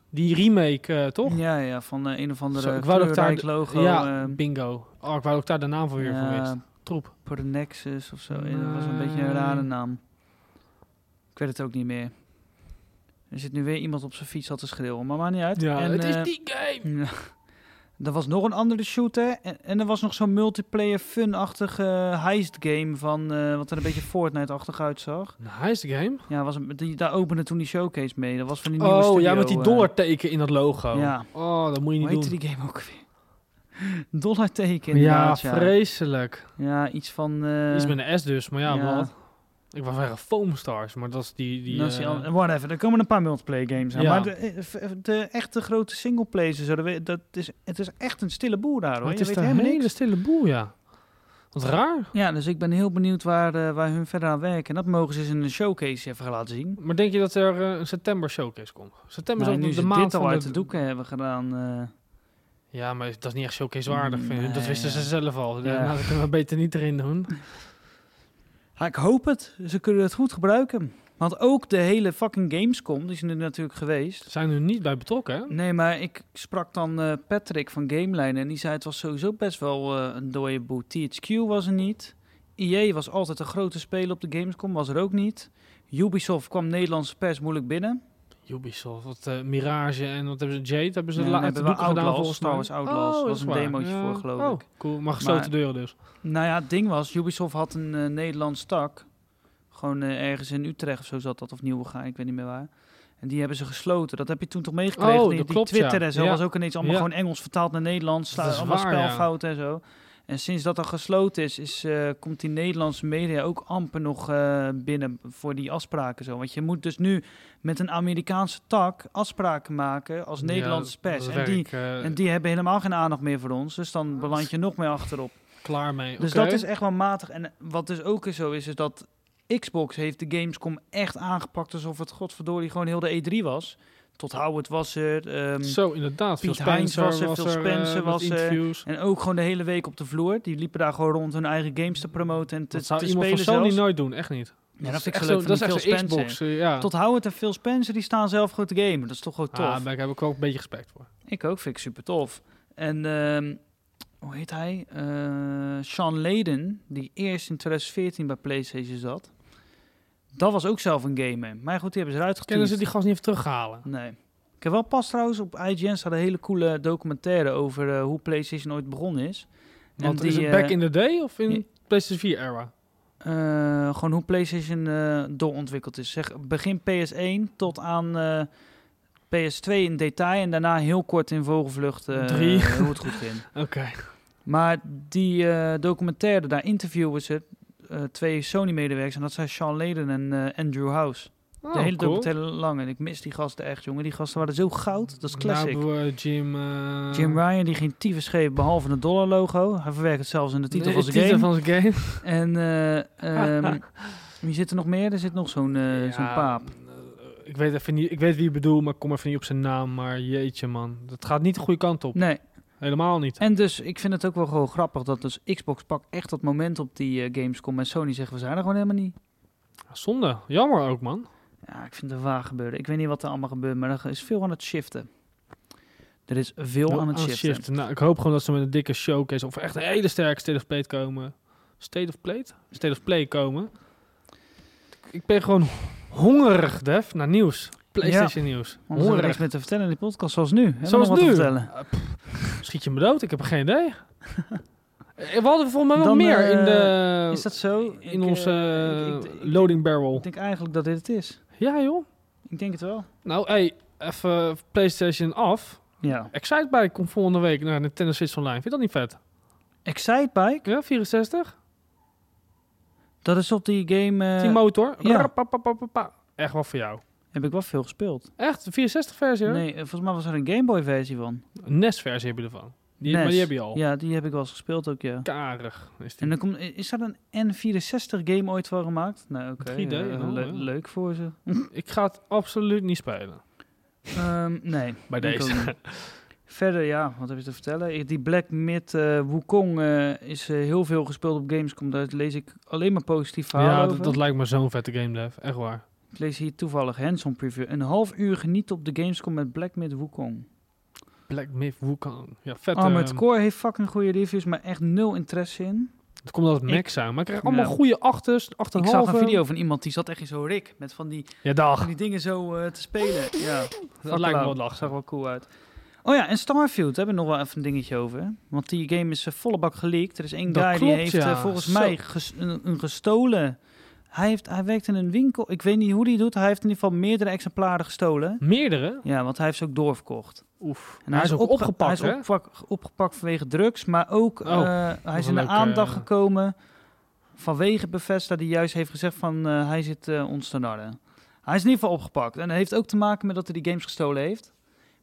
Speaker 2: die remake, eh, toch?
Speaker 1: Ja, ja, van eh, een of andere
Speaker 2: Zo,
Speaker 1: ik
Speaker 2: ik wou dat ik daar-
Speaker 1: logo.
Speaker 2: ja,
Speaker 1: ehm,
Speaker 2: bingo. Oh, ik wou ook daar de naam van weer van
Speaker 1: ja,
Speaker 2: wist. Troep.
Speaker 1: per Nexus of zo. Ja, dat was een beetje een rare
Speaker 2: Nee.
Speaker 1: naam. Ik weet het ook niet meer. Er zit nu weer iemand op zijn fiets al te schreeuwen, maar maakt niet uit.
Speaker 2: Ja,
Speaker 1: En,
Speaker 2: het
Speaker 1: eh,
Speaker 2: is die game!
Speaker 1: Ja. Er was nog een andere shooter. En, en er was nog zo'n multiplayer fun-achtige eh, heist game van eh, wat er een beetje Fortnite-achtig uitzag.
Speaker 2: Een heist game?
Speaker 1: Ja, was een, die, daar opende toen die showcase mee. Dat was van die nieuwe
Speaker 2: Oh,
Speaker 1: studio,
Speaker 2: ja, met die
Speaker 1: eh,
Speaker 2: dollarteken in dat logo.
Speaker 1: ja.
Speaker 2: Oh, dat moet je
Speaker 1: Hoe
Speaker 2: niet
Speaker 1: heette
Speaker 2: doen.
Speaker 1: die game ook weer? Dollar teken
Speaker 2: ja,
Speaker 1: inderdaad, ja.
Speaker 2: vreselijk.
Speaker 1: Ja, iets van... eh,
Speaker 2: Iets met een S dus, maar ja,
Speaker 1: ja.
Speaker 2: wat? Ik wou zeggen Foam Stars, maar dat is die... die
Speaker 1: dat is die
Speaker 2: eh,
Speaker 1: an- whatever, er komen een paar multiplayer games aan.
Speaker 2: Ja.
Speaker 1: Maar de, eh, v- de echte grote singleplayers, en zo, dat we- dat is, het is echt een stille boer daar hoor.
Speaker 2: maar het
Speaker 1: Je
Speaker 2: is
Speaker 1: weet
Speaker 2: daar een
Speaker 1: helemaal niks.
Speaker 2: hele stille boel, ja. Wat raar.
Speaker 1: Ja, dus ik ben heel benieuwd waar, eh, waar hun verder aan werken. En dat mogen ze eens in een showcase even gaan laten zien.
Speaker 2: Maar denk je dat er eh, een september showcase komt? September
Speaker 1: Nou,
Speaker 2: is
Speaker 1: nu
Speaker 2: ook de
Speaker 1: ze
Speaker 2: maand
Speaker 1: dit al
Speaker 2: van
Speaker 1: uit de doeken hebben gedaan. eh,
Speaker 2: Ja, maar dat is niet echt showcase waardig.
Speaker 1: Mm,
Speaker 2: vind ik. dat
Speaker 1: nee,
Speaker 2: wisten
Speaker 1: ja.
Speaker 2: ze zelf al.
Speaker 1: Ja.
Speaker 2: Ja. Nou, dat kunnen we beter niet erin doen.
Speaker 1: ja, ik hoop het. Ze kunnen het goed gebruiken. Want ook de hele fucking Gamescom, die is nu natuurlijk geweest.
Speaker 2: Zijn er niet bij betrokken, hè?
Speaker 1: Nee, maar ik sprak dan eh, Patrick van GameLine en die zei het was sowieso best wel eh, een dode boot. THQ was er niet. EA was altijd een grote speler op de Gamescom, was er ook niet. Ubisoft kwam Nederlandse pers moeilijk binnen.
Speaker 2: Ubisoft, wat eh, Mirage en wat hebben ze? Jade hebben ze
Speaker 1: Nee,
Speaker 2: la-
Speaker 1: dan
Speaker 2: uit de
Speaker 1: hebben we
Speaker 2: doeken gedaan
Speaker 1: Outlaws,
Speaker 2: volgens
Speaker 1: Star Wars
Speaker 2: mij. Oh,
Speaker 1: Outlaws.
Speaker 2: dat
Speaker 1: Was
Speaker 2: is
Speaker 1: een
Speaker 2: waar.
Speaker 1: demootje voor, geloof
Speaker 2: oh,
Speaker 1: ik.
Speaker 2: cool. Maar gesloten
Speaker 1: Maar-
Speaker 2: deuren dus.
Speaker 1: Nou ja, het ding was, Ubisoft had een eh, Nederlands tak. Gewoon eh, ergens in Utrecht of zo zat dat, of Nieuwegein, ik weet niet meer waar. En die hebben ze gesloten. Dat heb je toen toch meegekregen?
Speaker 2: Oh,
Speaker 1: die
Speaker 2: dat
Speaker 1: die
Speaker 2: klopt,
Speaker 1: Twitter
Speaker 2: ja.
Speaker 1: en zo
Speaker 2: Ja.
Speaker 1: was ook ineens allemaal
Speaker 2: Ja.
Speaker 1: gewoon Engels vertaald naar Nederlands.
Speaker 2: Dat
Speaker 1: Staan
Speaker 2: is
Speaker 1: allemaal
Speaker 2: waar, ja.
Speaker 1: spelfouten en zo. En sinds dat dan gesloten is, is eh, komt die Nederlandse media ook amper nog eh, binnen voor die afspraken. Zo. Want je moet dus nu met een Amerikaanse tak afspraken maken als Nederlandse
Speaker 2: Ja,
Speaker 1: pers.
Speaker 2: dat
Speaker 1: En die,
Speaker 2: werk, eh,
Speaker 1: en die hebben helemaal geen aandacht meer voor ons. Dus dan beland je nog meer achterop.
Speaker 2: klaar mee.
Speaker 1: Dus
Speaker 2: Oké.
Speaker 1: dat is echt wel matig. En wat dus ook zo is, is dat Xbox heeft de Gamescom echt aangepakt alsof het godverdorie gewoon heel de E3 was. Tot Howard was er. ehm,
Speaker 2: Zo, inderdaad.
Speaker 1: Piet
Speaker 2: Phil Spencer
Speaker 1: Heinz was er,
Speaker 2: was
Speaker 1: Phil
Speaker 2: er, eh,
Speaker 1: Spencer
Speaker 2: met
Speaker 1: was er.
Speaker 2: interviews.
Speaker 1: en ook gewoon de hele week op de vloer. Die liepen daar gewoon rond hun eigen games te promoten en te,
Speaker 2: dat zou
Speaker 1: te
Speaker 2: iemand
Speaker 1: spelen
Speaker 2: van Sony
Speaker 1: zelfs.
Speaker 2: nooit doen, echt niet.
Speaker 1: ja, dat
Speaker 2: is
Speaker 1: vind ik
Speaker 2: echt
Speaker 1: zo leuk
Speaker 2: zo-
Speaker 1: van
Speaker 2: Dat
Speaker 1: die
Speaker 2: is echt
Speaker 1: Phil
Speaker 2: zo'n
Speaker 1: Spencer.
Speaker 2: Xbox, eh, ja.
Speaker 1: Tot Howard en Phil Spencer, die staan zelf goed te gamen. Dat is toch gewoon tof.
Speaker 2: Ah, daar heb ik wel een beetje respect voor.
Speaker 1: Ik ook, vind ik super tof. En ehm, hoe heet hij? Eh, Sean Layden, die eerst in 2014 bij PlayStation zat. Dat was ook zelf een gamer. Maar goed, die hebben ze eruit
Speaker 2: Kunnen ze
Speaker 1: getuned.
Speaker 2: die gast niet even terughalen?
Speaker 1: Nee. Ik heb wel pas trouwens op IGN staat een hele coole documentaire over eh, hoe PlayStation ooit begonnen is.
Speaker 2: Want
Speaker 1: die,
Speaker 2: is
Speaker 1: eh,
Speaker 2: het back in the day of in
Speaker 1: ja.
Speaker 2: PlayStation 4 era?
Speaker 1: Eh, gewoon hoe PlayStation eh, doorontwikkeld is. Zeg, begin PS1 tot aan eh, PS2 in detail en daarna heel kort in vogelvlucht eh,
Speaker 2: Drie.
Speaker 1: hoe het goed ging.
Speaker 2: Oké.
Speaker 1: Maar die eh, documentaire, daar interviewen ze eh, twee Sony-medewerkers. En dat zijn Sean Leden en eh, Andrew House.
Speaker 2: Oh,
Speaker 1: de hele documentaire lang. En ik mis die gasten echt, jongen. Die gasten waren zo goud. Dat is classic.
Speaker 2: Nou, hebben we Jim... eh,
Speaker 1: Jim Ryan, die geen tyfus schreef behalve het dollarlogo. Hij verwerkt het zelfs in de titel
Speaker 2: Nee,
Speaker 1: van zijn
Speaker 2: de
Speaker 1: game.
Speaker 2: titel van zijn game.
Speaker 1: En eh, ehm, wie zit er nog meer? Er zit nog zo'n eh,
Speaker 2: Ja,
Speaker 1: zo'n paap.
Speaker 2: eh, Ik weet, even niet, ik weet wie je bedoelt, maar ik kom even niet op zijn naam. Maar jeetje man, dat gaat niet de goede kant op.
Speaker 1: Nee.
Speaker 2: Helemaal niet.
Speaker 1: En dus, ik vind het ook wel gewoon grappig dat dus Xbox pakt echt dat moment op die eh, Gamescom. En Sony zegt, we zijn er gewoon helemaal niet.
Speaker 2: Zonde. Jammer ook man.
Speaker 1: Ja, ik vind het waar gebeuren. Ik weet niet wat er allemaal gebeurt, maar er is veel aan het shiften. Er is veel aan het
Speaker 2: Ah,
Speaker 1: shiften.
Speaker 2: shiften. Nou, ik hoop gewoon dat ze met een dikke showcase of echt een hele sterke State of Play komen. State of Play? State of Play komen. Ik ben gewoon hongerig, Def, naar nieuws. PlayStation nieuws.
Speaker 1: Anders hebben we niks
Speaker 2: Hongerig.
Speaker 1: meer te vertellen in die podcast, zoals nu. Hebben we
Speaker 2: Zoals
Speaker 1: nog wat
Speaker 2: nu.
Speaker 1: Te vertellen?
Speaker 2: Ah, pff, Schiet je me dood? Ik heb geen idee. Eh, We hadden volgens mij wel
Speaker 1: Dan,
Speaker 2: meer
Speaker 1: eh,
Speaker 2: in de...
Speaker 1: Is dat zo? Ik,
Speaker 2: in
Speaker 1: eh,
Speaker 2: onze
Speaker 1: ik- ik-
Speaker 2: eh,
Speaker 1: ik-
Speaker 2: loading barrel.
Speaker 1: Ik denk eigenlijk dat dit het is.
Speaker 2: Ja, joh.
Speaker 1: Ik denk het wel.
Speaker 2: Nou, hey, even PlayStation af.
Speaker 1: Ja.
Speaker 2: Excitebike komt volgende week naar Nintendo Switch Online. Vind je dat niet vet?
Speaker 1: Excitebike,
Speaker 2: Ja, 64.
Speaker 1: dat is op die game... eh,
Speaker 2: die motor.
Speaker 1: ja.
Speaker 2: Rap, pa, pa, pa, pa, pa. Echt wel voor jou.
Speaker 1: Heb ik wel veel gespeeld.
Speaker 2: Echt? De 64-versie?
Speaker 1: Nee, eh, volgens mij was er een Game Boy versie van.
Speaker 2: Een NES-versie E heb je ervan. Die, maar
Speaker 1: NES.
Speaker 2: die heb je al.
Speaker 1: E Ja, die heb ik wel eens gespeeld ook, ja.
Speaker 2: Karig is die.
Speaker 1: En dan komt, is daar een N64 game ooit van gemaakt? Nou, oké.
Speaker 2: 3D,
Speaker 1: eh,
Speaker 2: ja,
Speaker 1: le-
Speaker 2: ja.
Speaker 1: Leuk voor ze.
Speaker 2: Ik ga het absoluut niet spelen.
Speaker 1: Ehm, nee.
Speaker 2: Bij
Speaker 1: denk
Speaker 2: deze.
Speaker 1: ik ook niet. Verder, ja, wat heb je te vertellen? Ik- Die Black Myth eh, Wukong eh, is eh, heel veel gespeeld op Gamescom. Daar lees ik alleen maar positief verhalen
Speaker 2: Ja,
Speaker 1: over.
Speaker 2: dat, dat lijkt me zo'n vette game, Dev. Echt waar.
Speaker 1: Ik lees hier toevallig hands-on preview. Een half uur geniet op de Gamescom met Black Myth Wukong.
Speaker 2: Black Myth Wukong. Ja, vet.
Speaker 1: Oh, maar het
Speaker 2: ehm,
Speaker 1: Core heeft fucking goede reviews, maar echt nul interesse in.
Speaker 2: het komt altijd
Speaker 1: Ik-
Speaker 2: Max aan. Maar ik krijg allemaal
Speaker 1: Ja.
Speaker 2: goede achters,
Speaker 1: Ik
Speaker 2: achterhalve.
Speaker 1: zag een video van iemand die zat echt in zo'n rik met van die,
Speaker 2: Ja, dag.
Speaker 1: van die dingen zo eh, te spelen. Ja,
Speaker 2: Dat lijkt me wel
Speaker 1: dag. Zag
Speaker 2: lachen.
Speaker 1: wel cool uit. Oh ja, en Starfield, daar hebben we nog wel even een dingetje over. Want die game is eh, volle bak geleakt. Er is één
Speaker 2: Dat
Speaker 1: guy die
Speaker 2: klopt,
Speaker 1: heeft
Speaker 2: ja.
Speaker 1: eh, volgens
Speaker 2: Zo.
Speaker 1: mij ges- een, een gestolen. Hij, heeft, hij werkt in een winkel. Ik weet niet hoe die doet. Hij heeft in ieder geval meerdere exemplaren gestolen.
Speaker 2: Meerdere?
Speaker 1: Ja, want hij heeft ze ook doorverkocht.
Speaker 2: Oef.
Speaker 1: En
Speaker 2: hij is ook
Speaker 1: opge-
Speaker 2: opgepakt,
Speaker 1: Hij is
Speaker 2: hè?
Speaker 1: oppak- opgepakt vanwege drugs, maar ook
Speaker 2: Oh,
Speaker 1: eh, hij is
Speaker 2: een
Speaker 1: in de
Speaker 2: leuke,
Speaker 1: aandacht
Speaker 2: eh,
Speaker 1: gekomen vanwege Bethesda die juist heeft gezegd van eh, hij zit eh, ons te narren. Hij is in ieder geval opgepakt en dat heeft ook te maken met dat hij die games gestolen heeft.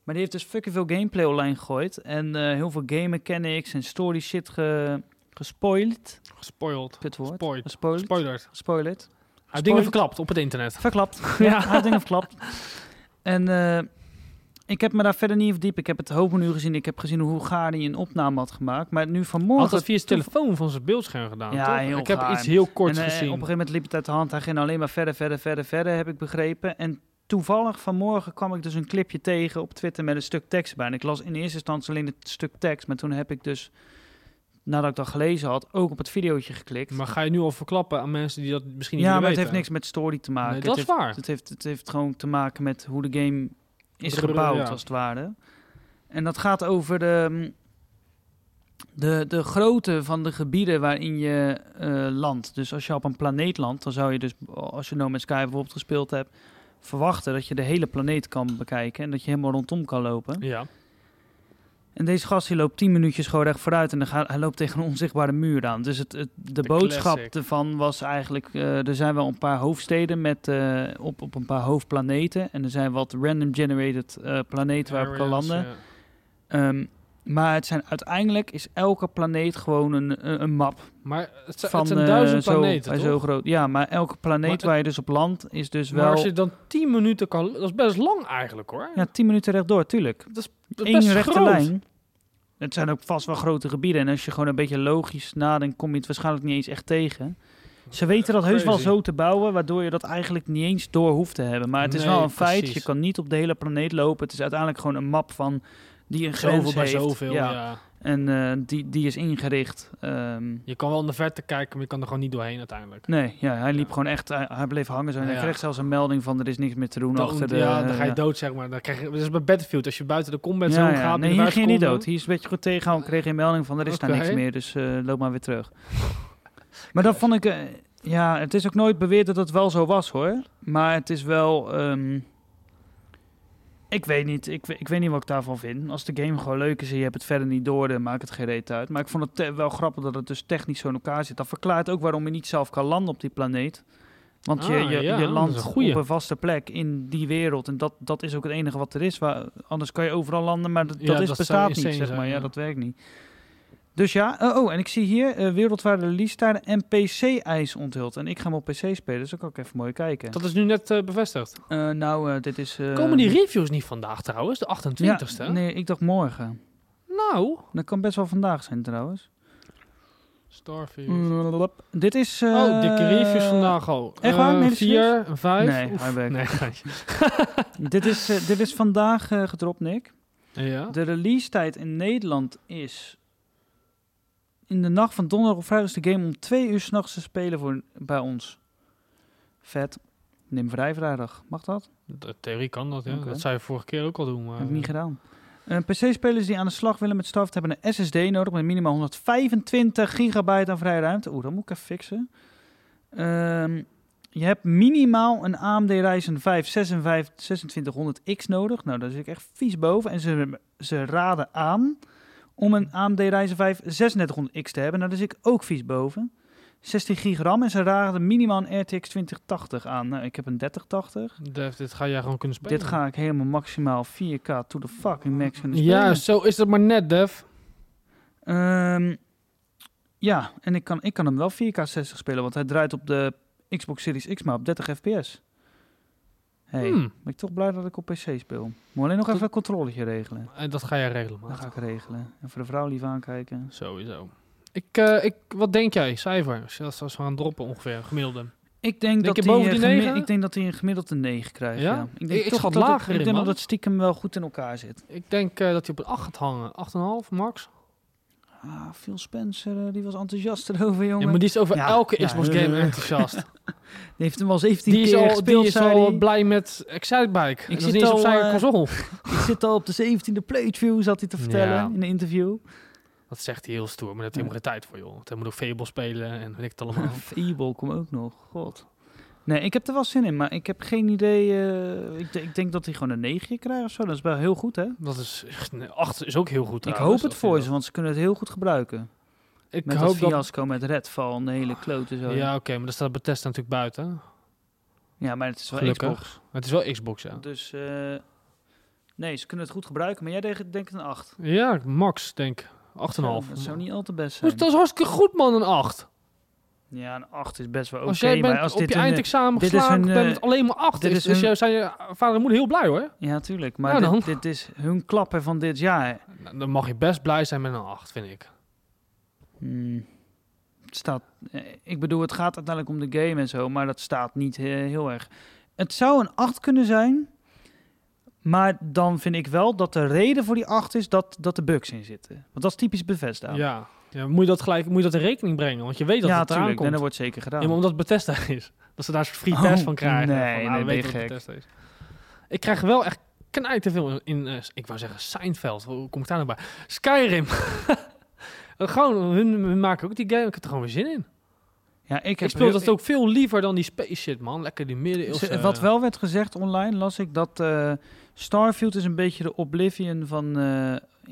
Speaker 1: Maar die heeft dus fucking veel gameplay online gegooid en eh, heel veel game mechanics en story shit ge gespoild.
Speaker 2: Gespoiled.
Speaker 1: Kutwoord.
Speaker 2: Spoilt.
Speaker 1: Gespoiled.
Speaker 2: Spoilers.
Speaker 1: Gespoiled.
Speaker 2: Hij heeft dingen verklapt op het internet.
Speaker 1: Verklapt.
Speaker 2: Ja.
Speaker 1: Ja, hij heeft dingen verklapt. En eh, ik heb me daar verder niet in verdiept. Ik heb het hoofdmenu gezien. Ik heb gezien hoe Gari een opname had gemaakt. Maar nu vanmorgen...
Speaker 2: Had dat via zijn telefoon van zijn beeldscherm gedaan,
Speaker 1: Ja,
Speaker 2: toch?
Speaker 1: heel
Speaker 2: Ik heb
Speaker 1: gaar.
Speaker 2: iets heel
Speaker 1: en,
Speaker 2: korts
Speaker 1: eh,
Speaker 2: gezien.
Speaker 1: Op een gegeven moment liep het uit de hand. Hij ging alleen maar verder, verder, verder, verder, heb ik begrepen. En toevallig vanmorgen kwam ik dus een clipje tegen op Twitter met een stuk tekst erbij. En ik las in eerste instantie alleen het stuk tekst. Maar toen heb ik dus, nadat ik dat gelezen had, ook op het videootje geklikt.
Speaker 2: Maar ga je nu al verklappen aan mensen die dat misschien niet
Speaker 1: ja,
Speaker 2: meer
Speaker 1: maar het
Speaker 2: weten?
Speaker 1: heeft niks met story te maken.
Speaker 2: Nee,
Speaker 1: Het
Speaker 2: dat is
Speaker 1: heeft-
Speaker 2: waar.
Speaker 1: Dus Het heeft, het heeft gewoon te maken met hoe de game is
Speaker 2: Brrr,
Speaker 1: gebouwd,
Speaker 2: ja.
Speaker 1: als het ware. En dat gaat over de, mm, de, de grootte van de gebieden waarin je eh, landt. Dus als je op een planeet landt, dan zou je dus, als je No Man's Sky bijvoorbeeld gespeeld hebt, verwachten dat je de hele planeet kan bekijken en dat je helemaal rondom kan lopen.
Speaker 2: Ja.
Speaker 1: En deze gast die loopt 10 minuutjes gewoon recht vooruit en dan gaat, hij loopt tegen een onzichtbare muur aan. Dus het, het- de, boodschap
Speaker 2: classic.
Speaker 1: ervan was eigenlijk, eh, er zijn wel een paar hoofdsteden met, eh, op, op een paar hoofdplaneten. En er zijn wat random generated eh, planeten waarop ik kan
Speaker 2: Areas,
Speaker 1: landen.
Speaker 2: ja.
Speaker 1: Ehm, maar het zijn, uiteindelijk is elke planeet gewoon een, eh, een, een map.
Speaker 2: Maar het, zijn-
Speaker 1: van,
Speaker 2: het zijn
Speaker 1: eh,
Speaker 2: duizend
Speaker 1: zo,
Speaker 2: planeten,
Speaker 1: hij is
Speaker 2: toch?
Speaker 1: Zo groot. Ja, maar elke planeet
Speaker 2: Maar het-
Speaker 1: waar je dus op landt is dus
Speaker 2: Maar als
Speaker 1: wel...
Speaker 2: je dan 10 minuten kan... Dat is best lang eigenlijk, hoor.
Speaker 1: Ja, 10 minuten rechtdoor, tuurlijk.
Speaker 2: Dat is, dat is
Speaker 1: Eén
Speaker 2: best
Speaker 1: rechte
Speaker 2: groot.
Speaker 1: lijn. Het zijn ook vast wel grote gebieden. En als je gewoon een beetje logisch nadenkt, kom je het waarschijnlijk niet eens echt tegen. Ze weten dat heus wel
Speaker 2: Crazy.
Speaker 1: zo te bouwen, waardoor je dat eigenlijk niet eens door hoeft te hebben. Maar het is
Speaker 2: Nee,
Speaker 1: wel een feit,
Speaker 2: precies.
Speaker 1: je kan niet op de hele planeet lopen. Het is uiteindelijk gewoon een map van die een grens
Speaker 2: Zoveel bij
Speaker 1: heeft.
Speaker 2: zoveel, ja.
Speaker 1: En eh, die, die is ingericht. Ehm,
Speaker 2: Je kan wel in de verte kijken, maar je kan er gewoon niet doorheen uiteindelijk.
Speaker 1: nee, ja, hij liep
Speaker 2: Ja.
Speaker 1: gewoon echt, hij, hij bleef hangen. Zo. En hij
Speaker 2: Ja.
Speaker 1: kreeg zelfs een melding van er is niks meer te doen
Speaker 2: Dan,
Speaker 1: achter de...
Speaker 2: ja, dan ga je
Speaker 1: ja.
Speaker 2: dood, zeg maar. Dan krijg je, dat is bij Battlefield. Als je buiten de combat
Speaker 1: Ja,
Speaker 2: zone
Speaker 1: ja.
Speaker 2: gaat...
Speaker 1: Nee,
Speaker 2: binnen
Speaker 1: hier
Speaker 2: vijf
Speaker 1: ging hij niet
Speaker 2: seconden-
Speaker 1: dood. Hier is een beetje goed tegengehouden. Kreeg geen melding van, er is daar
Speaker 2: Oké.
Speaker 1: niks meer. Dus eh, loop maar weer terug. Maar dat vond ik... eh, ja, het is ook nooit beweerd dat het wel zo was, hoor. Maar het is wel... ehm, ik weet niet. Ik, we- ik weet niet wat ik daarvan vind. Als de game gewoon leuk is en je hebt het verder niet door, dan maakt het geen reet uit. Maar ik vond het te- wel grappig dat het dus technisch zo in elkaar zit. Dat verklaart ook waarom je niet zelf kan landen op die planeet. Want je,
Speaker 2: Ah,
Speaker 1: je,
Speaker 2: ja,
Speaker 1: je
Speaker 2: dat is een
Speaker 1: landt
Speaker 2: goeie.
Speaker 1: op een vaste plek in die wereld. En dat, dat is ook het enige wat er is. Waar, anders kan je overal landen, maar dat,
Speaker 2: Ja,
Speaker 1: dat is,
Speaker 2: dat zou
Speaker 1: bestaat niet,
Speaker 2: insane
Speaker 1: zeg maar.
Speaker 2: zijn,
Speaker 1: ja.
Speaker 2: ja.
Speaker 1: dat werkt niet. Dus ja, eh, oh, en ik zie hier eh, wereldwijde release tijden en PC-ijs onthuld. En ik ga hem op PC spelen, dus dan kan ik even mooi kijken.
Speaker 2: Dat is nu net eh, bevestigd.
Speaker 1: Eh, nou, eh, dit is... eh,
Speaker 2: Komen die reviews niet vandaag trouwens? De 28ste?
Speaker 1: Ja, nee, ik dacht morgen.
Speaker 2: Nou...
Speaker 1: Dat kan best wel vandaag zijn trouwens.
Speaker 2: Starfield.
Speaker 1: Blablabla. Dit is... eh,
Speaker 2: oh, dikke reviews vandaag al.
Speaker 1: echt waar?
Speaker 2: Eh,
Speaker 1: Nee, dat is
Speaker 2: vier, een vijf.
Speaker 1: Nee,
Speaker 2: Oef.
Speaker 1: hij werkt.
Speaker 2: Nee, geintje.
Speaker 1: Dit is, eh, dit is vandaag eh, gedropt, Nick.
Speaker 2: ja.
Speaker 1: De release tijd in Nederland is... In de nacht van donderdag of vrijdag is de game om twee uur s'nachts te spelen voor, bij ons. Vet. Neem vrij vrijdag. Mag dat?
Speaker 2: De theorie kan dat, ja.
Speaker 1: Oké.
Speaker 2: Dat zei je vorige keer ook al doen. Maar...
Speaker 1: Heb ik niet gedaan. Eh, PC-spelers die aan de slag willen met Starfield hebben een SSD nodig met minimaal 125 gigabyte aan vrije ruimte. Oeh, dat moet ik even fixen. Ehm, je hebt minimaal een AMD Ryzen 5 2600X nodig. Nou, daar zit ik echt vies boven. En ze, ze raden aan om een AMD Ryzen 5 3600X te hebben. Nou, daar zit ik ook vies boven. 16 gig RAM en ze raden minimaal een RTX 2080 aan. Nou, ik heb een 3080.
Speaker 2: Def, dit ga jij gewoon kunnen spelen.
Speaker 1: Dit ga ik helemaal maximaal 4K to the fucking max kunnen spelen.
Speaker 2: Ja, zo is dat maar net, Def.
Speaker 1: Ehm, ja, en ik kan, ik kan hem wel 4K 60 spelen, want hij draait op de Xbox Series X maar op 30 fps. hey,
Speaker 2: Hmm.
Speaker 1: ben ik toch blij dat ik op PC speel. Moet alleen nog
Speaker 2: Dat-
Speaker 1: even een controletje regelen.
Speaker 2: En dat ga jij regelen, man.
Speaker 1: Dat ga ik regelen. En voor de vrouw lief aankijken.
Speaker 2: Sowieso. Ik, eh, ik, wat denk jij, cijfer? Als je- Als we gaan droppen ongeveer, gemiddelde.
Speaker 1: Ik denk,
Speaker 2: je
Speaker 1: dat hij,
Speaker 2: boven
Speaker 1: eh,
Speaker 2: die
Speaker 1: gemi-
Speaker 2: negen?
Speaker 1: Ik denk dat hij een gemiddelde 9 krijgt.
Speaker 2: Ja?
Speaker 1: Ja?
Speaker 2: Ik-
Speaker 1: Ik denk
Speaker 2: ik
Speaker 1: toch
Speaker 2: schat
Speaker 1: dat het-
Speaker 2: lager in,
Speaker 1: Ik denk
Speaker 2: man.
Speaker 1: dat het stiekem wel goed in elkaar zit.
Speaker 2: Ik denk eh, dat hij op een 8 gaat hangen. 8,5 max.
Speaker 1: Ah, Phil Spencer, eh, die was enthousiast erover, jongen.
Speaker 2: Ja, maar die is over
Speaker 1: Ja,
Speaker 2: elke
Speaker 1: ja,
Speaker 2: Xbox
Speaker 1: eh,
Speaker 2: game enthousiast.
Speaker 1: Die heeft hem al 17
Speaker 2: Die is
Speaker 1: keer
Speaker 2: al,
Speaker 1: gespeeld,
Speaker 2: die is
Speaker 1: zei
Speaker 2: al
Speaker 1: hij.
Speaker 2: blij met Excitebike. Ik
Speaker 1: zit
Speaker 2: zit niet eens op
Speaker 1: al,
Speaker 2: zijn
Speaker 1: eh,
Speaker 2: console.
Speaker 1: Ik zit al op de 17e playthrough, zat hij te vertellen
Speaker 2: Ja.
Speaker 1: in een interview.
Speaker 2: Dat zegt hij heel stoer, maar daar heeft hij helemaal geen tijd voor, joh. Want hij moet ook Fable spelen en weet ik het allemaal.
Speaker 1: Fable kom ook nog, god. Nee, ik heb er wel zin in, maar ik heb geen idee. eh, ik, de- ik denk dat hij gewoon een 9 krijgt of zo. Dat is wel heel goed, hè?
Speaker 2: dat is... nee, 8 is ook heel goed
Speaker 1: ik
Speaker 2: trouwens,
Speaker 1: hoop het
Speaker 2: of
Speaker 1: voor
Speaker 2: je
Speaker 1: ze,
Speaker 2: dat-
Speaker 1: want ze kunnen het heel goed gebruiken.
Speaker 2: Ik
Speaker 1: Met dat
Speaker 2: hoop dat...
Speaker 1: fiasco, met Redfall en de hele klote zo.
Speaker 2: Ja, oké, maar daar staat Bethesda natuurlijk buiten.
Speaker 1: Ja, maar het is wel
Speaker 2: Gelukkig.
Speaker 1: Xbox.
Speaker 2: Maar het is wel Xbox, ja.
Speaker 1: Dus eh, nee, ze kunnen het goed gebruiken. Maar jij denkt, denkt een 8.
Speaker 2: Ja, max, denk ik. 8,5.
Speaker 1: Zo, Dat zou niet al te best zijn.
Speaker 2: Dus dat is hartstikke goed, man, een 8.
Speaker 1: Ja, een 8 is best wel oké.
Speaker 2: als jij bent
Speaker 1: maar als
Speaker 2: op
Speaker 1: dit
Speaker 2: je
Speaker 1: een, eh,
Speaker 2: eindexamen
Speaker 1: dit is
Speaker 2: geslaagd
Speaker 1: hun,
Speaker 2: bent
Speaker 1: eh,
Speaker 2: met alleen maar 8,
Speaker 1: dit
Speaker 2: is,
Speaker 1: is
Speaker 2: dus
Speaker 1: hun-
Speaker 2: jij zijn je vader en moeder heel blij, hoor.
Speaker 1: Ja, tuurlijk. Maar
Speaker 2: Nou dan.
Speaker 1: dit, dit is hun klapper van dit jaar.
Speaker 2: Nou, dan mag je best blij zijn met een 8, vind ik.
Speaker 1: Hmm. Het staat, eh, ik bedoel, het gaat uiteindelijk om de game en zo, maar dat staat niet eh, heel erg. Het zou een 8 kunnen zijn, maar dan vind ik wel dat de reden voor die 8 is dat, dat er bugs in zitten. Want dat is typisch Bethesda.
Speaker 2: Ja. ja. moet je dat gelijk moet je dat in rekening brengen, want je weet dat
Speaker 1: ja
Speaker 2: het eraan
Speaker 1: tuurlijk.
Speaker 2: komt.
Speaker 1: En dat wordt zeker gedaan.
Speaker 2: Ja, maar omdat het Bethesda is. Dat ze daar een soort free test
Speaker 1: Oh,
Speaker 2: van krijgen.
Speaker 1: nee,
Speaker 2: van, nou,
Speaker 1: nee,
Speaker 2: we
Speaker 1: ben je
Speaker 2: weten dat het
Speaker 1: gek.
Speaker 2: Bethesda is. Ik krijg wel echt knijt te veel in, eh, ik wou zeggen Seinfeld. Hoe kom ik daar nou bij? Skyrim. Eh, gewoon, hun, hun maken ook die game. Ik heb er gewoon weer zin in.
Speaker 1: ja, ik,
Speaker 2: Ik
Speaker 1: heb
Speaker 2: speel
Speaker 1: heel-
Speaker 2: dat ook eh, veel liever dan die space shit, man. Lekker die
Speaker 1: Z-
Speaker 2: middeleeuwse...
Speaker 1: Wat wel werd gezegd online, las ik dat eh, Starfield is een beetje de Oblivion van, eh,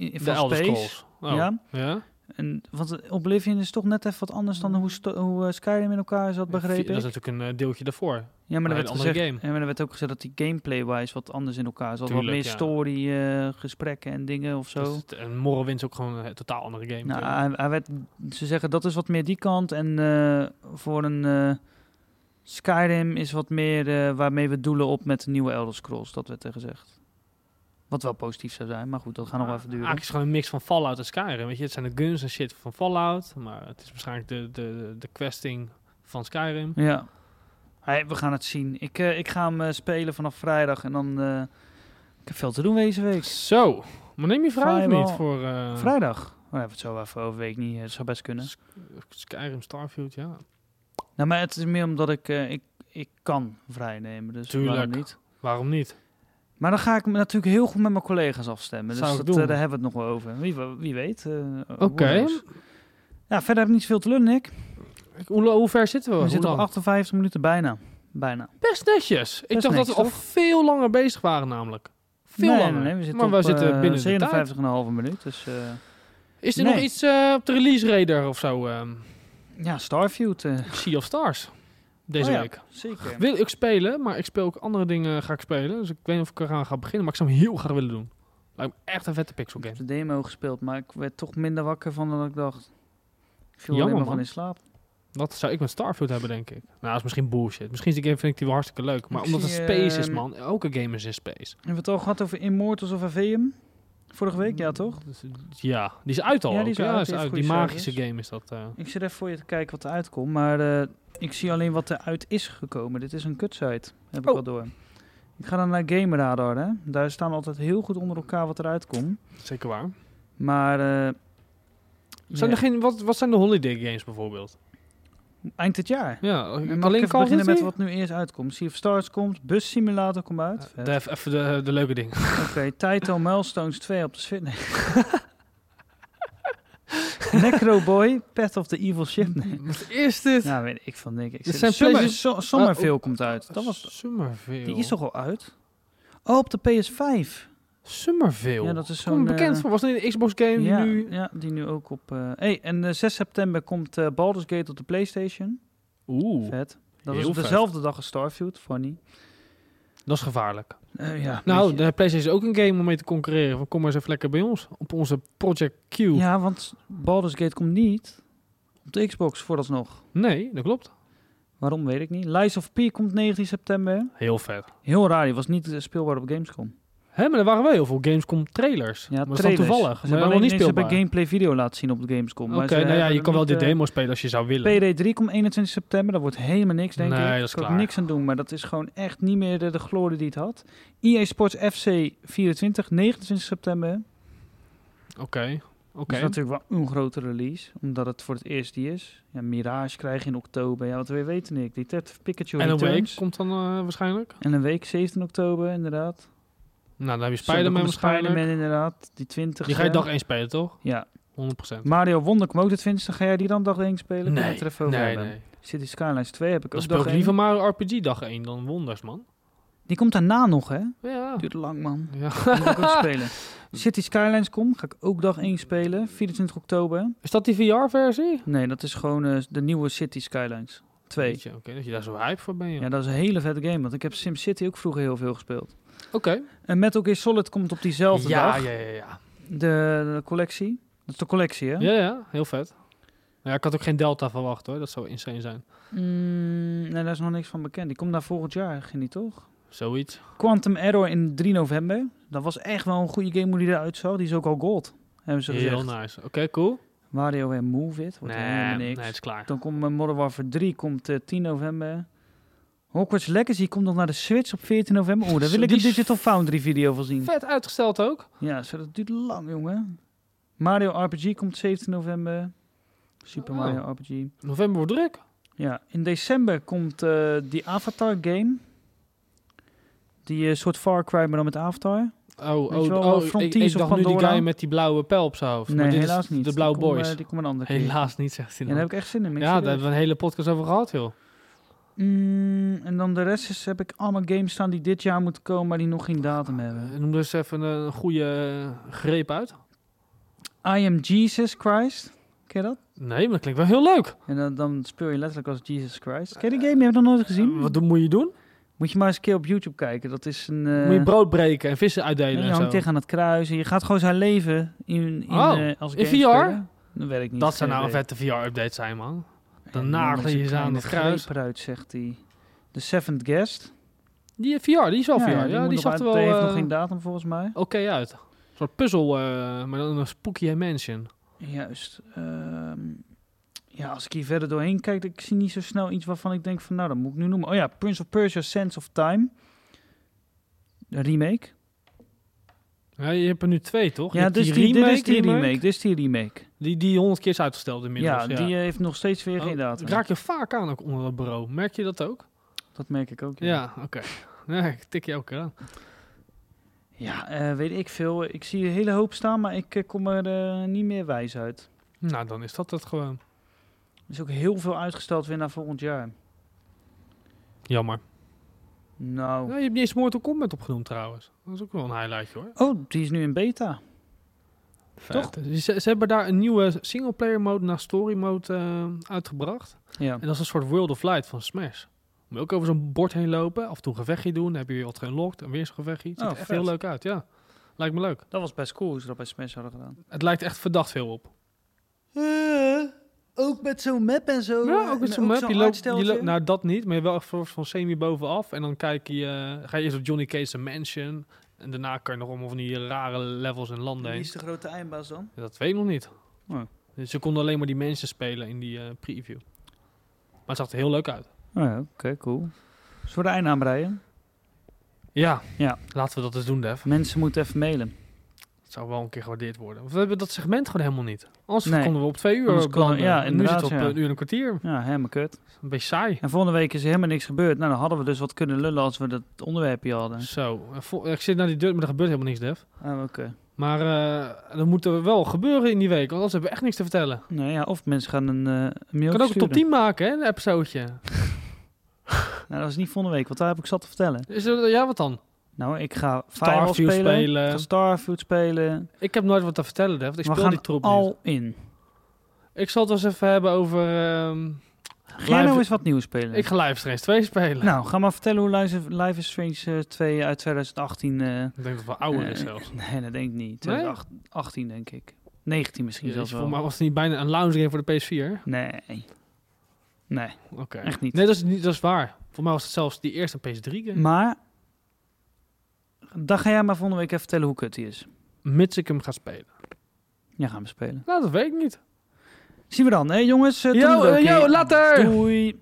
Speaker 1: i-
Speaker 2: de
Speaker 1: van
Speaker 2: Elder
Speaker 1: Space.
Speaker 2: Scrolls. Oh,
Speaker 1: Ja.
Speaker 2: ja?
Speaker 1: En, want Oblivion is toch net even wat anders dan hoe, sto- hoe eh, Skyrim in elkaar zat,
Speaker 2: Mm. Dat is
Speaker 1: begrepen ik.
Speaker 2: natuurlijk een eh, deeltje daarvoor.
Speaker 1: Ja, maar
Speaker 2: een
Speaker 1: er werd,
Speaker 2: hele andere
Speaker 1: gezegd,
Speaker 2: game.
Speaker 1: ja, maar er werd ook gezegd dat die gameplay-wise wat anders in elkaar zat. wat
Speaker 2: Tuurlijk,
Speaker 1: meer
Speaker 2: ja.
Speaker 1: story, eh, gesprekken en dingen of zo.
Speaker 2: Dus het- en Morrowind is ook gewoon een eh, totaal andere game.
Speaker 1: nou,
Speaker 2: natuurlijk.
Speaker 1: hij, hij werd, ze zeggen dat is wat meer die kant en eh, voor een... eh, Skyrim is wat meer eh, waarmee we doelen op met de nieuwe Elder Scrolls. Dat werd er gezegd. Wat wel positief zou zijn, maar goed, dat gaat
Speaker 2: Ah,
Speaker 1: nog wel even duren.
Speaker 2: Eigenlijk is het gewoon een mix van Fallout en Skyrim. Weet je, het zijn de guns en shit van Fallout, maar het is waarschijnlijk de, de, de questing van Skyrim.
Speaker 1: Ja. Hey, we gaan het zien. Ik, eh, ik ga hem eh, spelen vanaf vrijdag en dan... eh, ik heb veel te doen deze week.
Speaker 2: Zo, maar neem je vrij of
Speaker 1: Vrijwel.
Speaker 2: niet voor eh,
Speaker 1: Vrijdag? Oh, daar hebben we het zo even over, weet ik niet. Het zou best kunnen.
Speaker 2: S- Skyrim, Starfield, ja.
Speaker 1: Nou, maar het is meer omdat ik... eh, ik, ik kan vrij nemen, dus
Speaker 2: Tuurlijk.
Speaker 1: waarom niet?
Speaker 2: Waarom niet?
Speaker 1: Maar dan ga ik me natuurlijk heel goed met mijn collega's afstemmen.
Speaker 2: Zou
Speaker 1: dus
Speaker 2: ik
Speaker 1: dat, eh,
Speaker 2: doen.
Speaker 1: daar hebben we het nog wel over. Wie, wie weet. eh, who
Speaker 2: Oké.
Speaker 1: knows. Ja, verder heb ik niet zoveel te lullen, Nick.
Speaker 2: Ik- Hoe, hoe ver zitten we?
Speaker 1: We
Speaker 2: Hoe
Speaker 1: zitten op
Speaker 2: lang?
Speaker 1: 58 minuten bijna. Bijna.
Speaker 2: Best netjes. Ik
Speaker 1: Best
Speaker 2: dacht dat
Speaker 1: netjes,
Speaker 2: we al
Speaker 1: toch?
Speaker 2: veel langer bezig waren namelijk. Veel
Speaker 1: nee,
Speaker 2: langer.
Speaker 1: nee, nee, we zitten
Speaker 2: maar
Speaker 1: op
Speaker 2: we zitten
Speaker 1: eh,
Speaker 2: binnen de tijd.
Speaker 1: 57,5 minuut. Dus eh,
Speaker 2: Is er
Speaker 1: Nee.
Speaker 2: nog iets eh, op de release radar of zo? ehm
Speaker 1: ja, Starfield. eh,
Speaker 2: sea of Stars deze
Speaker 1: Oh ja,
Speaker 2: week.
Speaker 1: Zeker.
Speaker 2: Wil ik spelen, maar ik speel ook andere dingen ga ik spelen. Dus ik weet niet of ik eraan ga beginnen, maar ik zou hem heel graag willen doen. Lijkt me echt een vette pixel
Speaker 1: Ik heb
Speaker 2: game.
Speaker 1: de demo gespeeld, maar ik werd toch minder wakker van dan ik dacht. Ik viel
Speaker 2: Jammer,
Speaker 1: alleen maar
Speaker 2: man.
Speaker 1: van in slaap.
Speaker 2: Dat zou ik met Starfield hebben, denk ik. Nou, dat is misschien bullshit. Misschien is die game vind ik die wel hartstikke leuk. Maar
Speaker 1: Ik
Speaker 2: omdat het
Speaker 1: zie,
Speaker 2: space is,
Speaker 1: ehm,
Speaker 2: man. Elke game is in space.
Speaker 1: Hebben we het al gehad over Immortals of Aveum? Vorige week, ja toch?
Speaker 2: Dus, ja, die is uit al.
Speaker 1: Ja,
Speaker 2: ook,
Speaker 1: die
Speaker 2: hè?
Speaker 1: is
Speaker 2: Ja,
Speaker 1: uit.
Speaker 2: die,
Speaker 1: Die heeft
Speaker 2: die
Speaker 1: goede
Speaker 2: magische
Speaker 1: service.
Speaker 2: game is dat. eh.
Speaker 1: Ik zit even voor je te kijken wat eruit komt, maar eh, ik zie alleen wat eruit is gekomen. Dit is een kutsite, heb
Speaker 2: Oh.
Speaker 1: ik wel door. Ik ga dan naar Game Radar, hè. Daar staan altijd heel goed onder elkaar wat eruit komt.
Speaker 2: Zeker waar.
Speaker 1: Maar eh,
Speaker 2: Zijn
Speaker 1: ja,
Speaker 2: er geen, wat, wat zijn de holiday games bijvoorbeeld?
Speaker 1: eind dit jaar.
Speaker 2: Ja,
Speaker 1: En mag ik
Speaker 2: alleen
Speaker 1: even
Speaker 2: Call
Speaker 1: beginnen met
Speaker 2: Duty?
Speaker 1: wat nu eerst uitkomt. Sea of Stars komt, Bus Simulator komt uit.
Speaker 2: Eh,
Speaker 1: Vet.
Speaker 2: Def, even de, de leuke dingen.
Speaker 1: Oké, Taito Milestones 2 op de Switch. Nee. Necroboy, Path of the Evil Ship. Nee.
Speaker 2: Wat is dit?
Speaker 1: Nou, weet ik van denk ik.
Speaker 2: Dit
Speaker 1: Zit-
Speaker 2: zijn
Speaker 1: Summer,
Speaker 2: places-
Speaker 1: so, Summerville
Speaker 2: Oh,
Speaker 1: komt uit. Dat was,
Speaker 2: Summerville.
Speaker 1: die is toch al uit? Oh, op de PS5.
Speaker 2: Somerville.
Speaker 1: Ja, dat is zo'n...
Speaker 2: Kom bekend
Speaker 1: eh,
Speaker 2: voor. Was dat niet de Xbox game die
Speaker 1: ja,
Speaker 2: nu...
Speaker 1: ja, die nu ook op... eh, hey, en eh, 6 september komt eh, Baldur's Gate op de PlayStation.
Speaker 2: Oeh,
Speaker 1: Vet. Dat
Speaker 2: heel
Speaker 1: is op
Speaker 2: vet.
Speaker 1: dezelfde dag als Starfield, funny.
Speaker 2: dat is gevaarlijk.
Speaker 1: Eh, ja,
Speaker 2: Nou,
Speaker 1: weet je.
Speaker 2: de PlayStation is ook een game om mee te concurreren. Van, kom maar eens even lekker bij ons. Op onze Project Q.
Speaker 1: ja, want Baldur's Gate komt niet op de Xbox vooralsnog.
Speaker 2: Nee, dat klopt.
Speaker 1: Waarom, weet ik niet. Lies of P komt 19 september.
Speaker 2: Heel vet.
Speaker 1: Heel raar, die was niet eh, speelbaar op Gamescom.
Speaker 2: Hè, maar er waren wel heel veel Gamescom trailers.
Speaker 1: Ja,
Speaker 2: maar dat is dan
Speaker 1: trailers.
Speaker 2: toevallig.
Speaker 1: Ze
Speaker 2: Maar helemaal
Speaker 1: hebben
Speaker 2: niet
Speaker 1: alleen- nee, Ze
Speaker 2: speelbaar.
Speaker 1: hebben gameplay video laten zien op de Gamescom.
Speaker 2: Oké,
Speaker 1: maar ze
Speaker 2: nou ja,
Speaker 1: hebben
Speaker 2: je kan wel
Speaker 1: niet,
Speaker 2: de
Speaker 1: eh,
Speaker 2: demo spelen als je zou willen.
Speaker 1: PD3 komt 21 september, dat wordt helemaal niks, denk
Speaker 2: Nee,
Speaker 1: ik.
Speaker 2: dat is
Speaker 1: Daar kan ik
Speaker 2: klaar.
Speaker 1: niks aan doen, maar dat is gewoon echt niet meer de, de glorie die het had. EA Sports FC 24, 29 september.
Speaker 2: Oké, oké.
Speaker 1: Dus Dat is natuurlijk wel een grote release, omdat het voor het eerst die is. Ja, Mirage krijg je in oktober. Ja, wat we weten ik. Detective Pikachu
Speaker 2: en een week
Speaker 1: Returns.
Speaker 2: komt dan eh, waarschijnlijk.
Speaker 1: En een week, 17 oktober, inderdaad.
Speaker 2: Nou, dan heb
Speaker 1: Zo,
Speaker 2: je
Speaker 1: dan
Speaker 2: Spider-Man
Speaker 1: komt
Speaker 2: waarschijnlijk.
Speaker 1: Spider-Man, inderdaad. Die 20
Speaker 2: Die ga je dag 1 spelen, toch?
Speaker 1: Ja.
Speaker 2: 100%.
Speaker 1: Mario Wonder komt ook de 20 Ga jij die dan dag 1 spelen? Kunnen we
Speaker 2: Nee,
Speaker 1: het er even over
Speaker 2: nee,
Speaker 1: hebben?
Speaker 2: nee.
Speaker 1: City Skylines 2 heb ik
Speaker 2: Dan
Speaker 1: ook
Speaker 2: speel
Speaker 1: dag
Speaker 2: ik
Speaker 1: 1.
Speaker 2: liever Mario RPG dag 1 dan Wonders, man.
Speaker 1: Die komt daarna nog, hè?
Speaker 2: Ja.
Speaker 1: Duurt lang, man.
Speaker 2: ja.
Speaker 1: Die moet ik ook spelen. City Skylines kom, ga ik ook dag 1 spelen. 24 oktober.
Speaker 2: Is dat die VR-versie?
Speaker 1: Nee, dat is gewoon eh, de nieuwe City Skylines 2.
Speaker 2: Oké, dat je daar zo hype voor bent, joh.
Speaker 1: Ja, dat is een hele vette game, want ik heb SimCity ook vroeger heel veel gespeeld.
Speaker 2: Oké.
Speaker 1: En Metal Gear Solid komt op diezelfde
Speaker 2: Ja,
Speaker 1: dag,
Speaker 2: ja, ja, ja.
Speaker 1: De, de collectie. Dat is de collectie, hè?
Speaker 2: Ja, ja, heel vet. Ja, ik had ook geen Delta verwacht, hoor. Dat zou insane zijn.
Speaker 1: Mm, nee, daar is nog niks van bekend. Die komt naar volgend jaar, ging die toch?
Speaker 2: Zoiets.
Speaker 1: Quantum Error in 3 november. Dat was echt wel een goede game hoe die eruit zag. Die is ook al gold, hebben ze gezegd.
Speaker 2: Heel nice. Oké, cool.
Speaker 1: Mario en Move It, wordt
Speaker 2: Nee,
Speaker 1: helemaal
Speaker 2: nee,
Speaker 1: niks.
Speaker 2: het is klaar.
Speaker 1: Dan komt eh, Modern Warfare 3, komt eh, 10 november. Hogwarts Legacy komt nog naar de Switch op 14 november. Oeh, daar
Speaker 2: Zo,
Speaker 1: wil ik
Speaker 2: die
Speaker 1: een
Speaker 2: is
Speaker 1: Digital Foundry video van zien.
Speaker 2: Vet uitgesteld ook.
Speaker 1: Ja, zo, dat duurt lang, jongen. Mario RPG komt 17 november. Super
Speaker 2: Oh.
Speaker 1: Mario RPG.
Speaker 2: November wordt druk.
Speaker 1: Ja, in december komt eh, die Avatar game. Die eh, soort Far Cry, maar dan met Avatar.
Speaker 2: Oh,
Speaker 1: Weet je
Speaker 2: oh,
Speaker 1: wel,
Speaker 2: oh, ik,
Speaker 1: Frontiers
Speaker 2: ik
Speaker 1: of
Speaker 2: dacht nu die
Speaker 1: Pandora?
Speaker 2: guy met die blauwe pijl op zijn hoofd.
Speaker 1: Nee,
Speaker 2: maar dit is
Speaker 1: helaas niet.
Speaker 2: De blauwe
Speaker 1: die kom,
Speaker 2: boys.
Speaker 1: eh, die komt een andere keer.
Speaker 2: helaas niet, zegt
Speaker 1: Ja,
Speaker 2: hij
Speaker 1: daar
Speaker 2: dan.
Speaker 1: heb ik echt zin in.
Speaker 2: Ja,
Speaker 1: ben ik
Speaker 2: daar
Speaker 1: serieus.
Speaker 2: hebben we een hele podcast over gehad, joh.
Speaker 1: Mm, en dan de rest is, heb ik allemaal games staan die dit jaar moeten komen, maar die nog geen datum hebben.
Speaker 2: Eh, Noem dus even een, een goede eh, greep uit.
Speaker 1: I am Jesus Christ. Ken je dat?
Speaker 2: Nee, maar dat klinkt wel heel leuk.
Speaker 1: En dan, dan speel je letterlijk als Jesus Christ. Ken je die game? Die heb ik nog nooit gezien.
Speaker 2: Eh, Wat doe- moet je doen?
Speaker 1: Moet je maar eens een keer op YouTube kijken. Dat is een... eh,
Speaker 2: moet je brood breken en vissen
Speaker 1: en
Speaker 2: uitdelen
Speaker 1: je
Speaker 2: en zo.
Speaker 1: hangt tegen aan het kruis. En je gaat gewoon zijn leven in, in,
Speaker 2: Oh,
Speaker 1: eh, als
Speaker 2: in
Speaker 1: game
Speaker 2: VR?
Speaker 1: spelen. Dat weet ik niet. Eh,
Speaker 2: Dat zou
Speaker 1: Geen
Speaker 2: nou een
Speaker 1: idee.
Speaker 2: vette VR-update zijn, man.
Speaker 1: En dan
Speaker 2: Dan nagel
Speaker 1: is
Speaker 2: je
Speaker 1: een
Speaker 2: ze aan
Speaker 1: kleine
Speaker 2: het kruis.
Speaker 1: greep eruit, zegt hij. The Seventh Guest.
Speaker 2: Die VR, die is wel VR. Ja,
Speaker 1: moet
Speaker 2: die,
Speaker 1: nog
Speaker 2: zag
Speaker 1: uit-
Speaker 2: er wel
Speaker 1: die heeft nog
Speaker 2: eh,
Speaker 1: geen datum volgens mij.
Speaker 2: oké uit. Een soort puzzel, eh, maar dan een spooky mansion.
Speaker 1: Juist. Ehm, ja, als ik hier verder doorheen kijk, ik zie niet zo snel iets waarvan ik denk van, nou, dat moet ik nu noemen. Oh ja, Prince of Persia Sense of Time. De remake.
Speaker 2: Ja, je hebt er nu twee, toch? Je
Speaker 1: ja,
Speaker 2: hebt
Speaker 1: dus die, dit is die remake.
Speaker 2: remake,
Speaker 1: Dit is die remake.
Speaker 2: Die, die honderd keer is uitgesteld inmiddels.
Speaker 1: Ja,
Speaker 2: Ja,
Speaker 1: die eh, heeft nog steeds weer
Speaker 2: Oh,
Speaker 1: geen datum.
Speaker 2: Raak je vaak aan ook onder dat bureau. Merk je dat ook?
Speaker 1: Dat merk ik ook.
Speaker 2: Ja, oké. Ja, ik tik je elke keer aan.
Speaker 1: Ja, eh, weet ik veel. Ik zie een hele hoop staan, maar ik eh, kom er eh, niet meer wijs uit.
Speaker 2: Nou, dan is dat het gewoon.
Speaker 1: Er is ook heel veel uitgesteld weer naar volgend jaar.
Speaker 2: Jammer.
Speaker 1: Nou.
Speaker 2: Ja, je hebt niet eens Mortal Kombat opgenoemd trouwens. Dat is ook wel een highlightje hoor.
Speaker 1: Oh, die is nu in beta.
Speaker 2: Toch? Ze, ze hebben daar een nieuwe singleplayer mode naar story mode eh, uitgebracht.
Speaker 1: Ja.
Speaker 2: En dat is een soort World of Light van Smash. Moet je ook over zo'n bord heen lopen, af en toe een gevechtje doen, dan heb je weer wat geunlocked en weer zo'n gevechtje. Het ziet
Speaker 1: Oh,
Speaker 2: er echt
Speaker 1: vet.
Speaker 2: heel leuk uit, ja. Lijkt me leuk.
Speaker 1: Dat was best cool hoe ze dat bij Smash hadden gedaan.
Speaker 2: Het lijkt echt verdacht veel op.
Speaker 1: Eh, ook met zo'n map en zo.
Speaker 2: Ja, ook met zo'n map. Je loopt, je loopt,
Speaker 1: naar...
Speaker 2: nou, dat niet, maar je wel echt voor- van semi bovenaf. En dan kijk je, eh, ga je eerst op Johnny Case Mansion. En daarna kan je nog allemaal van die rare levels en landen
Speaker 1: Wie
Speaker 2: heen.
Speaker 1: is de grote eindbaas dan?
Speaker 2: Ja, Dat weet ik nog niet.
Speaker 1: Oh.
Speaker 2: Dus ze konden alleen maar die mensen spelen in die eh, preview. Maar het zag er heel leuk uit.
Speaker 1: Oh ja, oké, cool. Zullen we de eind aanbreien?
Speaker 2: Ja,
Speaker 1: Ja.
Speaker 2: laten we dat eens doen, Def.
Speaker 1: Mensen moeten even mailen.
Speaker 2: Het zou wel een keer gewaardeerd worden. Want We hebben dat segment gewoon helemaal niet. Anders
Speaker 1: Nee.
Speaker 2: konden we op twee uur
Speaker 1: Anders kon-
Speaker 2: belanden.
Speaker 1: ja,
Speaker 2: en nu zit het
Speaker 1: inderdaad,
Speaker 2: op
Speaker 1: ja.
Speaker 2: een uur en een kwartier.
Speaker 1: Ja, helemaal kut.
Speaker 2: Een beetje saai.
Speaker 1: En volgende week is er helemaal niks gebeurd. Nou, dan hadden we dus wat kunnen lullen als we dat onderwerpje hadden.
Speaker 2: Zo, eh, vol- ik zit naar die deur, maar er gebeurt helemaal niks, Def.
Speaker 1: Ah, oké.
Speaker 2: Maar eh dat moet er wel gebeuren in die week, want anders hebben we echt niks te vertellen.
Speaker 1: Nou ja, of mensen gaan een eh een
Speaker 2: Je
Speaker 1: mailtje
Speaker 2: kan ook een
Speaker 1: sturen.
Speaker 2: top 10 maken, hè, een episodeje.
Speaker 1: Nou, dat is niet volgende week, want daar heb ik zat te vertellen.
Speaker 2: Is er, ja, wat dan?
Speaker 1: Nou, ik ga Firewall
Speaker 2: Starfield
Speaker 1: spelen,
Speaker 2: spelen.
Speaker 1: ik ga Starfield spelen.
Speaker 2: Ik heb nooit wat te vertellen, Def. want Ik
Speaker 1: We
Speaker 2: speel
Speaker 1: gaan
Speaker 2: die troep niet.
Speaker 1: al in.
Speaker 2: Ik zal het wel eens even hebben over... ehm,
Speaker 1: Gerno
Speaker 2: Live-
Speaker 1: is wat nieuws spelen.
Speaker 2: ik ga Live Strange 2 spelen.
Speaker 1: Nou, ga maar vertellen hoe Life is, Life is Strange eh, 2 uit 2018... eh,
Speaker 2: Ik denk dat het wel ouder is
Speaker 1: eh,
Speaker 2: zelfs.
Speaker 1: Nee, dat denk ik niet. 2018 denk ik. 19 misschien
Speaker 2: Jezus,
Speaker 1: zelfs wel.
Speaker 2: Voor mij was het niet bijna een lounge game voor de PS4.
Speaker 1: Nee. Nee,
Speaker 2: Oké.
Speaker 1: echt niet.
Speaker 2: Nee, dat is, niet, dat is waar. Voor mij was het zelfs die eerste PS3 game.
Speaker 1: Maar, dan ga jij maar volgende week even vertellen hoe kut die is.
Speaker 2: Mits ik hem ga spelen.
Speaker 1: Ja, gaan we spelen.
Speaker 2: Nou, dat weet ik niet.
Speaker 1: Zien we dan, hè jongens? Eh, tot
Speaker 2: Yo,
Speaker 1: de volgende
Speaker 2: eh,
Speaker 1: keer.
Speaker 2: yo, later!
Speaker 1: Doei!